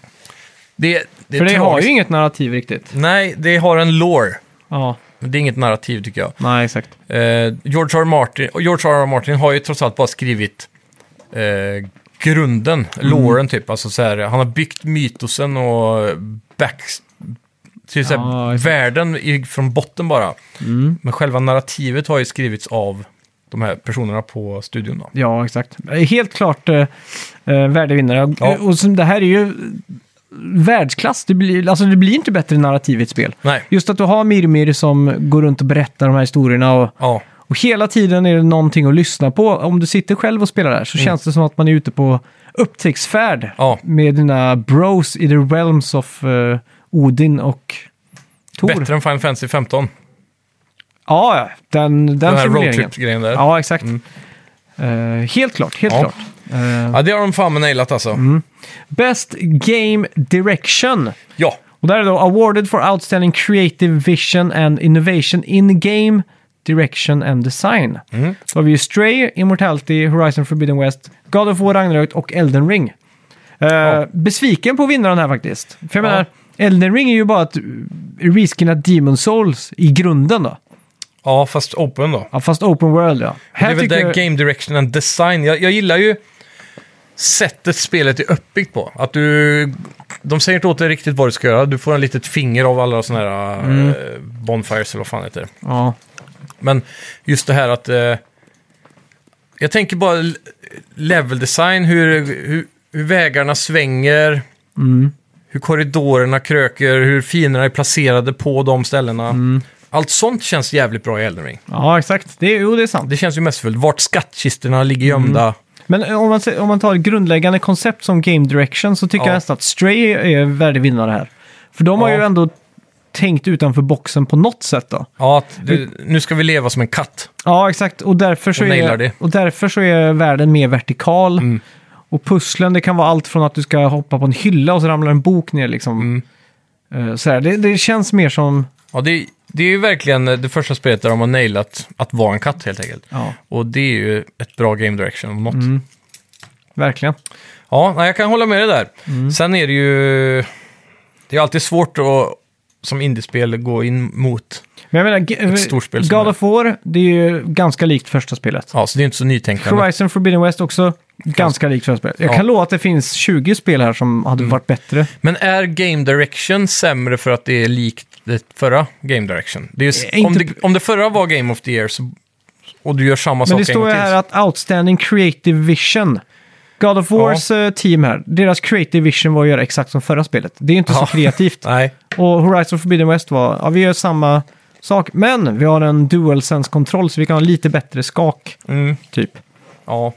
Speaker 2: Det, det är
Speaker 1: för det har
Speaker 2: tragiskt.
Speaker 1: ju inget narrativ riktigt.
Speaker 2: Nej, det har en lore.
Speaker 1: Ja,
Speaker 2: Men det är inget narrativ tycker jag.
Speaker 1: nej exakt.
Speaker 2: Eh, George R. R. Martin, och George R. R. Martin har ju trots allt bara skrivit eh, grunden,
Speaker 1: Mm.
Speaker 2: loren typ. Alltså så här, han har byggt mytosen och back... Typ så här,
Speaker 1: Ja, exakt. Mm.
Speaker 2: världen i, från botten bara. Men själva narrativet har ju skrivits av de här personerna på studion. Då.
Speaker 1: Ja, exakt. Helt klart eh, eh, värdig vinnare.
Speaker 2: Ja.
Speaker 1: Och som, det här är ju världsklass. Det blir, alltså, det blir inte bättre narrativ i ett spel.
Speaker 2: Nej,
Speaker 1: Just att du har Mirmir som går runt och berättar de här historierna och
Speaker 2: ja,
Speaker 1: Och hela tiden är det någonting att lyssna på. Om du sitter själv och spelar där så känns det som att man är ute på upptäcktsfärd
Speaker 2: Mm. Ja.
Speaker 1: med dina bros i the realms of eh, Odin och Tor.
Speaker 2: bättre än Final Fantasy 15.
Speaker 1: Ja, ja. den, den,
Speaker 2: Den här
Speaker 1: formuleringen.
Speaker 2: roadtrip-grejen där. Ja.
Speaker 1: Ja, exakt. Eh, helt klart, helt
Speaker 2: Ja.
Speaker 1: klart. Eh,
Speaker 2: det har de fan med nailat alltså.
Speaker 1: Mm. best Game Direction.
Speaker 2: Ja,
Speaker 1: Och där är då Awarded for Outstanding Creative Vision and Innovation in Game Direction and Design. Mm. Så har vi ju Stray, Immortality, Horizon Forbidden West, God of War, Ragnarök och Elden Ring. Eh, Besviken på vinnaren här faktiskt. För jag
Speaker 2: Ja.
Speaker 1: menar, Elden Ring är ju bara ett uh, reskinat Demon Souls i grunden då.
Speaker 2: ja fast open då.
Speaker 1: Ja, fast open world ja.
Speaker 2: det är
Speaker 1: Här
Speaker 2: väl
Speaker 1: tycker
Speaker 2: det
Speaker 1: jag...
Speaker 2: game direction and design. Jag, jag gillar ju sättet spelet är uppbyggt på. Att du... De säger inte åt dig riktigt vad du ska göra. Du får en litet finger av alla sådana här eh,
Speaker 1: Mm.
Speaker 2: bonfires eller vad fan heter det.
Speaker 1: Ja,
Speaker 2: Men just det här att eh, Jag tänker bara l- level design, hur, hur, hur vägarna svänger,
Speaker 1: Mm.
Speaker 2: hur korridorerna kröker, hur fienderna är placerade på de ställena.
Speaker 1: Mm.
Speaker 2: Allt sånt känns jävligt bra i Elden Ring.
Speaker 1: Ja, exakt. Det, är- jo, det är sant.
Speaker 2: Det känns ju mestfullt. Vart skattkisterna ligger
Speaker 1: Mm.
Speaker 2: gömda.
Speaker 1: Men eh, om man, se- om man tar ett grundläggande koncept som game direction så tycker
Speaker 2: Ja.
Speaker 1: jag nästan att Stray är värdig vinnare här. För de har
Speaker 2: Ja.
Speaker 1: ju ändå tänkt utanför boxen på något sätt då.
Speaker 2: Ja, att du, nu ska vi leva som en katt.
Speaker 1: Ja, exakt. Och därför så,
Speaker 2: Och nailar
Speaker 1: är,
Speaker 2: det.
Speaker 1: och därför så är världen mer vertikal. Och pusslen, det kan vara allt från att du ska hoppa på en hylla och så ramlar en bok ner liksom. Eh, Så här. Det, det känns mer som...
Speaker 2: Ja, det, det är ju verkligen eh, det första spelet där de har nailat att vara en katt helt enkelt.
Speaker 1: Ja,
Speaker 2: Och det är ju ett bra game direction om något.
Speaker 1: verkligen.
Speaker 2: Ja, nej, jag kan hålla med dig där. Sen är det ju... Det är alltid svårt att som indiespel gå in mot.
Speaker 1: Men jag menar, G-
Speaker 2: Ett stort spel som
Speaker 1: God
Speaker 2: är-
Speaker 1: of War, det är ju ganska likt första spelet.
Speaker 2: Ja, så det är inte så nytänkande.
Speaker 1: Horizon Forbidden West också ganska likt första spelet. Jag
Speaker 2: Ja. Mm.
Speaker 1: kan lova att det finns 20 spel här som hade varit bättre.
Speaker 2: Men är game direction sämre för att det är likt det förra game direction? Det är ju, s-
Speaker 1: Eh,
Speaker 2: om,
Speaker 1: inte-
Speaker 2: det, om det förra var game of the year så, och du gör samma
Speaker 1: Men
Speaker 2: sak
Speaker 1: det står ju
Speaker 2: en gång
Speaker 1: här
Speaker 2: till.
Speaker 1: att Outstanding Creative Vision. God of Wars eh, team här, deras Creative Vision var att göra exakt som förra spelet. Det är ju inte så
Speaker 2: Ja.
Speaker 1: kreativt.
Speaker 2: Nej,
Speaker 1: Och Horizon Forbidden West var, ja vi gör samma sak, men vi har en DualSense-kontroll så vi kan ha lite bättre skak,
Speaker 2: Mm.
Speaker 1: typ.
Speaker 2: ja.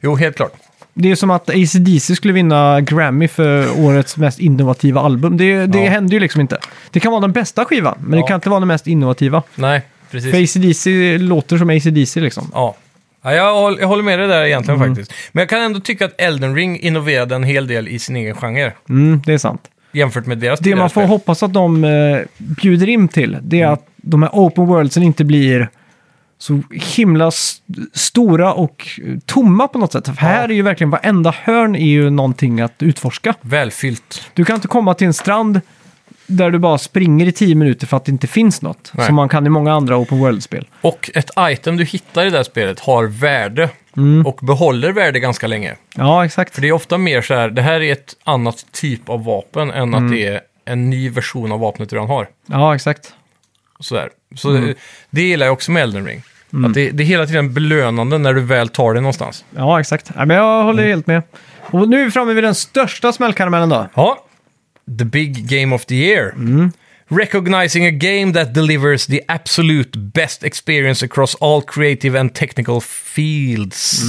Speaker 2: Jo, helt klart.
Speaker 1: Det är som att AC/DC skulle vinna Grammy för årets mest innovativa album. Det, det
Speaker 2: Ja.
Speaker 1: händer ju liksom inte. Det kan vara den bästa skivan, men
Speaker 2: Ja.
Speaker 1: det kan inte vara den mest innovativa.
Speaker 2: Nej, precis.
Speaker 1: För AC/DC låter som AC/DC liksom.
Speaker 2: Ja. Ja, jag, håll- jag håller med dig där egentligen
Speaker 1: Mm.
Speaker 2: faktiskt. Men jag kan ändå tycka att Elden Ring innoverade en hel del i sin egen genre.
Speaker 1: Mm, det är sant.
Speaker 2: Jämfört med deras
Speaker 1: Det man får
Speaker 2: spel.
Speaker 1: hoppas att de eh, bjuder in till, det är att de här open worldsen inte blir så himla st- stora och eh, tomma på något sätt. För här är ju verkligen varenda hörn är ju någonting att utforska.
Speaker 2: Välfyllt.
Speaker 1: Du kan inte komma till en strand där du bara springer i tio minuter för att det inte finns något.
Speaker 2: Nej.
Speaker 1: Som man kan i många andra open world-spel.
Speaker 2: Och ett item du hittar i det här spelet har värde.
Speaker 1: Mm.
Speaker 2: Och behåller värde ganska länge.
Speaker 1: Ja, exakt.
Speaker 2: För det är ofta mer så här, det här är ett annat typ av vapen
Speaker 1: Mm.
Speaker 2: än att det är en ny version av vapnet du redan har.
Speaker 1: Ja, exakt.
Speaker 2: Så, där. så
Speaker 1: Mm.
Speaker 2: det, det gillar jag också med Elden Ring. Att det, det är hela tiden belönande när du väl tar det någonstans.
Speaker 1: Ja, exakt. Ja, men jag håller helt med. Och nu är vi framme vid den största smällkaramellen då.
Speaker 2: Ja, the big game of the year. Recognizing a game that delivers the absolute best experience across all creative and technical fields.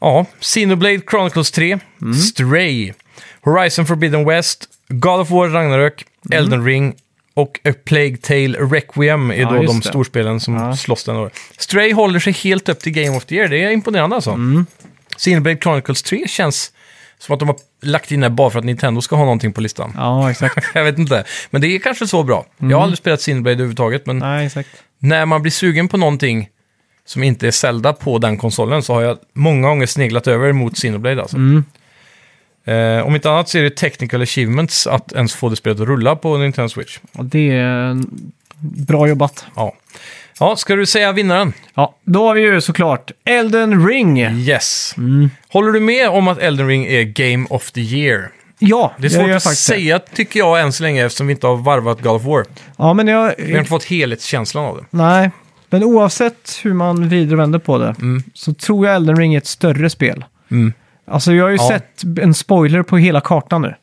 Speaker 2: Ja, Xenoblade Chronicles 3, Stray, Horizon Forbidden West, God of War Ragnarök, Elden Ring och A Plague Tale Requiem är
Speaker 1: Ja,
Speaker 2: då
Speaker 1: just
Speaker 2: de
Speaker 1: det.
Speaker 2: storspelen som
Speaker 1: Ja.
Speaker 2: slåss den år. Stray håller sig helt upp till Game of the Year, det är imponerande alltså.
Speaker 1: Mm.
Speaker 2: Xenoblade Chronicles 3 känns som att de har lagt in det bara för att Nintendo ska ha någonting på listan.
Speaker 1: Ja, exakt.
Speaker 2: Jag vet inte, men det är kanske så bra. Jag har aldrig spelat Xenoblade överhuvudtaget, men
Speaker 1: Nej, exakt.
Speaker 2: när man blir sugen på någonting som inte är Zelda på den konsolen så har jag många gånger sneglat över mot Xenoblade alltså.
Speaker 1: Mm.
Speaker 2: Eh, om inte annat så är det technical achievements att ens få det spelet att rulla på Nintendo Switch.
Speaker 1: Ja, det är eh, bra jobbat.
Speaker 2: Ja. ja, ska du säga vinnaren?
Speaker 1: Ja, då har vi ju såklart Elden Ring.
Speaker 2: Yes.
Speaker 1: Mm.
Speaker 2: Håller du med om att Elden Ring är Game of the Year?
Speaker 1: Ja,
Speaker 2: Det är
Speaker 1: jag
Speaker 2: svårt
Speaker 1: gör
Speaker 2: att
Speaker 1: faktiskt det.
Speaker 2: säga, tycker jag, än så länge eftersom vi inte har varvat God of War.
Speaker 1: Ja, men jag...
Speaker 2: Vi har inte fått helhetskänslan av det.
Speaker 1: Nej, men oavsett hur man vrider och vänder på det så tror jag Elden Ring är ett större spel.
Speaker 2: Mm.
Speaker 1: Alltså jag har ju
Speaker 2: Ja.
Speaker 1: sett en spoiler på hela kartan nu.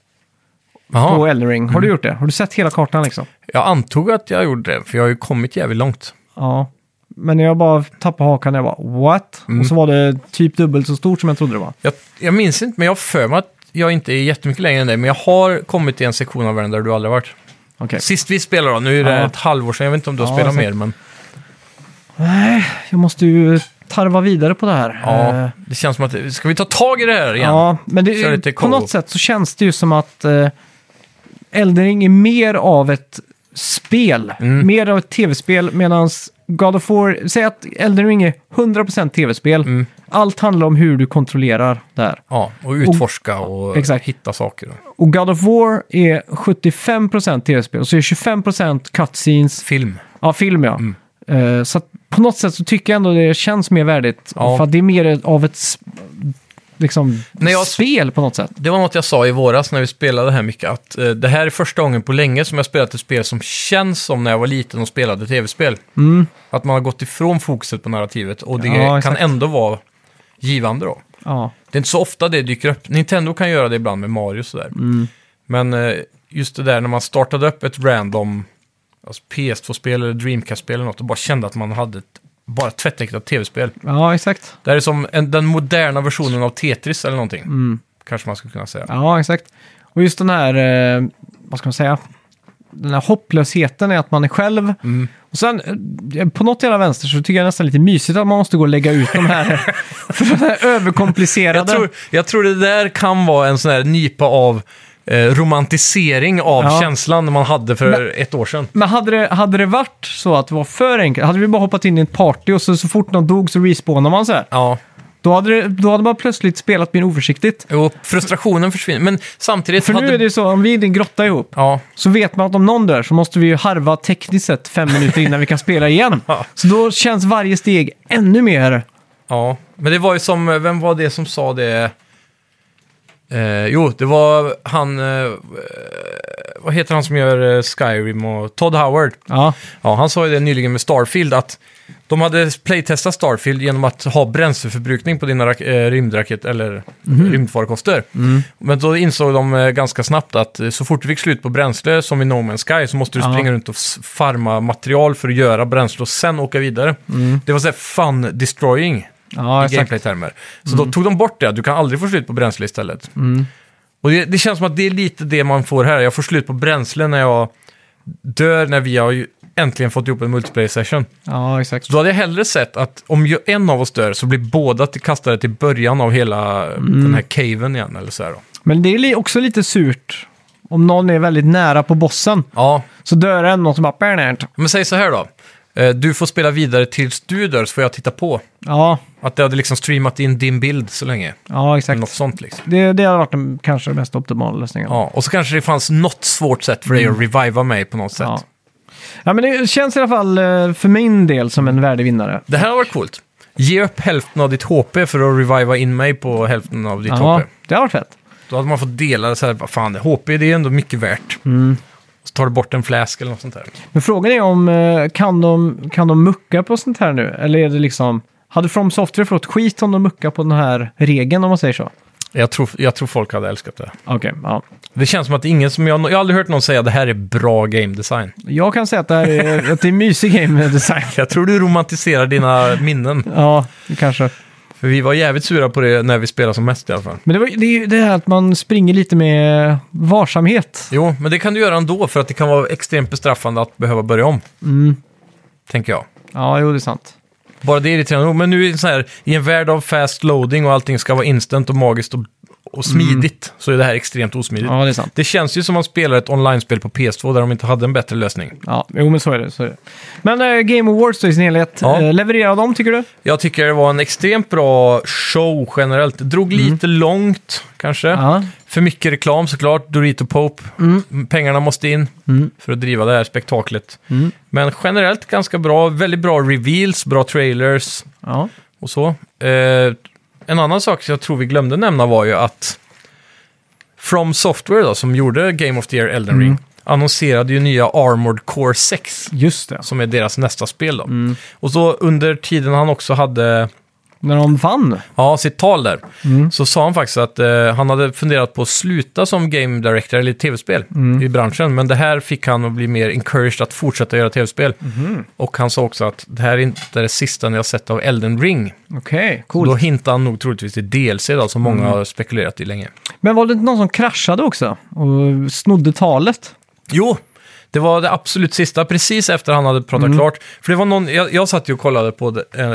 Speaker 2: Jaha.
Speaker 1: På Elden Ring. Har
Speaker 2: Mm.
Speaker 1: du gjort det? Har du sett hela kartan liksom?
Speaker 2: Jag antog att jag gjorde det, för jag har ju kommit jävligt långt.
Speaker 1: Ja. Men jag bara tappade hakan jag bara what?
Speaker 2: Mm.
Speaker 1: Och så var det typ dubbelt så stort som jag trodde det var.
Speaker 2: Jag, jag minns inte, men jag har för mig att jag inte är jättemycket längre än dig, men jag har kommit till en sektion av världen där du aldrig varit.
Speaker 1: Okej.
Speaker 2: Sist vi spelade då, nu är det
Speaker 1: Ja.
Speaker 2: ett halvår sedan, jag vet inte om du har
Speaker 1: Ja,
Speaker 2: spelat
Speaker 1: exakt.
Speaker 2: mer, men
Speaker 1: Nej, jag måste ju tarva vidare på det här. Eh,
Speaker 2: ja, det känns som att, ska vi ta tag i det här igen?
Speaker 1: Ja, men
Speaker 2: Kör
Speaker 1: det,
Speaker 2: lite
Speaker 1: på
Speaker 2: combo.
Speaker 1: något sätt så känns det ju som att eh, Elden Ring är mer av ett spel,
Speaker 2: Mm.
Speaker 1: mer av ett tv-spel, medan God of War, säg att Elden Ring är 100% tv-spel.
Speaker 2: Mm.
Speaker 1: Allt handlar om hur du kontrollerar det här.
Speaker 2: Ja, och utforska och
Speaker 1: Exakt.
Speaker 2: hitta saker.
Speaker 1: Och God of War är 75% tv-spel och så är 25% cutscenes,
Speaker 2: Film.
Speaker 1: ja film ja.
Speaker 2: Mm.
Speaker 1: Eh, så att på något sätt så tycker jag ändå det känns mer värdigt.
Speaker 2: Ja.
Speaker 1: För att det är mer av ett s- liksom,
Speaker 2: När jag-
Speaker 1: spel på något sätt.
Speaker 2: Det var något jag sa i våras när vi spelade här mycket, att eh, det här är första gången på länge som jag spelat ett spel som känns som när jag var liten och spelade tv-spel. Att man har gått ifrån fokuset på narrativet och det
Speaker 1: Mm. Ja,
Speaker 2: kan
Speaker 1: exakt.
Speaker 2: ändå vara givande då.
Speaker 1: Ja,
Speaker 2: Det är inte så ofta det dyker upp. Nintendo kan göra det ibland med Mario och sådär.
Speaker 1: Mm.
Speaker 2: Men eh, just det där när man startade upp ett random alltså PS2-spel eller Dreamcast-spel eller något och bara kände att man hade ett, bara ett tvättäktat tv-spel.
Speaker 1: ja exakt.
Speaker 2: Det här är som en, den moderna versionen av Tetris eller någonting.
Speaker 1: Mm.
Speaker 2: Kanske man skulle kunna säga.
Speaker 1: Ja, exakt. Och just den här, eh, vad ska man säga, den här hopplösheten är att man är själv.
Speaker 2: Mm.
Speaker 1: Och sen eh, på något jävla vänster så tycker jag nästan lite mysigt att man måste gå och lägga ut de här, för de här överkomplicerade.
Speaker 2: Jag tror, jag tror det där kan vara en sån här nypa av eh, romantisering av
Speaker 1: Ja.
Speaker 2: känslan man hade för ett år sedan.
Speaker 1: Men hade det, hade det varit så att det var för enkelt, hade vi bara hoppat in i ett party och så, så fort någon dog så respawnar man så här.
Speaker 2: Ja,
Speaker 1: Då hade, det, då hade man plötsligt spelat min oförsiktigt.
Speaker 2: och frustrationen försvinner. Men samtidigt...
Speaker 1: För nu är det ju så, om vi är i en grotta ihop,
Speaker 2: Ja,
Speaker 1: så vet man att om någon dör så måste vi ju harva tekniskt sett fem minuter innan vi kan spela igen.
Speaker 2: Ja.
Speaker 1: Så då känns varje steg ännu mer...
Speaker 2: ja, men det var ju som... Vem var det som sa det? Eh, jo, det var han... Eh, vad heter han som gör eh, Skyrim och... Todd Howard.
Speaker 1: Ja,
Speaker 2: Ja, han sa ju det nyligen med Starfield att de hade playtestat Starfield genom att ha bränsleförbrukning på dina rak- eh, rymdraket eller rymdfarkoster. Men då insåg de eh, ganska snabbt att eh, så fort du fick slut på bränsle, som i No Man's Sky, så måste du
Speaker 1: Ja.
Speaker 2: springa runt och s- farma material för att göra bränsle och sen åka vidare. Det var så här fun destroying
Speaker 1: ja
Speaker 2: i
Speaker 1: exakt. Mm.
Speaker 2: gameplay-termer. Så då tog de bort det, att du kan aldrig få slut på bränsle istället. Och det, det känns som att det är lite det man får här. Jag får slut på bränsle när jag dör, när vi har ju äntligen fått ihop en multiplayer-session.
Speaker 1: Ja, exakt.
Speaker 2: Så då hade jag hellre sett att om ju en av oss dör så blir båda till- kastade till början av hela
Speaker 1: Mm.
Speaker 2: den här caven igen. Eller så här då.
Speaker 1: Men det är li- också lite surt om någon är väldigt nära på bossen.
Speaker 2: Ja,
Speaker 1: Så dör en någon som bara... "Bernard."
Speaker 2: men säg så här då. Eh, Du får spela vidare tills du dör så får jag titta på.
Speaker 1: Ja,
Speaker 2: Att det hade liksom streamat in din bild så länge.
Speaker 1: ja
Speaker 2: Något
Speaker 1: exakt.
Speaker 2: sånt liksom.
Speaker 1: Det, det hade varit den kanske mest optimala lösningen.
Speaker 2: Ja, och så kanske det fanns något svårt sätt för dig att reviva mig på något sätt.
Speaker 1: Mm. Ja. ja, men det känns i alla fall eh, för min del som en värdig vinnare.
Speaker 2: Det här har varit coolt. Ge upp hälften av ditt HP för att reviva in mig på hälften av ditt
Speaker 1: Ja,
Speaker 2: HP.
Speaker 1: det har varit fett.
Speaker 2: Då hade man fått dela det så här, vad fan, HP det är ändå mycket värt.
Speaker 1: Mm.
Speaker 2: Så tar du bort en fläsk eller något sånt där.
Speaker 1: Men frågan är om eh, kan de, kan de mucka på sånt här nu? Eller är det liksom... Hade From Software fått skit om de muckar på den här regeln om man säger så?
Speaker 2: Jag tror, jag tror folk hade älskat det.
Speaker 1: Okej, ja.
Speaker 2: Det känns som att ingen som jag... Jag har aldrig hört någon säga det här är bra game design.
Speaker 1: Jag kan säga att det, här är, att det är mysig game design.
Speaker 2: Jag tror du romantiserar dina minnen.
Speaker 1: Ja, det kanske.
Speaker 2: För vi var jävligt sura på det när vi spelade som mest i alla fall.
Speaker 1: Men det, var, det är ju det här att man springer lite med varsamhet.
Speaker 2: Jo, men det kan du göra ändå för att det kan vara extremt bestraffande att behöva börja om.
Speaker 1: Mm.
Speaker 2: Tänker jag.
Speaker 1: Ja, jo, det är sant.
Speaker 2: Bara det är irriterande nog. Men nu är det så här, i en värld av fast loading och allting ska vara instant och magiskt och, och smidigt, så är det här extremt osmidigt.
Speaker 1: Mm. Ja, det är sant.
Speaker 2: Det känns ju som man spelar ett online-spel på PS2 där de inte hade en bättre lösning.
Speaker 1: Ja, jo, men så är det. Så är det. Men eh, Game Awards då i sin helhet,
Speaker 2: Ja.
Speaker 1: eh, levererar de tycker du?
Speaker 2: Jag tycker det var en extremt bra show generellt. Det drog lite långt, kanske.
Speaker 1: Mm. Ja.
Speaker 2: För mycket reklam såklart, Dorito Pope.
Speaker 1: Mm.
Speaker 2: Pengarna måste in för att driva det här spektaklet.
Speaker 1: Mm.
Speaker 2: Men generellt ganska bra, väldigt bra reveals, bra trailers.
Speaker 1: Ja.
Speaker 2: och så. Eh, en annan sak som jag tror vi glömde nämna var ju att From Software då, som gjorde Game of the Year Elden Ring, annonserade ju nya Armored Core 6,
Speaker 1: Just det.
Speaker 2: som är deras nästa spel då. Och så under tiden han också hade
Speaker 1: När de vann.
Speaker 2: ja, sitt tal där, så sa han faktiskt att eh, han hade funderat på att sluta som game director eller tv-spel i branschen, men det här fick han att bli mer encouraged att fortsätta göra tv-spel. Och han sa också att det här är inte det sista ni har sett av Elden Ring.
Speaker 1: Okej,
Speaker 2: Och
Speaker 1: coolt.
Speaker 2: Då hintar han nog troligtvis till DLC då, som många har spekulerat i länge.
Speaker 1: Men var det inte någon som kraschade också och snodde talet?
Speaker 2: Jo, det var det absolut sista, precis efter han hade pratat klart. För det var någon, jag, jag satt ju och kollade på det, eh,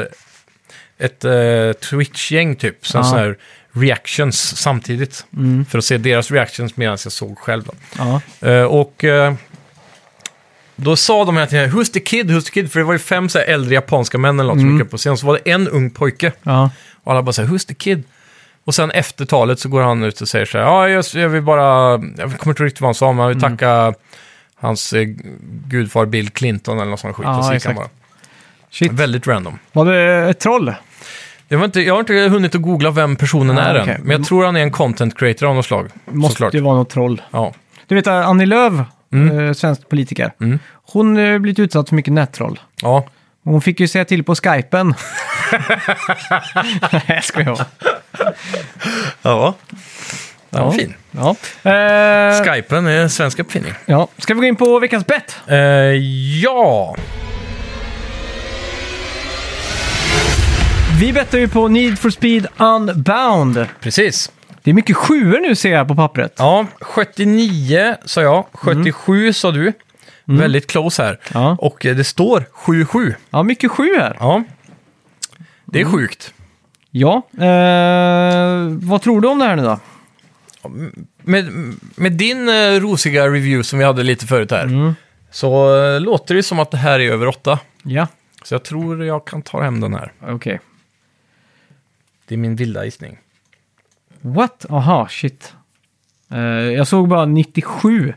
Speaker 2: ett eh, Twitch-gäng typ, som
Speaker 1: Ja.
Speaker 2: sån här reactions samtidigt. För att se deras reactions medan jag såg själv. Då.
Speaker 1: Ja.
Speaker 2: Eh, och eh, då sa de här till henne, Who's the kid? Who's the kid? För det var ju fem så här äldre japanska män eller något som gick upp på scen. Så var det en ung pojke.
Speaker 1: Ja.
Speaker 2: Och alla bara så här, who's the kid? Och sen efter talet så går han ut och säger så här, ja, jag, jag vill bara, jag kommer inte riktigt vad han sa, men jag vill
Speaker 1: Mm.
Speaker 2: tacka hans eh, gudfar Bill Clinton eller något sån skit.
Speaker 1: Ja,
Speaker 2: och så gick han
Speaker 1: exakt.
Speaker 2: bara.
Speaker 1: Shit.
Speaker 2: Väldigt random.
Speaker 1: Var det ett troll?
Speaker 2: Jag, vet inte, jag har inte hunnit att googla vem personen
Speaker 1: Ah,
Speaker 2: är
Speaker 1: okej.
Speaker 2: än, men jag tror han är en content creator av något slag.
Speaker 1: Måste
Speaker 2: såklart.
Speaker 1: ju
Speaker 2: Mm.
Speaker 1: vara något troll.
Speaker 2: Ja.
Speaker 1: Du vet Annie Lööf, eh, svensk politiker.
Speaker 2: Mm.
Speaker 1: Hon eh, har blivit utsatt för mycket nättroll.
Speaker 2: ja.
Speaker 1: Hon fick ju säga till på skypen. Nej, jag skojar.
Speaker 2: Ja. Den var fin.
Speaker 1: Ja. Eh,
Speaker 2: Skypen är en svensk uppfinning.
Speaker 1: ja. Ska vi gå in på veckans bett?
Speaker 2: Eh, ja.
Speaker 1: Vi bettar ju på Need for Speed Unbound.
Speaker 2: Precis.
Speaker 1: Det är mycket sjuor nu ser jag på pappret.
Speaker 2: Ja, 79 sa jag, 77 sa du.
Speaker 1: Mm.
Speaker 2: Väldigt close här.
Speaker 1: Ja.
Speaker 2: Och eh, det står 7-7.
Speaker 1: Ja, mycket sju här.
Speaker 2: Ja. Det är sjukt.
Speaker 1: Ja, eh, vad tror du om det här nu då?
Speaker 2: Med, med din eh, rosiga review som vi hade lite förut här, så eh, låter det som att det här är över 8.
Speaker 1: Ja,
Speaker 2: Så jag tror jag kan ta hem den här.
Speaker 1: okej.
Speaker 2: Det är min vilda gissning.
Speaker 1: What? Aha, shit. Eh, jag såg bara 97.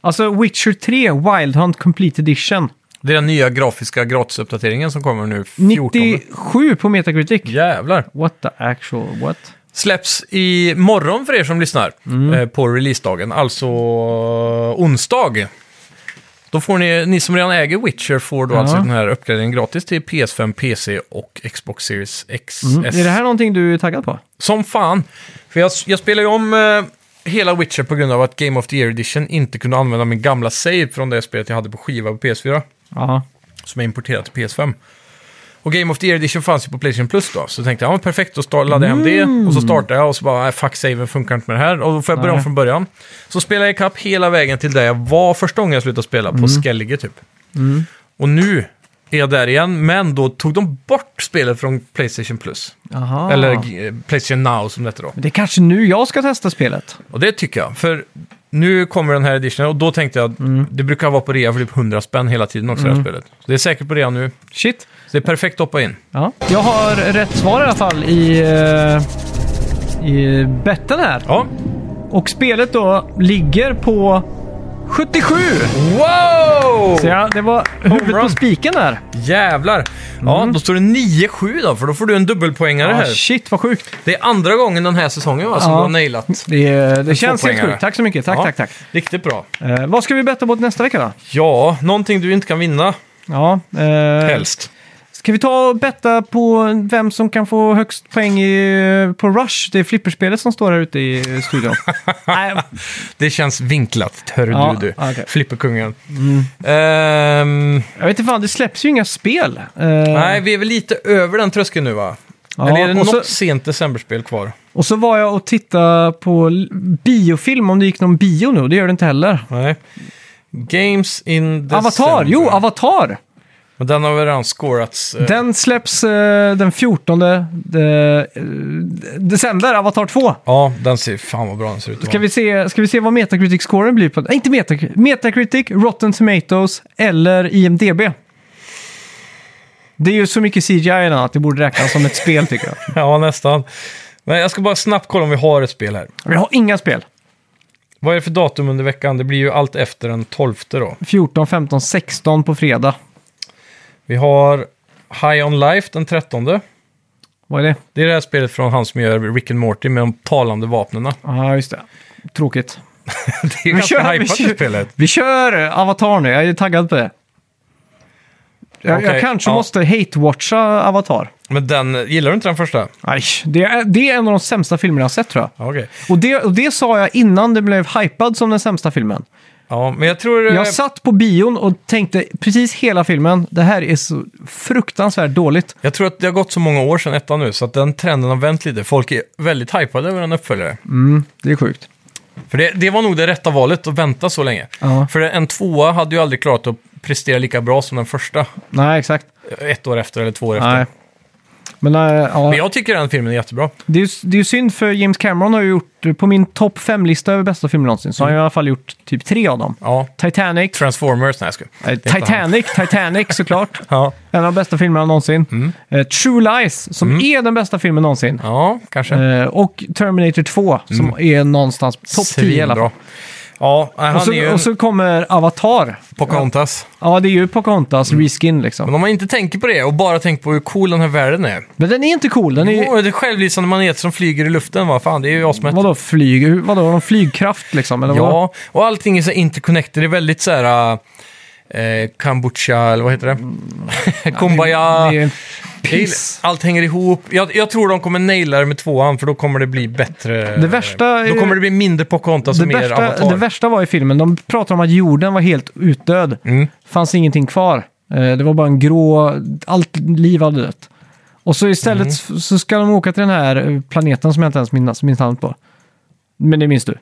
Speaker 1: Alltså Witcher 3 Wild Hunt Complete Edition.
Speaker 2: Det är den nya grafiska gratisuppdateringen som kommer nu 14.
Speaker 1: 97 på Metacritic.
Speaker 2: Jävlar.
Speaker 1: What the actual what?
Speaker 2: Släpps i morgon för er som lyssnar
Speaker 1: Mm.
Speaker 2: eh, på releasedagen, alltså eh, onsdag. Då får ni, ni som redan äger Witcher får då
Speaker 1: Ja.
Speaker 2: alltså den här uppgraderingen gratis till PS5, PC och Xbox Series X. S.
Speaker 1: Mm. Är det här någonting du är taggad på?
Speaker 2: Som fan. För jag, jag spelar ju om eh, hela Witcher på grund av att Game of the Year Edition inte kunde använda min gamla save från det spelet jag hade på skiva på PS4.
Speaker 1: Ja.
Speaker 2: Som jag importerat till PS5. Och Game of the Year Edition fanns ju på Playstation Plus då. Så tänkte jag, ja men perfekt, då sta- laddade jag hem det. Och så startade jag och så bara, nej fuck saven funkar inte med det här. Och då får jag börja om
Speaker 1: Nej.
Speaker 2: från början. Så spelade jag ikapp hela vägen till där jag var första gången jag slutade spela, på Skellige typ. Och nu är jag där igen, men då tog de bort spelet från Playstation Plus.
Speaker 1: Aha.
Speaker 2: Eller eh, Playstation Now som det hette då.
Speaker 1: Men det är kanske nu jag ska testa spelet.
Speaker 2: Och det tycker jag. För nu kommer den här editionen och då tänkte jag att det brukar vara på rea för typ 100 spänn hela tiden också det här spelet. Så det är säkert på rea nu.
Speaker 1: Shit.
Speaker 2: Så det är perfekt att hoppa in.
Speaker 1: Ja. Jag har rätt svar i alla fall i, eh, i betten här.
Speaker 2: Ja.
Speaker 1: Och spelet då ligger på 77!
Speaker 2: Wow!
Speaker 1: Så ja, det var huvudet på
Speaker 2: run.
Speaker 1: spiken där.
Speaker 2: Jävlar! Ja,
Speaker 1: Mm.
Speaker 2: då står det 9-7 då, för då får du en dubbelpoängare
Speaker 1: Ah,
Speaker 2: här.
Speaker 1: shit vad sjukt.
Speaker 2: Det är andra gången den här säsongen va, som
Speaker 1: Ja.
Speaker 2: du har nailat.
Speaker 1: Det, det känns helt
Speaker 2: tvåpoängare.
Speaker 1: sjukt. Tack så mycket. Tack,
Speaker 2: Ja,
Speaker 1: tack, tack.
Speaker 2: Riktigt bra.
Speaker 1: Eh, vad ska vi betta mot nästa vecka då?
Speaker 2: Ja, någonting du inte kan vinna
Speaker 1: Ja, eh,
Speaker 2: helst.
Speaker 1: Ska vi ta och betta på vem som kan få högst poäng i, eh, på Rush? Det är flipperspelet som står här ute i studion. Nej,
Speaker 2: Det känns vinklat, hör
Speaker 1: Ja,
Speaker 2: du du.
Speaker 1: okej. Mm.
Speaker 2: Flipperkungen. Ehm,
Speaker 1: jag vet inte fan, det släpps ju inga spel. Eh,
Speaker 2: Nej, vi är väl lite över den tröskeln nu va?
Speaker 1: Ja,
Speaker 2: Eller är det
Speaker 1: och
Speaker 2: något
Speaker 1: så-
Speaker 2: sent decemberspel kvar?
Speaker 1: Och så var jag och tittade på l- biofilm, om det gick någon bio nu. Det gör det inte heller.
Speaker 2: Nej. Games in December.
Speaker 1: Avatar! Jo, Avatar!
Speaker 2: Men den har väl redan scorats. eh,
Speaker 1: Den släpps eh, den 14 de, eh, december, Avatar 2.
Speaker 2: Ja, den ser... Fan vad bra den ser ut. att
Speaker 1: Ska
Speaker 2: vara.
Speaker 1: vi se, ska vi se vad Metacritic-scoren blir på... Nej, inte Metacritic. Metacritic, Rotten Tomatoes eller IMDB. Det är ju så mycket CGI än att det borde räknas som ett spel tycker jag.
Speaker 2: Ja, nästan. Men jag ska bara snabbt kolla om vi har ett spel här.
Speaker 1: Vi har inga spel.
Speaker 2: Vad är det för datum under veckan? Det blir ju allt efter den 12 då.
Speaker 1: 14, 15, 16 på fredag.
Speaker 2: Vi har High On Life den 13.
Speaker 1: Vad är det?
Speaker 2: Det är det här spelet från han som gör Rick and Morty med de talande vapnena.
Speaker 1: Ja, just det. Tråkigt.
Speaker 2: Det är ju ganska hajpat det spelet.
Speaker 1: vi kör Avatar nu. Jag är taggad på det. Jag, jag
Speaker 2: Okej,
Speaker 1: kanske
Speaker 2: ja.
Speaker 1: måste hate-watcha Avatar.
Speaker 2: Men den, gillar du inte den första?
Speaker 1: Aj, det, är, det är en av de sämsta filmerna jag har sett tror jag.
Speaker 2: Ja, Okej.
Speaker 1: Och det, och det sa jag innan det blev hypad som den sämsta filmen.
Speaker 2: Ja, men jag tror... eh,
Speaker 1: Jag satt på bion och tänkte precis hela filmen, det här är så fruktansvärt dåligt.
Speaker 2: Jag tror att det har gått så många år sedan ettan nu, så att den trenden har vänt lite. Folk är väldigt hypade över en uppföljare.
Speaker 1: Mm. Det är sjukt.
Speaker 2: För det, det var nog det rätta valet, att vänta så länge.
Speaker 1: Ja.
Speaker 2: För en tvåa hade ju aldrig klarat att prestera lika bra som den första.
Speaker 1: Nej, exakt.
Speaker 2: Ett år efter eller två år
Speaker 1: Nej.
Speaker 2: efter.
Speaker 1: Men, äh, ja,
Speaker 2: Men jag tycker den filmen är jättebra.
Speaker 1: det, är ju, det är ju synd för James Cameron har ju gjort, på min topp fem-lista över bästa filmer någonsin, så har han i alla fall gjort typ tre av dem.
Speaker 2: Mm. Ja.
Speaker 1: Titanic,
Speaker 2: Transformers, nej jag skojar.
Speaker 1: eh,
Speaker 2: Det är inte han.
Speaker 1: Titanic, Titanic såklart.
Speaker 2: Ja.
Speaker 1: En av de bästa filmerna någonsin.
Speaker 2: Mm.
Speaker 1: Eh, True Lies, som är den bästa filmen någonsin.
Speaker 2: ja, kanske.
Speaker 1: Eh, och Terminator 2, som är någonstans topp 10 i alla fall.
Speaker 2: Mm. Svinbra. Ja, nej, han
Speaker 1: Och så,
Speaker 2: är ju en
Speaker 1: och så kommer Avatar.
Speaker 2: Pocahontas.
Speaker 1: Ja, det är ju Pocahontas
Speaker 2: Mm.
Speaker 1: reskin liksom.
Speaker 2: Men om man inte tänker på det och bara tänker på hur cool den här världen är.
Speaker 1: Men den är inte cool. Den är ju...
Speaker 2: Åh, det är självlysande maneter som flyger i luften, va? Fan, det är ju asmätt.
Speaker 1: Vadå flyg? Hur- Vadå, har de flygkraft liksom? Eller vad?
Speaker 2: Ja, och allting är så interconnected. Det är väldigt så här... Eh, kombucha, eller vad heter det? Kumbaya.
Speaker 1: Mm. Det är
Speaker 2: Piss.
Speaker 1: piss.
Speaker 2: Allt hänger ihop. Jag, jag tror de kommer naila det med tvåan, för då kommer det bli bättre.
Speaker 1: Det värsta är-
Speaker 2: Då kommer det bli mindre Pocahontas
Speaker 1: Det
Speaker 2: och mer
Speaker 1: värsta,
Speaker 2: Avatar.
Speaker 1: det värsta var i filmen, de pratade om att jorden var helt utdöd.
Speaker 2: Mm.
Speaker 1: fanns ingenting kvar. Eh, Det var bara en grå, allt liv hade dött. Och så istället
Speaker 2: Mhm.
Speaker 1: s- så ska de åka till den här eh, planeten som jag inte ens minns, minns namnet på. Men det minns du.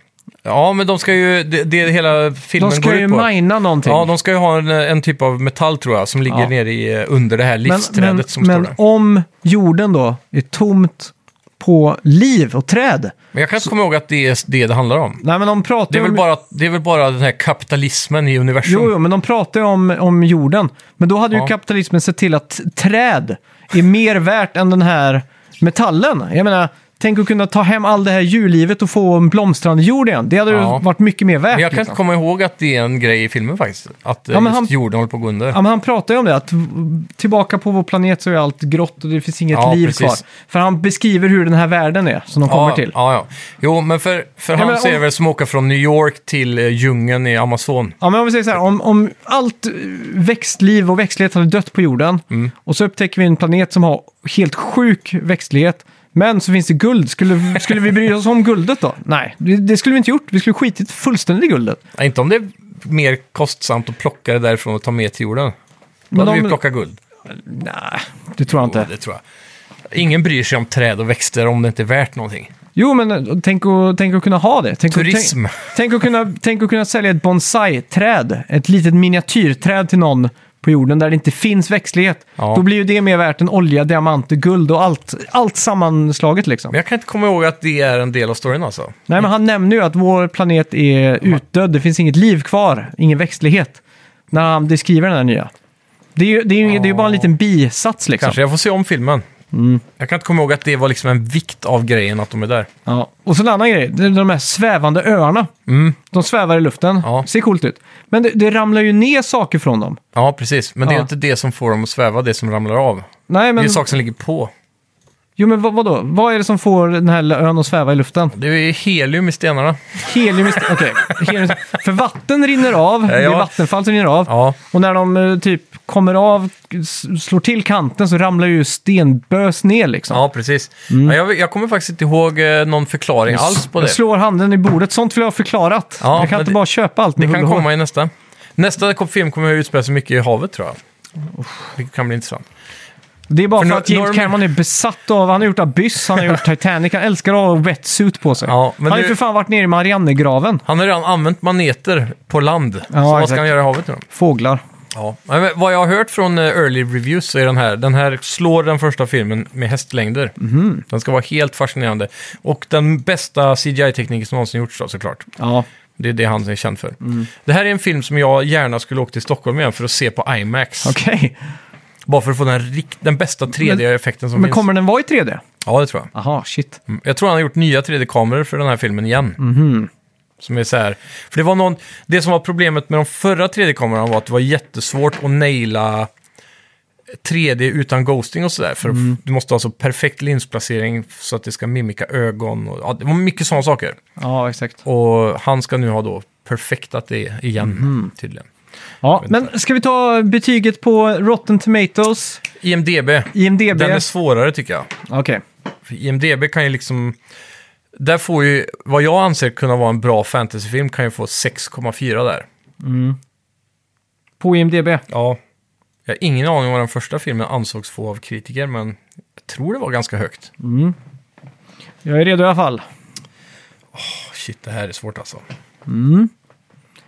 Speaker 2: Ja, men de ska ju... Det, det är hela filmen
Speaker 1: De ska
Speaker 2: går
Speaker 1: ju
Speaker 2: ut på.
Speaker 1: mina någonting.
Speaker 2: Ja, de ska ju ha en, en typ av metall tror jag, som ligger
Speaker 1: Ja.
Speaker 2: nere i, eh, under det här
Speaker 1: men
Speaker 2: livsträdet
Speaker 1: men,
Speaker 2: som
Speaker 1: men
Speaker 2: står där.
Speaker 1: om jorden då är tomt på liv och träd.
Speaker 2: Men jag kan inte komma ihåg att det är det det handlar om.
Speaker 1: Nej men de pratar
Speaker 2: Det är
Speaker 1: ju
Speaker 2: väl
Speaker 1: om...
Speaker 2: bara, det är väl bara den här kapitalismen i universum.
Speaker 1: Jo, jo, men de pratar ju om, om jorden. Men då hade
Speaker 2: Ja.
Speaker 1: ju kapitalismen sett till att t- träd är mer värt än den här metallen. Jag menar, tänk att kunna ta hem all det här djurlivet och få en blomstrande jord igen. Det hade
Speaker 2: Ja.
Speaker 1: ju varit mycket mer värt.
Speaker 2: Men jag kan inte
Speaker 1: liksom.
Speaker 2: komma ihåg att det är en grej i filmen faktiskt. Att ja,
Speaker 1: Ja, men
Speaker 2: just
Speaker 1: han-
Speaker 2: jorden håller på att gå under.
Speaker 1: Ja, men han pratar ju om det, att v- tillbaka på vår planet så är allt grått och det finns inget
Speaker 2: Ja,
Speaker 1: liv
Speaker 2: precis.
Speaker 1: kvar. För han beskriver hur den här världen är, som de kommer till. Ja.
Speaker 2: Ja, ja. Jo, men för, för han
Speaker 1: men
Speaker 2: ser
Speaker 1: om-
Speaker 2: väl som åker från New York till eh, djungeln i Amazon.
Speaker 1: men om vi säger så här, om, om allt eh, växtliv och växtlighet hade dött på jorden
Speaker 2: Mm.
Speaker 1: och så upptäcker vi en planet som har helt sjuk växtlighet, men så finns det guld. Skulle, skulle vi bry oss om guldet då? Nej, det, det skulle vi inte gjort. Vi skulle skitit fullständigt i guldet.
Speaker 2: Ja, inte om det är mer kostsamt att plocka det därifrån och ta med till jorden. Då
Speaker 1: Men
Speaker 2: hade vi
Speaker 1: om-
Speaker 2: plockat guld.
Speaker 1: Nej, det tror jag
Speaker 2: Jo,
Speaker 1: inte.
Speaker 2: det tror jag. Ingen bryr sig om träd och växter om det inte är värt någonting.
Speaker 1: Jo, men eh, tänk att, tänk att kunna ha det. Tänk att-
Speaker 2: Turism.
Speaker 1: tänk, tänk, att kunna, tänk att kunna sälja ett bonsai-träd, ett litet miniatyrträd till någon på jorden där det inte finns växtlighet.
Speaker 2: Ja.
Speaker 1: Då blir ju det mer värt än olja, diamanter, guld och allt, allt sammanslaget liksom.
Speaker 2: Men jag kan inte komma ihåg att det är en del av storyn alltså.
Speaker 1: Nej, men han nämner ju att vår planet är utdöd, det finns inget liv kvar, ingen växtlighet. När han beskriver den här nya. Det är ju, det är ju, det är ju bara en liten bisats liksom.
Speaker 2: Kanske jag får se om filmen.
Speaker 1: Mm.
Speaker 2: Jag kan inte komma ihåg att det var liksom en vikt av grejen att de är där.
Speaker 1: Ja. Och så en annan grej, det är de här svävande öarna. De svävar i luften,
Speaker 2: Mm. Ja.
Speaker 1: ser coolt ut. Men det, det ramlar ju ner saker från dem.
Speaker 2: Ja, precis. Men det är
Speaker 1: Ja.
Speaker 2: ju inte det som får dem att sväva, det som ramlar av.
Speaker 1: Nej,
Speaker 2: Det är
Speaker 1: men,
Speaker 2: ju saker som ligger på.
Speaker 1: jo, men vad, vadå? Vad är det som får den här lilla ön att sväva i luften?
Speaker 2: Det är ju helium i stenarna.
Speaker 1: Helium, ist- okej. Helium ist- För vatten rinner av, det är
Speaker 2: ja.
Speaker 1: vattenfall som rinner av.
Speaker 2: Ja,
Speaker 1: Och när de eh, typ kommer av, s- slår till kanten så ramlar ju stenbös ner liksom.
Speaker 2: ja precis. Ja, jag, jag kommer faktiskt inte ihåg eh, någon förklaring alls på det.
Speaker 1: Jag slår handen i bordet, sånt vill jag ha förklarat.
Speaker 2: Ja,
Speaker 1: jag
Speaker 2: men
Speaker 1: kan inte
Speaker 2: det-
Speaker 1: bara köpa allt med
Speaker 2: Det
Speaker 1: hull
Speaker 2: kan
Speaker 1: och hår.
Speaker 2: komma i nästa. Nästa kom- film kommer att utspela sig mycket i havet tror jag. Det kan bli intressant.
Speaker 1: Det är bara
Speaker 2: För
Speaker 1: för,
Speaker 2: no-
Speaker 1: att James
Speaker 2: norm-
Speaker 1: Cameron är besatt av, han har gjort Abyss, han har gjort Titanic, han älskar att ha wetsuit på sig.
Speaker 2: Ja, men
Speaker 1: han har
Speaker 2: nu-
Speaker 1: ju för fan varit nere i Mariannegraven.
Speaker 2: Han har redan använt maneter på land. så vad ska
Speaker 1: exakt.
Speaker 2: han göra i havet nu då?
Speaker 1: Fåglar.
Speaker 2: Ja. Men vad jag har hört från eh, early reviews så är den här, den här slår den första filmen med hästlängder.
Speaker 1: Mhm.
Speaker 2: Den ska vara helt fascinerande. Och den bästa CGI-tekniken som någonsin gjorts då såklart.
Speaker 1: Ja.
Speaker 2: Det är det han är känd för.
Speaker 1: Mm.
Speaker 2: Det här är en film som jag gärna skulle åka till Stockholm igen för att se på IMAX.
Speaker 1: Okej.
Speaker 2: Bara för att få den, rikt- den bästa 3D-effekten som
Speaker 1: Men
Speaker 2: finns.
Speaker 1: kommer den vara i 3D?
Speaker 2: Ja, det tror jag.
Speaker 1: Aha, shit.
Speaker 2: Mm. Jag tror han har gjort nya 3D-kameror för den här filmen igen. Som är så här. För det var någon... Det som var problemet med de förra 3D-kamerorna var att det var jättesvårt att naila 3D utan ghosting och sådär. För du måste ha så perfekt linsplacering så att det ska mimika ögon. Och, ja, det var mycket sådana saker.
Speaker 1: Ja, exakt.
Speaker 2: Och han ska nu ha då perfektat det igen, tydligen.
Speaker 1: Ja, men ska vi ta betyget på Rotten Tomatoes,
Speaker 2: IMDB.
Speaker 1: IMDB?
Speaker 2: Den är svårare tycker jag.
Speaker 1: Okej.
Speaker 2: För IMDB kan ju liksom... Där får ju, vad jag anser kunna vara en bra fantasyfilm kan ju få 6,4 där.
Speaker 1: På IMDB?
Speaker 2: Ja. Jag har ingen aning om vad den första filmen ansågs få av kritiker, men jag tror det var ganska högt.
Speaker 1: Jag är redo i alla fall.
Speaker 2: Åh,
Speaker 1: Oh,
Speaker 2: shit, det här är svårt alltså.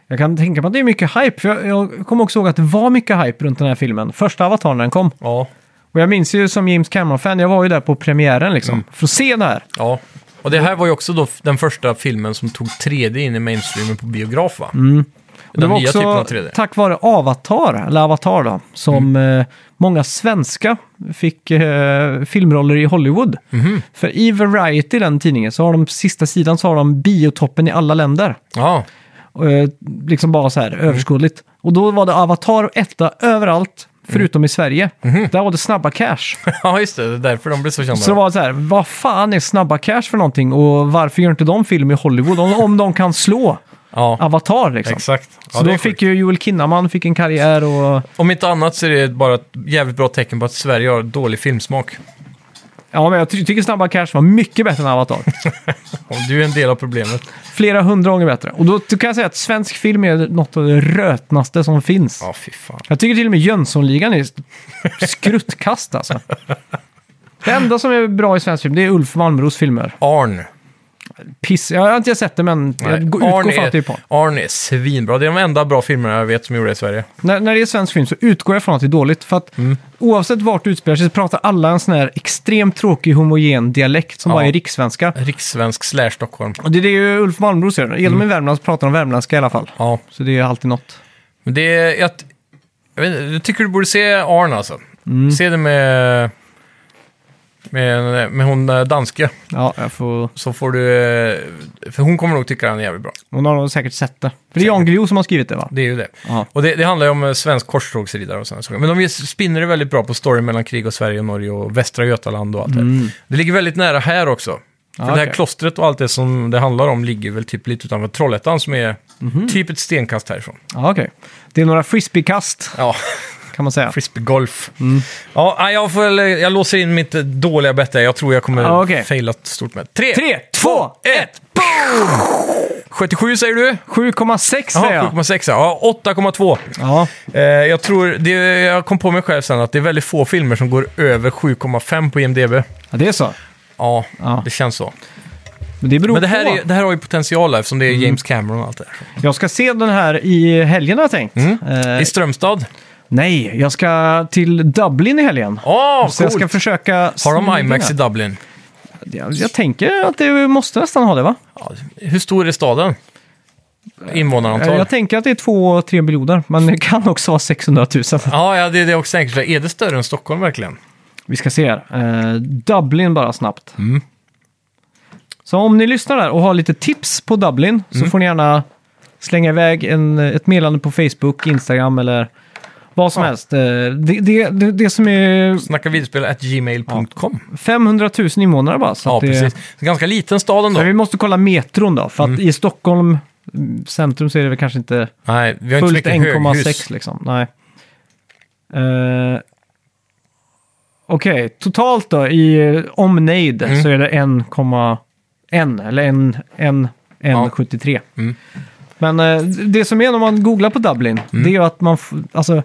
Speaker 1: Jag kan tänka mig att det är mycket hype, för jag, jag kommer också ihåg att det var mycket hype runt den här filmen. Första Avatar när den kom.
Speaker 2: Ja,
Speaker 1: Och jag minns ju som James Cameron-fan, jag var ju där på premiären liksom,
Speaker 2: Mm.
Speaker 1: för att se det här.
Speaker 2: ja. Och det här var ju också då f- den första filmen som tog 3D in i mainstreamen på biograf, va? Den
Speaker 1: Mm. Det var
Speaker 2: nya typen av
Speaker 1: också
Speaker 2: 3D.
Speaker 1: tack vare Avatar, eller Avatar då, som
Speaker 2: Mm.
Speaker 1: eh, många svenska fick eh, filmroller i Hollywood.
Speaker 2: Mhm.
Speaker 1: För i Variety, den tidningen, så har de på sista sidan så har de biotoppen i alla länder.
Speaker 2: Ja,
Speaker 1: Eh, liksom bara så här
Speaker 2: Mm.
Speaker 1: överskådligt. Och då var det Avatar och etta överallt,
Speaker 2: Mm.
Speaker 1: förutom i Sverige.
Speaker 2: Mhm.
Speaker 1: Där var det snabba cash.
Speaker 2: ja, just det. Det är därför de blir så kända.
Speaker 1: Så det var så här, vad fan är snabba cash för någonting? Och varför gör inte de film i Hollywood? Om, om de kan slå
Speaker 2: ja,
Speaker 1: Avatar liksom.
Speaker 2: exakt. Ja,
Speaker 1: Så
Speaker 2: det är
Speaker 1: då
Speaker 2: sjukt.
Speaker 1: fick ju Joel Kinnaman fick en karriär och...
Speaker 2: Om inte annat så är det bara ett jävligt bra tecken på att Sverige har dålig filmsmak.
Speaker 1: Ja, men jag ty- tycker Snabba Cash var mycket bättre än Avatar.
Speaker 2: Och du är en del av problemet.
Speaker 1: Flera hundra gånger bättre. Och då kan jag säga att svensk film är något av det rötnaste som finns.
Speaker 2: Ja, fy fan.
Speaker 1: Jag tycker till och med Jönssonligan är skruttkast alltså. Det enda som är bra i svensk film, det är Ulf Malmros filmer.
Speaker 2: Arn.
Speaker 1: Piss. Jag har inte sett det, men jag går- utgår från att det är på.
Speaker 2: är, Arn är svinbra. Det är de enda bra filmerna jag vet som gjorde i Sverige.
Speaker 1: När, när det är svensk film så utgår jag från att det är dåligt. För att
Speaker 2: Mm.
Speaker 1: oavsett vart du utspelar sig så pratar alla en sån här extremt tråkig homogen dialekt som
Speaker 2: Ja.
Speaker 1: bara är rikssvenska.
Speaker 2: Rikssvensk slash Stockholm.
Speaker 1: Och det är det ju Ulf Malmros gör. Genom
Speaker 2: Mm.
Speaker 1: i Värmland så pratar de värmländska i alla fall.
Speaker 2: Ja,
Speaker 1: Så det är alltid något.
Speaker 2: men det är... Jag, jag, vet, inte, jag tycker du borde se Arn alltså. Se det med... Med, med hon eh, danske.
Speaker 1: Ja, jag får...
Speaker 2: Så får du... eh, För hon kommer nog tycka den är jävligt bra.
Speaker 1: Hon har nog säkert sett det. För det är Jan Guillou som har skrivit det va?
Speaker 2: Det är ju det.
Speaker 1: Ja.
Speaker 2: Och det, det handlar ju om eh, svensk korstågsridare och sådana saker. Men de ju- spinner det väldigt bra på storyn mellan krig och Sverige och Norge och Västra Götaland och allt det. Det ligger väldigt nära här också. För
Speaker 1: Ja,
Speaker 2: det här
Speaker 1: Mm. Ah, okej.
Speaker 2: klostret och allt det som det handlar om ligger väl typ lite utanför Trollhättan som är
Speaker 1: Mhm.
Speaker 2: typ ett stenkast härifrån.
Speaker 1: Ja, okej. Det är några frisbeekast
Speaker 2: Ja,
Speaker 1: kan man säga.
Speaker 2: frisbeegolf.
Speaker 1: Mm.
Speaker 2: Ja, nej, jag, får, väl- jag låser in mitt eh, dåliga bett där. Jag tror jag kommer
Speaker 1: Ja, Ah, okej.
Speaker 2: faila stort med. Tre,
Speaker 1: Tre, två,
Speaker 2: ett, boom! 77 säger du?
Speaker 1: 7,6
Speaker 2: Ja,
Speaker 1: säger jag.
Speaker 2: 7,6 ja. Ja, 8,2.
Speaker 1: Ja,
Speaker 2: Eh, jag tror, det, jag kom på mig själv sen att det är väldigt få filmer som går över 7,5 på IMDB.
Speaker 1: ja, det är så.
Speaker 2: Ja,
Speaker 1: Ja.
Speaker 2: det känns så.
Speaker 1: Men det beror
Speaker 2: Men det här,
Speaker 1: på.
Speaker 2: är, det här har ju potential här, eftersom det är
Speaker 1: Mm.
Speaker 2: James Cameron och allt det där.
Speaker 1: Jag ska se den här i helgen har jag tänkt. Eh,
Speaker 2: I Strömstad?
Speaker 1: nej, jag ska till Dublin i helgen.
Speaker 2: Åh,
Speaker 1: så jag ska
Speaker 2: coolt!
Speaker 1: försöka...
Speaker 2: Har
Speaker 1: smyga
Speaker 2: de IMAX i
Speaker 1: den.
Speaker 2: Dublin?
Speaker 1: jag, jag tänker att det måste nästan ha det va?
Speaker 2: Ja, hur stor är staden?
Speaker 1: Eh,
Speaker 2: Invånarantal?
Speaker 1: Jag tänker att det är 2-3 miljoner, men det kan också vara 600 000.
Speaker 2: Ja, ja, det är det jag också tänker. Är det större än Stockholm verkligen?
Speaker 1: Vi ska se här. Eh, Dublin bara snabbt. Så om ni lyssnar där och har lite tips på Dublin så får ni gärna slänga iväg en, ett meddelande på Facebook, Instagram eller vad som helst. Eh, Det, det, det, det som är
Speaker 2: Snacka videospel at gmail.com.
Speaker 1: 500 000 invånare bara. Så
Speaker 2: Ja,
Speaker 1: att det,
Speaker 2: precis. Så ganska liten stad ändå.
Speaker 1: Men vi måste kolla metron då, för att i Stockholm mm, centrum så är det väl kanske inte
Speaker 2: Nej, vi har inte så
Speaker 1: fullt
Speaker 2: mycket höghus.
Speaker 1: 1,6 liksom. Nej. Eh, Okej, totalt då i eh, omnejd
Speaker 2: Mm.
Speaker 1: så är det 1,1 eller 1, 1, 1,73.
Speaker 2: Mm.
Speaker 1: Men eh, det som är när man googlar på Dublin,
Speaker 2: Mm.
Speaker 1: det är ju att man... f- Alltså,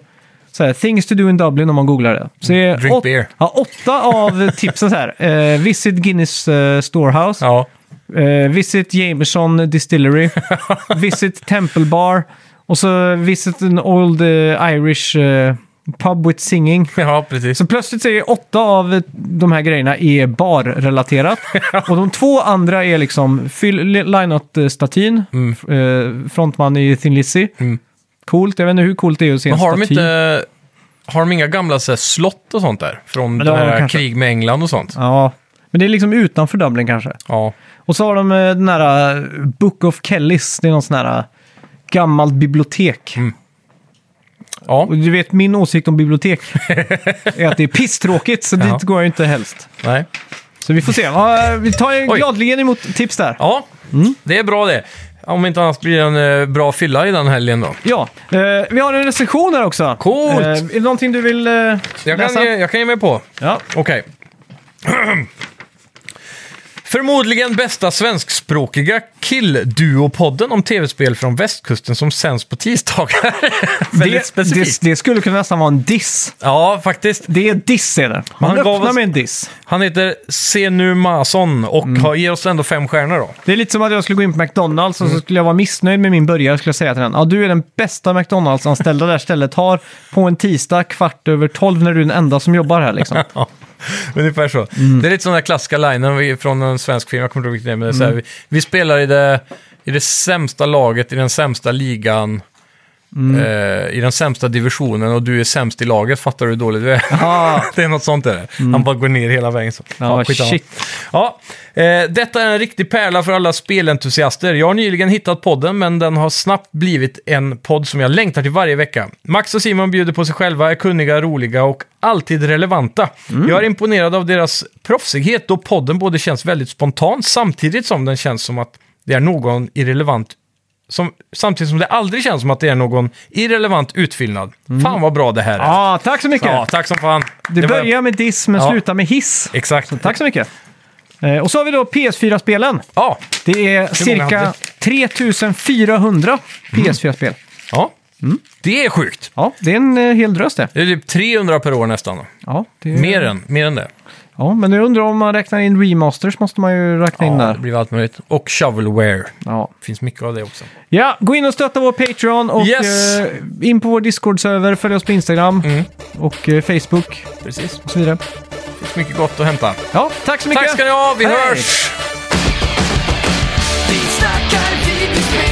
Speaker 1: så här, things to do in Dublin om man googlar det. Så är
Speaker 2: Drink
Speaker 1: åt-
Speaker 2: beer.
Speaker 1: Ja, åtta av tipsen så här. eh, visit Guinness eh, Storehouse.
Speaker 2: Ja,
Speaker 1: Eh, visit Jameson Distillery. visit Temple Bar. Och så visit an old eh, Irish eh, pub with singing.
Speaker 2: ja, precis.
Speaker 1: Så plötsligt så är åtta av eh, de här grejerna är barrelaterat. och de två andra är liksom fyll Lineout-statyn.
Speaker 2: Mm.
Speaker 1: Eh, frontman i Thin Lizzy. Coolt, jag vet inte hur coolt det är att se en
Speaker 2: Men har de
Speaker 1: staty.
Speaker 2: inte... Har de inga gamla så här, slott och sånt där? Från
Speaker 1: Men det
Speaker 2: det
Speaker 1: har de
Speaker 2: här
Speaker 1: kanske.
Speaker 2: krig med England och sånt?
Speaker 1: Ja, men det är liksom utanför Dublin kanske.
Speaker 2: Ja.
Speaker 1: Och så har de eh, den här eh, Book of Kellys. Det är någon sån här eh, gammalt bibliotek.
Speaker 2: Ja,
Speaker 1: Och du vet, min åsikt om bibliotek är att det är pisstråkigt, så
Speaker 2: Ja.
Speaker 1: dit går jag ju inte helst.
Speaker 2: nej.
Speaker 1: Så vi får se. Ja, vi tar ju
Speaker 2: Oj.
Speaker 1: gladeligen emot tips där.
Speaker 2: Ja,
Speaker 1: Mm.
Speaker 2: det är bra det. Om inte annat blir det en eh, bra fylla i den helgen då.
Speaker 1: Ja, eh, vi har en recension här också.
Speaker 2: Coolt.
Speaker 1: Eh, är det någonting du vill eh,
Speaker 2: Jag
Speaker 1: läsa?
Speaker 2: kan, ge, jag kan ge mig på.
Speaker 1: Ja.
Speaker 2: Okej. Förmodligen bästa svenskspråkiga killduopodden om tv-spel från västkusten som sänds på tisdagar. Väldigt
Speaker 1: Det, det,
Speaker 2: specifikt.
Speaker 1: det skulle kunna nästan vara en diss.
Speaker 2: Ja, faktiskt.
Speaker 1: Det är diss är det. Man
Speaker 2: Han gav
Speaker 1: öppnar
Speaker 2: oss-
Speaker 1: med en diss.
Speaker 2: Han heter Senu Mason och
Speaker 1: Mm.
Speaker 2: har, ger oss ändå fem stjärnor då.
Speaker 1: Det är lite som att jag skulle gå in på McDonalds och så
Speaker 2: Mm.
Speaker 1: skulle jag vara missnöjd med min burgare och skulle jag säga till den. Ja, du är den bästa McDonalds-anställda det här stället har på en tisdag kvart över tolv när du är den enda som jobbar här liksom.
Speaker 2: Ja, ungefär så. Det är lite sån där klassiska linen vi- från en svensk film, jag kommer inte ihåg vilken det är, men det är så här, vi, vi spelar i det, i det sämsta laget, i den sämsta ligan.
Speaker 1: Mm.
Speaker 2: eh, i den sämsta divisionen och du är sämst i laget, fattar du hur dåligt du är?
Speaker 1: Ja. Mm.
Speaker 2: det är något sånt där. Han bara går ner hela vägen. Så.
Speaker 1: Ja,
Speaker 2: skitsamma.
Speaker 1: shit.
Speaker 2: Ja, eh, detta är en riktig pärla för alla spelentusiaster. Jag har nyligen hittat podden, men den har snabbt blivit en podd som jag längtar till varje vecka. Max och Simon bjuder på sig själva, är kunniga, roliga och alltid relevanta.
Speaker 1: Mm.
Speaker 2: Jag är imponerad av deras proffsighet då podden både känns väldigt spontan samtidigt som den känns som att det är någon irrelevant som, samtidigt som det aldrig känns som att det är någon irrelevant utfyllnad. Fan vad bra det här är.
Speaker 1: Mm. Ja, Ah, tack så mycket!
Speaker 2: Ja, tack som fan.
Speaker 1: det
Speaker 2: Det var-
Speaker 1: börjar med diss men
Speaker 2: Ja.
Speaker 1: slutar med hiss.
Speaker 2: Exakt.
Speaker 1: Så tack så mycket! Eh, Och så har vi då PS4-spelen.
Speaker 2: Ja.
Speaker 1: Det är cirka
Speaker 2: hade Mm.
Speaker 1: 3400 PS4-spel.
Speaker 2: ja.
Speaker 1: Mm.
Speaker 2: Det är sjukt.
Speaker 1: Ja, det är en eh, hel drös det.
Speaker 2: Det är typ 300 per år nästan. då.
Speaker 1: Ja, det är...
Speaker 2: Mer, än, mer än det.
Speaker 1: Ja, men jag undrar om man räknar in remasters måste man ju räkna in
Speaker 2: Ja, det
Speaker 1: där.
Speaker 2: blir allt möjligt. Och shovelware.
Speaker 1: Ja.
Speaker 2: Det finns mycket av det också.
Speaker 1: ja, gå in och stötta vår Patreon och
Speaker 2: Yes. Mm.
Speaker 1: eh, in på vår Discord-server, följ oss på Instagram och eh, Facebook
Speaker 2: Precis. Det
Speaker 1: och så vidare.
Speaker 2: finns mycket gott att hämta.
Speaker 1: Ja, tack så mycket!
Speaker 2: Tack ska ni ha, vi
Speaker 1: Hej.
Speaker 2: hörs!
Speaker 3: Vi snackar videospel,